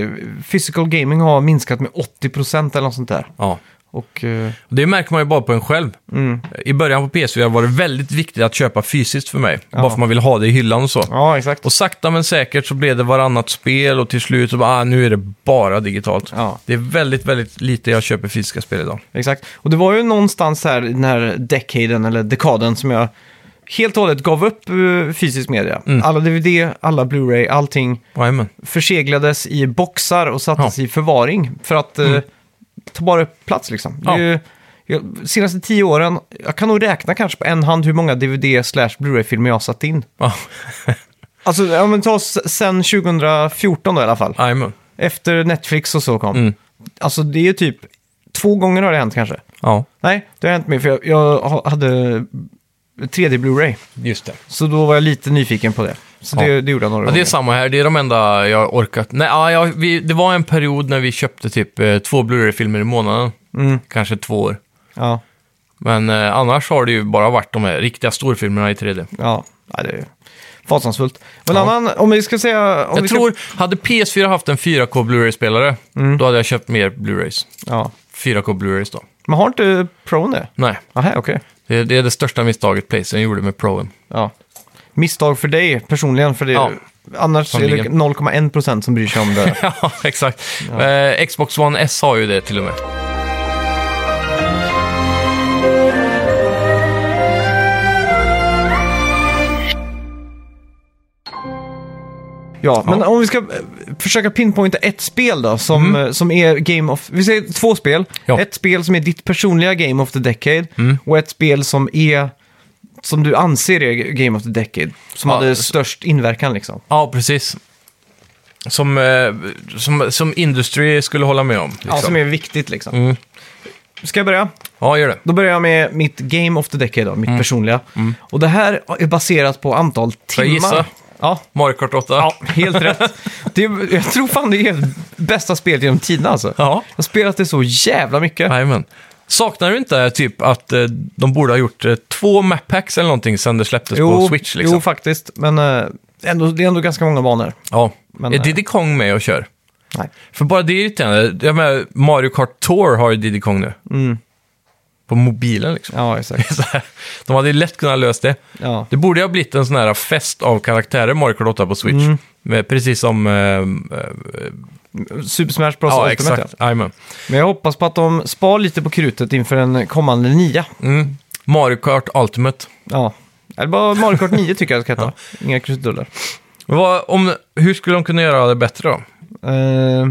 [SPEAKER 1] physical gaming har minskat med 80% eller något sånt där.
[SPEAKER 2] Ja.
[SPEAKER 1] Och, eh,
[SPEAKER 2] Det märker man ju bara på en själv.
[SPEAKER 1] Mm.
[SPEAKER 2] I början på PS4 var det väldigt viktigt att köpa fysiskt för mig. Bara för man vill ha det i hyllan och så.
[SPEAKER 1] ja, exakt.
[SPEAKER 2] Och sakta men säkert så blev det varannat spel och till slut så bara, ah, nu är det bara digitalt.
[SPEAKER 1] Ja.
[SPEAKER 2] Det är väldigt, väldigt lite jag köper fysiska spel idag.
[SPEAKER 1] Exakt. Och det var ju någonstans här i den här decaden, eller dekaden, som jag helt och hållet gav upp eh, fysisk media.
[SPEAKER 2] Mm.
[SPEAKER 1] Alla DVD, alla Blu-ray, allting
[SPEAKER 2] Jajamän.
[SPEAKER 1] förseglades i boxar och sattes i förvaring för att eh, ta bara upp plats liksom. Det är
[SPEAKER 2] Mm. Ja.
[SPEAKER 1] ju, jag, senaste tio åren, jag kan nog räkna kanske på en hand hur många DVD slash Blu-ray-filmer jag har satt in.
[SPEAKER 2] Ja,
[SPEAKER 1] Alltså, ja, men ta oss sen 2014 då i alla fall.
[SPEAKER 2] Jajamän.
[SPEAKER 1] Efter Netflix och så kom.
[SPEAKER 2] Mm.
[SPEAKER 1] Alltså det är ju typ, två gånger har det hänt kanske.
[SPEAKER 2] Ja,
[SPEAKER 1] Nej, det har hänt mig för jag, jag ha- hade 3D Blu-ray.
[SPEAKER 2] just det.
[SPEAKER 1] Så då var jag lite nyfiken på det. Så
[SPEAKER 2] Ja.
[SPEAKER 1] det, det gjorde jag några
[SPEAKER 2] Ja, det är
[SPEAKER 1] gånger.
[SPEAKER 2] samma här. Det är de enda jag har orkat. Nej, ja, jag, vi, det var en period när vi köpte typ eh, två Blu-ray-filmer i månaden.
[SPEAKER 1] Mm.
[SPEAKER 2] Kanske två år.
[SPEAKER 1] Ja,
[SPEAKER 2] Men eh, annars har det ju bara varit de här riktiga storfilmerna i 3D.
[SPEAKER 1] ja. ja det är fasansfullt. Men
[SPEAKER 2] Ja.
[SPEAKER 1] annan, om vi ska säga... Om vi
[SPEAKER 2] Jag
[SPEAKER 1] ska,
[SPEAKER 2] tror, hade PS4 haft en 4K Blu-ray-spelare,
[SPEAKER 1] Mm.
[SPEAKER 2] då hade jag köpt mer Blu-rays.
[SPEAKER 1] Ja.
[SPEAKER 2] 4K Blu-rays då.
[SPEAKER 1] Men har inte Pro det?
[SPEAKER 2] Nej,
[SPEAKER 1] Nähä, okej.
[SPEAKER 2] det, det är det största misstaget Playstation gjorde med Proen.
[SPEAKER 1] Ja. Misstag för dig personligen, för det
[SPEAKER 2] Ja.
[SPEAKER 1] annars är det
[SPEAKER 2] Sannoliken.
[SPEAKER 1] 0,1% som bryr sig om det.
[SPEAKER 2] ja, exakt. Eh, Xbox One S har ju det till och med.
[SPEAKER 1] Ja, men om vi ska eh, försöka pinpointa ett spel då, som, eh, som är Game of... Vi säger två spel.
[SPEAKER 2] Mm. Ja. Mm.
[SPEAKER 1] Ett spel som är ditt personliga Game of the Decade och ett spel som är som du anser är Game of the Decade, som
[SPEAKER 2] Ja,
[SPEAKER 1] hade
[SPEAKER 2] så-
[SPEAKER 1] störst inverkan liksom.
[SPEAKER 2] Ja, precis. Som, eh, som, som Industry skulle hålla med om. Liksom.
[SPEAKER 1] Ja, som är viktigt liksom.
[SPEAKER 2] Mm.
[SPEAKER 1] Ska jag börja?
[SPEAKER 2] ja, gör det.
[SPEAKER 1] Då börjar jag med mitt Game of the Decade då, mitt
[SPEAKER 2] Mm.
[SPEAKER 1] personliga. Och det här är baserat på antal timmar.
[SPEAKER 2] jag gissa?
[SPEAKER 1] Ja,
[SPEAKER 2] Mario Kart 8.
[SPEAKER 1] ja helt rätt. Det är, jag tror fan det är bästa spelet genom tiderna alltså.
[SPEAKER 2] ja.
[SPEAKER 1] Jag har spelat det så jävla mycket.
[SPEAKER 2] Jajamän. Saknar du inte typ att eh, de borde ha gjort eh, två map packs eller någonting sen det släpptes på Switch? Liksom?
[SPEAKER 1] jo, faktiskt. Men eh, ändå, det är ändå ganska många banor.
[SPEAKER 2] ja.
[SPEAKER 1] men,
[SPEAKER 2] är
[SPEAKER 1] eh,
[SPEAKER 2] Diddy Kong med och kör?
[SPEAKER 1] Nej.
[SPEAKER 2] För bara det är irriterande. Jag menar, Mario Kart Tour har ju Diddy Kong nu.
[SPEAKER 1] Mm.
[SPEAKER 2] På mobilen liksom.
[SPEAKER 1] Ja, exakt.
[SPEAKER 2] Så här, de hade ju lätt kunnat lösa det.
[SPEAKER 1] Ja.
[SPEAKER 2] Det borde ju ha blivit en sån här fest av karaktärer, Mario Kart 8 på Switch.
[SPEAKER 1] Mm.
[SPEAKER 2] Med, precis som... eh, eh,
[SPEAKER 1] Super Smash Bros.
[SPEAKER 2] ja,
[SPEAKER 1] Ultimate,
[SPEAKER 2] exakt. Jajamän.
[SPEAKER 1] Men jag hoppas på att de spar lite på krutet inför en kommande nia.
[SPEAKER 2] Mm. Mario Kart Ultimate.
[SPEAKER 1] Ja. Eller bara Mario Kart 9 tycker jag det ska heta. Inga krusiduller.
[SPEAKER 2] Men Vad, om, hur skulle de kunna göra det bättre då?
[SPEAKER 1] Eh,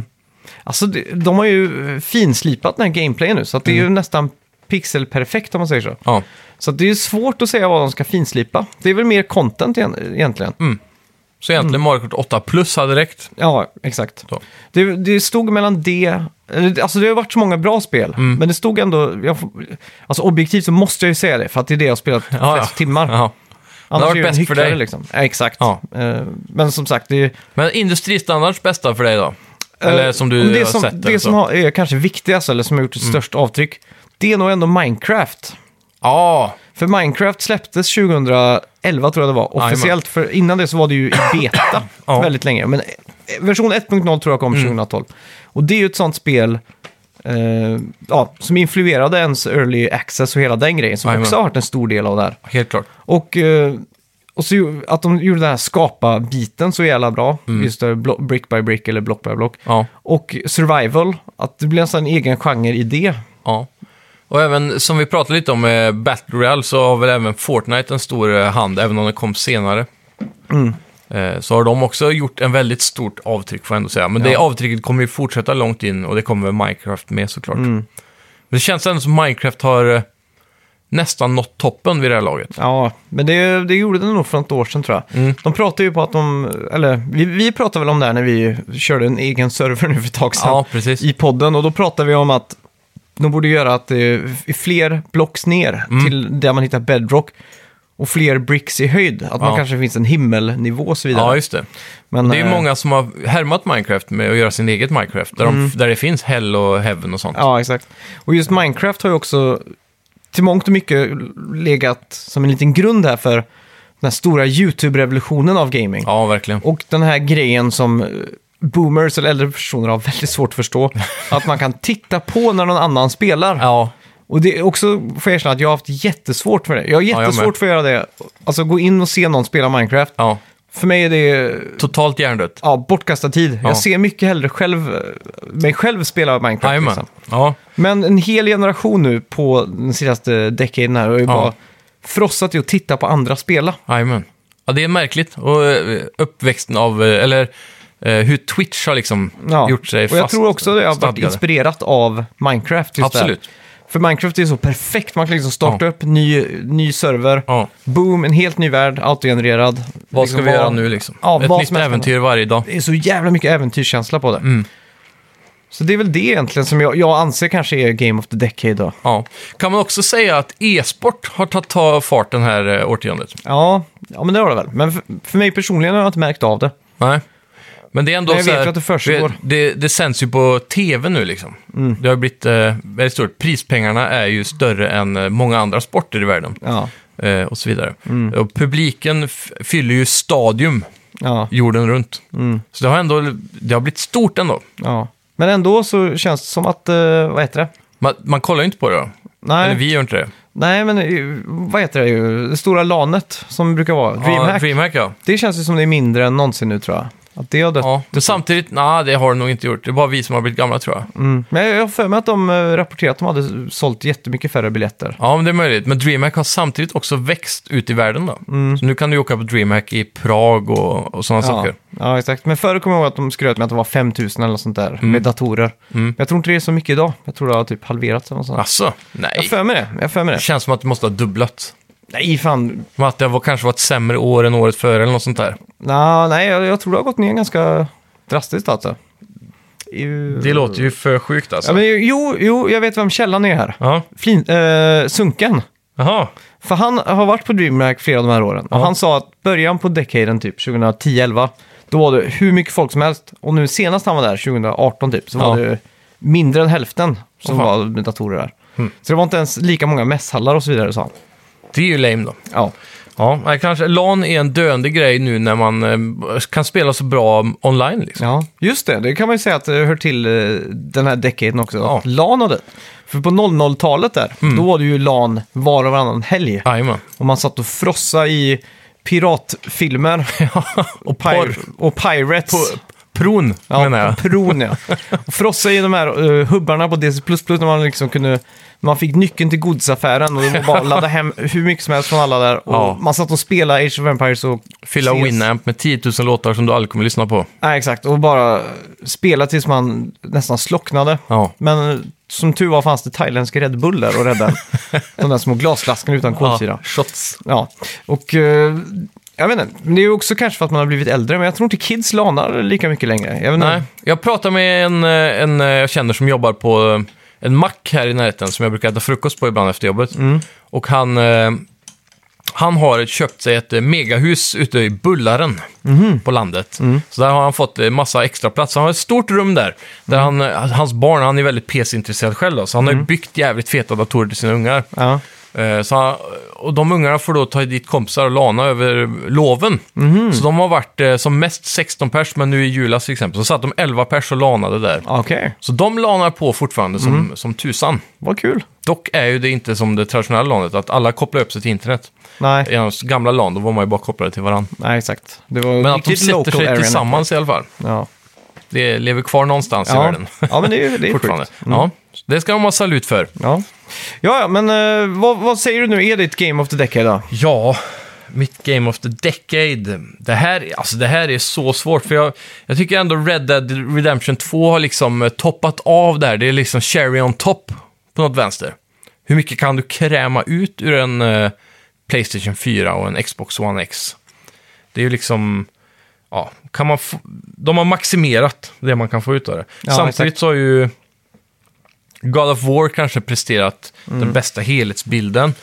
[SPEAKER 1] alltså, de, de har ju finslipat den här gameplayen nu, så att det är
[SPEAKER 2] Mm.
[SPEAKER 1] ju nästan pixelperfekt om man säger så.
[SPEAKER 2] Ja.
[SPEAKER 1] Så att det är ju svårt att säga vad de ska finslipa. Det är väl mer content igen- egentligen.
[SPEAKER 2] Mm. Så egentligen
[SPEAKER 1] Mm.
[SPEAKER 2] Mario Kart 8 plus hade räckt.
[SPEAKER 1] Ja, exakt.
[SPEAKER 2] Så.
[SPEAKER 1] Det, det stod mellan det... eller, Alltså det har varit så många bra spel,
[SPEAKER 2] Mm.
[SPEAKER 1] men det stod ändå... Jag, får- alltså objektivt så måste jag ju säga det, för att det är det jag har spelat
[SPEAKER 2] Ja,
[SPEAKER 1] flest
[SPEAKER 2] ja.
[SPEAKER 1] timmar.
[SPEAKER 2] Ja.
[SPEAKER 1] Annars
[SPEAKER 2] varit
[SPEAKER 1] är jag en
[SPEAKER 2] bäst för
[SPEAKER 1] hycklare,
[SPEAKER 2] dig.
[SPEAKER 1] Liksom. Ja, exakt.
[SPEAKER 2] Ja.
[SPEAKER 1] Eh, men som sagt, det är...
[SPEAKER 2] Men industristandards bästa för dig då? Eller
[SPEAKER 1] eh,
[SPEAKER 2] som du
[SPEAKER 1] om det
[SPEAKER 2] har
[SPEAKER 1] som,
[SPEAKER 2] sett? eller
[SPEAKER 1] Det
[SPEAKER 2] så. Mm.
[SPEAKER 1] som har, är kanske viktigast, eller som har gjort ett störst avtryck, det är nog ändå Minecraft.
[SPEAKER 2] Ja,
[SPEAKER 1] För Minecraft släpptes 2011 tror jag det var,
[SPEAKER 2] Jajamän.
[SPEAKER 1] officiellt. För innan det så var det ju i beta
[SPEAKER 2] Ja. Mm.
[SPEAKER 1] väldigt länge. Men eh, version 1.0 tror jag kom 2012. Och det är ju ett sånt spel eh, ja, som influerade ens early access och hela den grejen. Som
[SPEAKER 2] Jajamän.
[SPEAKER 1] också har varit en stor del av det här.
[SPEAKER 2] helt klart.
[SPEAKER 1] Och, eh, och så ju- att de gjorde den här skapa-biten så jävla bra. Just det, blo- brick by brick eller block by block.
[SPEAKER 2] Mm. Ja,
[SPEAKER 1] Och survival, att det blir nästan en egen genre i det.
[SPEAKER 2] ja. Och även som vi pratade lite om eh, Battle Royale så har väl även Fortnite en stor eh, hand, även om den kom senare.
[SPEAKER 1] Mm.
[SPEAKER 2] Eh, Så har de också gjort en väldigt stort avtryck får jag ändå säga. Men det
[SPEAKER 1] Ja.
[SPEAKER 2] avtrycket kommer ju fortsätta långt in och det kommer väl Minecraft med såklart.
[SPEAKER 1] Mm.
[SPEAKER 2] Men det känns ändå som Minecraft har eh, nästan nått toppen vid det här laget.
[SPEAKER 1] Ja, men det, det gjorde den nog för något år sedan tror jag.
[SPEAKER 2] Mm.
[SPEAKER 1] De pratar ju på att de, eller vi, vi pratade väl om det här när vi körde en egen server nu för ett tag sedan.
[SPEAKER 2] Ja, precis.
[SPEAKER 1] I podden och då pratade vi om att de borde göra att det är fler blocks ner
[SPEAKER 2] Mm.
[SPEAKER 1] till där man hittar bedrock och fler bricks i höjd. Att man
[SPEAKER 2] Ja.
[SPEAKER 1] kanske finns en himmelnivå och så vidare.
[SPEAKER 2] Ja, just det.
[SPEAKER 1] men,
[SPEAKER 2] Det är ju
[SPEAKER 1] eh,
[SPEAKER 2] många som har härmat Minecraft med att göra sin eget Minecraft, där, de, där det finns Hell och Heaven och sånt.
[SPEAKER 1] Mm. Ja, exakt. Och just Minecraft har ju också till mångt och mycket legat som en liten grund här för den här stora YouTube-revolutionen av gaming.
[SPEAKER 2] Ja, verkligen.
[SPEAKER 1] Och den här grejen som eh, boomers eller äldre personer har väldigt svårt att förstå. att man kan titta på när någon annan spelar.
[SPEAKER 2] Ja,
[SPEAKER 1] Och det är också, får jag erkänna, att jag har haft jättesvårt för det. Jag har
[SPEAKER 2] jag med.
[SPEAKER 1] jättesvårt för att göra det. Alltså gå in och se någon spela Minecraft.
[SPEAKER 2] ja.
[SPEAKER 1] För mig är det
[SPEAKER 2] Totalt hjärndött.
[SPEAKER 1] ja, bortkastad tid.
[SPEAKER 2] Ja.
[SPEAKER 1] Jag ser mycket hellre själv, eh, mig själv spela Minecraft.
[SPEAKER 2] Jajamän.
[SPEAKER 1] liksom.
[SPEAKER 2] Ja,
[SPEAKER 1] Men en hel generation nu på den senaste decaden här har ju
[SPEAKER 2] Ja.
[SPEAKER 1] bara frossat i att titta på andra spela.
[SPEAKER 2] jajamän. Ja, det är märkligt. Och eh, uppväxten av, eh, eller eh, hur Twitch har liksom
[SPEAKER 1] Ja.
[SPEAKER 2] gjort sig
[SPEAKER 1] Och jag
[SPEAKER 2] fast
[SPEAKER 1] tror också det har varit
[SPEAKER 2] stadgade.
[SPEAKER 1] inspirerat av Minecraft. Just
[SPEAKER 2] Absolut.
[SPEAKER 1] Där. För Minecraft är så perfekt. Man kan liksom starta
[SPEAKER 2] Ja.
[SPEAKER 1] upp ny, ny server.
[SPEAKER 2] Ja.
[SPEAKER 1] Boom, en helt ny värld, autogenererad.
[SPEAKER 2] Vad
[SPEAKER 1] Liksom
[SPEAKER 2] ska vi göra
[SPEAKER 1] vad-
[SPEAKER 2] nu liksom?
[SPEAKER 1] Ja,
[SPEAKER 2] Ett
[SPEAKER 1] vad
[SPEAKER 2] nytt
[SPEAKER 1] som helst.
[SPEAKER 2] äventyr varje dag.
[SPEAKER 1] Det är så jävla mycket äventyrskänsla på det.
[SPEAKER 2] Mm.
[SPEAKER 1] Så det är väl det egentligen som jag, jag anser kanske är Game of the Decade då.
[SPEAKER 2] Ja. Kan man också säga att e-sport har tagit ta fart den här eh, årtiondet?
[SPEAKER 1] Ja, ja men det har det väl. Men för, för mig personligen har jag inte märkt av det.
[SPEAKER 2] Nej. Men det är ändå
[SPEAKER 1] Men jag
[SPEAKER 2] så
[SPEAKER 1] vet
[SPEAKER 2] här,
[SPEAKER 1] ju att det försiggår. Mm.
[SPEAKER 2] Det, det sänds ju på tv nu liksom. Det har ju blivit eh, väldigt stort. Prispengarna är ju större än eh, många andra sporter i världen.
[SPEAKER 1] Ja,
[SPEAKER 2] Eh, och så vidare.
[SPEAKER 1] Mm.
[SPEAKER 2] Och publiken f- fyller ju stadium
[SPEAKER 1] ja,
[SPEAKER 2] jorden runt.
[SPEAKER 1] Mm.
[SPEAKER 2] Så det har ändå det har blivit stort ändå.
[SPEAKER 1] ja. Men ändå så känns det som att, eh, vad heter det?
[SPEAKER 2] Man, man kollar ju inte på det då.
[SPEAKER 1] Nej,
[SPEAKER 2] Eller vi gör inte det.
[SPEAKER 1] nej men eh, vad heter det? Det stora LANet som brukar vara,
[SPEAKER 2] Ja,
[SPEAKER 1] DreamHack.
[SPEAKER 2] DreamHack ja.
[SPEAKER 1] Det känns ju som det är mindre än någonsin nu tror jag. Att det har dött.
[SPEAKER 2] ja. Men samtidigt, nej det har det nog inte gjort. Det är bara vi som har blivit gamla tror jag.
[SPEAKER 1] Mm. Men jag jag har för mig att de eh, rapporterat att de hade sålt jättemycket färre biljetter.
[SPEAKER 2] Ja, men det är möjligt. Men DreamHack har samtidigt också växt ut i världen då. Så nu kan du ju åka på DreamHack i Prag och, och sådana
[SPEAKER 1] Ja,
[SPEAKER 2] saker.
[SPEAKER 1] ja, exakt. Men förr kommer jag ihåg att de skröt med att det var 5000 eller något sånt där
[SPEAKER 2] Mm.
[SPEAKER 1] med datorer. Men jag tror inte det är så mycket idag. Jag tror det har typ halverats eller något sånt.
[SPEAKER 2] Alltså,
[SPEAKER 1] Jag har
[SPEAKER 2] nej.
[SPEAKER 1] för mig det. Jag har för mig
[SPEAKER 2] Det
[SPEAKER 1] det.
[SPEAKER 2] känns som att det måste ha dubblat.
[SPEAKER 1] Nej, fan.
[SPEAKER 2] Men att det var, kanske var ett sämre år än året före eller något sånt där.
[SPEAKER 1] Nå, nej, jag, jag tror det har gått ner ganska drastiskt alltså. Ju-
[SPEAKER 2] Det låter ju för sjukt alltså.
[SPEAKER 1] Ja, men, jo, jo, jag vet vem källan är här.
[SPEAKER 2] Ja.
[SPEAKER 1] Flin, eh, sunken.
[SPEAKER 2] Jaha.
[SPEAKER 1] För han har varit på DreamHack flera av de här åren. Och han sa att början på decaden, typ 2010-11, då var det hur mycket folk som helst. Och nu senast han var där, 2018 typ, så var
[SPEAKER 2] Ja.
[SPEAKER 1] det mindre än hälften som
[SPEAKER 2] Åh, fan.
[SPEAKER 1] var med datorer där. Så det var inte ens lika många mässhallar och så vidare, sa han.
[SPEAKER 2] Det är ju lame då.
[SPEAKER 1] Ja,
[SPEAKER 2] Ja, nej, kanske. LAN är en döende grej nu när man eh, kan spela så bra online liksom.
[SPEAKER 1] ja. just det. Det kan man ju säga att det hör till eh, den här decaden också.
[SPEAKER 2] Ja.
[SPEAKER 1] LAN och det. För på 00-talet där, då var det ju LAN var och varannan helg.
[SPEAKER 2] Jajamän.
[SPEAKER 1] Och man satt och frossa i piratfilmer
[SPEAKER 2] och
[SPEAKER 1] Pir-
[SPEAKER 2] porr.
[SPEAKER 1] och Pirates.
[SPEAKER 2] På- Pron, menar
[SPEAKER 1] Ja,
[SPEAKER 2] jag.
[SPEAKER 1] Pron ja. Och Frossa i de här eh, hubbarna på DC++ när man liksom kunde... när Man fick nyckeln till godisaffären och det var bara att ladda hem hur mycket som helst från alla där. Och
[SPEAKER 2] Ja.
[SPEAKER 1] Man satt och spelade Age of Empires och...
[SPEAKER 2] Fylla
[SPEAKER 1] CS.
[SPEAKER 2] Winamp med 10 000 låtar som du aldrig kommer lyssna på.
[SPEAKER 1] Nej, exakt. Och bara spela tills man nästan slocknade.
[SPEAKER 2] Ja.
[SPEAKER 1] Men eh, som tur var fanns det thailändsk Red Bull där och räddade de där små glasflaskorna utan kolsyra.
[SPEAKER 2] Ja, shots.
[SPEAKER 1] Ja, och eh, jag vet inte, men det är ju också kanske för att man har blivit äldre, men jag tror inte kids lanar lika mycket längre. Jag vet inte.
[SPEAKER 2] Nej, jag pratade med en, eh, en eh, jag känner som jobbar på eh, en mack här i närheten som jag brukar äta frukost på ibland efter jobbet. Och han, eh, han har köpt sig ett eh, megahus ute i Bullaren på landet. Så där har han fått eh, massa extra plats. Han har ett stort rum där. där han, eh, hans barn, han är väldigt PC-intresserad själv då, så han har ju byggt jävligt feta datorer till sina ungar.
[SPEAKER 1] Ja.
[SPEAKER 2] Eh, Så, han- och de ungarna får då ta dit kompisar och lana över loven.
[SPEAKER 1] Mhm.
[SPEAKER 2] Så de har varit eh, som mest 16 pers, men nu i julas till exempel så satt de 11 pers och lanade där.
[SPEAKER 1] Okej,
[SPEAKER 2] Så de lanar på fortfarande som,
[SPEAKER 1] Mhm.
[SPEAKER 2] som tusan.
[SPEAKER 1] vad kul.
[SPEAKER 2] Dock är ju det inte som det traditionella lanet, att alla kopplar upp sig till internet. I
[SPEAKER 1] Nej,
[SPEAKER 2] hans gamla lan, då var man ju bara kopplade till varandra.
[SPEAKER 1] nej exakt. Det var
[SPEAKER 2] Men att de sätter sig
[SPEAKER 1] area
[SPEAKER 2] tillsammans i alla fall.
[SPEAKER 1] network. Ja,
[SPEAKER 2] Det lever kvar någonstans i
[SPEAKER 1] ja.
[SPEAKER 2] världen.
[SPEAKER 1] ja men det är, det är
[SPEAKER 2] fortfarande.
[SPEAKER 1] sjukt. Mm.
[SPEAKER 2] Ja, så det ska de ha salut för.
[SPEAKER 1] Ja. Ja, ja, men eh, vad, vad säger du nu? Är ditt Game of the Decade då?
[SPEAKER 2] Ja, mitt Game of the Decade. Det här, alltså det här är så svårt, för jag, jag tycker ändå Red Dead Redemption 2 har liksom eh, toppat av där. Det är liksom cherry on top på något vänster. Hur mycket kan du kräma ut ur en eh, Playstation 4 och en Xbox One X? Det är ju liksom... Ja, kan man få, de har maximerat det man kan få ut av det.
[SPEAKER 1] Ja,
[SPEAKER 2] Samtidigt
[SPEAKER 1] exakt.
[SPEAKER 2] så har ju God of War kanske presterat
[SPEAKER 1] Mm.
[SPEAKER 2] den bästa helhetsbilden.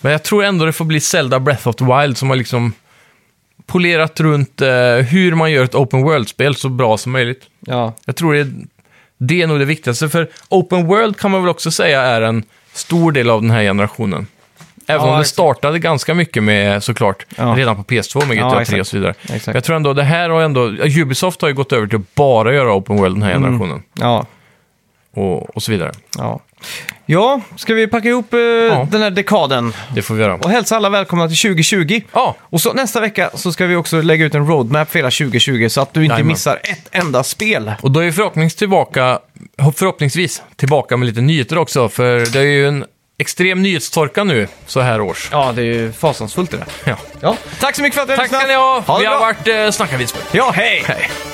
[SPEAKER 2] Men jag tror ändå det får bli Zelda Breath of the Wild som har liksom polerat runt eh, hur man gör ett open world-spel så bra som möjligt.
[SPEAKER 1] Ja,
[SPEAKER 2] Jag tror det, det är nog det viktigaste, för open world kan man väl också säga är en stor del av den här generationen. Även
[SPEAKER 1] Ja,
[SPEAKER 2] om det
[SPEAKER 1] exakt.
[SPEAKER 2] startade ganska mycket med, såklart,
[SPEAKER 1] Ja.
[SPEAKER 2] redan på PS2 med
[SPEAKER 1] Ja,
[SPEAKER 2] GTA 3
[SPEAKER 1] exakt.
[SPEAKER 2] och så vidare.
[SPEAKER 1] Exakt.
[SPEAKER 2] Men Jag tror ändå det här har ändå, Ubisoft har ju gått över till att bara göra Open World den här
[SPEAKER 1] Mm.
[SPEAKER 2] generationen.
[SPEAKER 1] Ja,
[SPEAKER 2] Och, och så vidare.
[SPEAKER 1] ja. Ja, ska vi packa ihop eh, den här dekaden
[SPEAKER 2] Det får vi göra.
[SPEAKER 1] och hälsa alla välkomna till 2020.
[SPEAKER 2] Ja,
[SPEAKER 1] Och så nästa vecka så ska vi också lägga ut en roadmap för hela 2020 så att du inte
[SPEAKER 2] Jajamän.
[SPEAKER 1] missar ett enda spel.
[SPEAKER 2] och då är vi förhoppningsvis tillbaka, förhoppningsvis tillbaka med lite nyheter också. För det är ju en extrem nyhetstorka nu, så här års.
[SPEAKER 1] Ja, det är ju fasansfullt det där.
[SPEAKER 2] Ja.
[SPEAKER 1] Ja. Tack så mycket för att du
[SPEAKER 2] Tack ska ni
[SPEAKER 1] lyssnat.
[SPEAKER 2] ha!
[SPEAKER 1] det
[SPEAKER 2] vi har
[SPEAKER 1] bra.
[SPEAKER 2] varit eh, Snacka Visby.
[SPEAKER 1] Ja, hej!
[SPEAKER 2] Hej.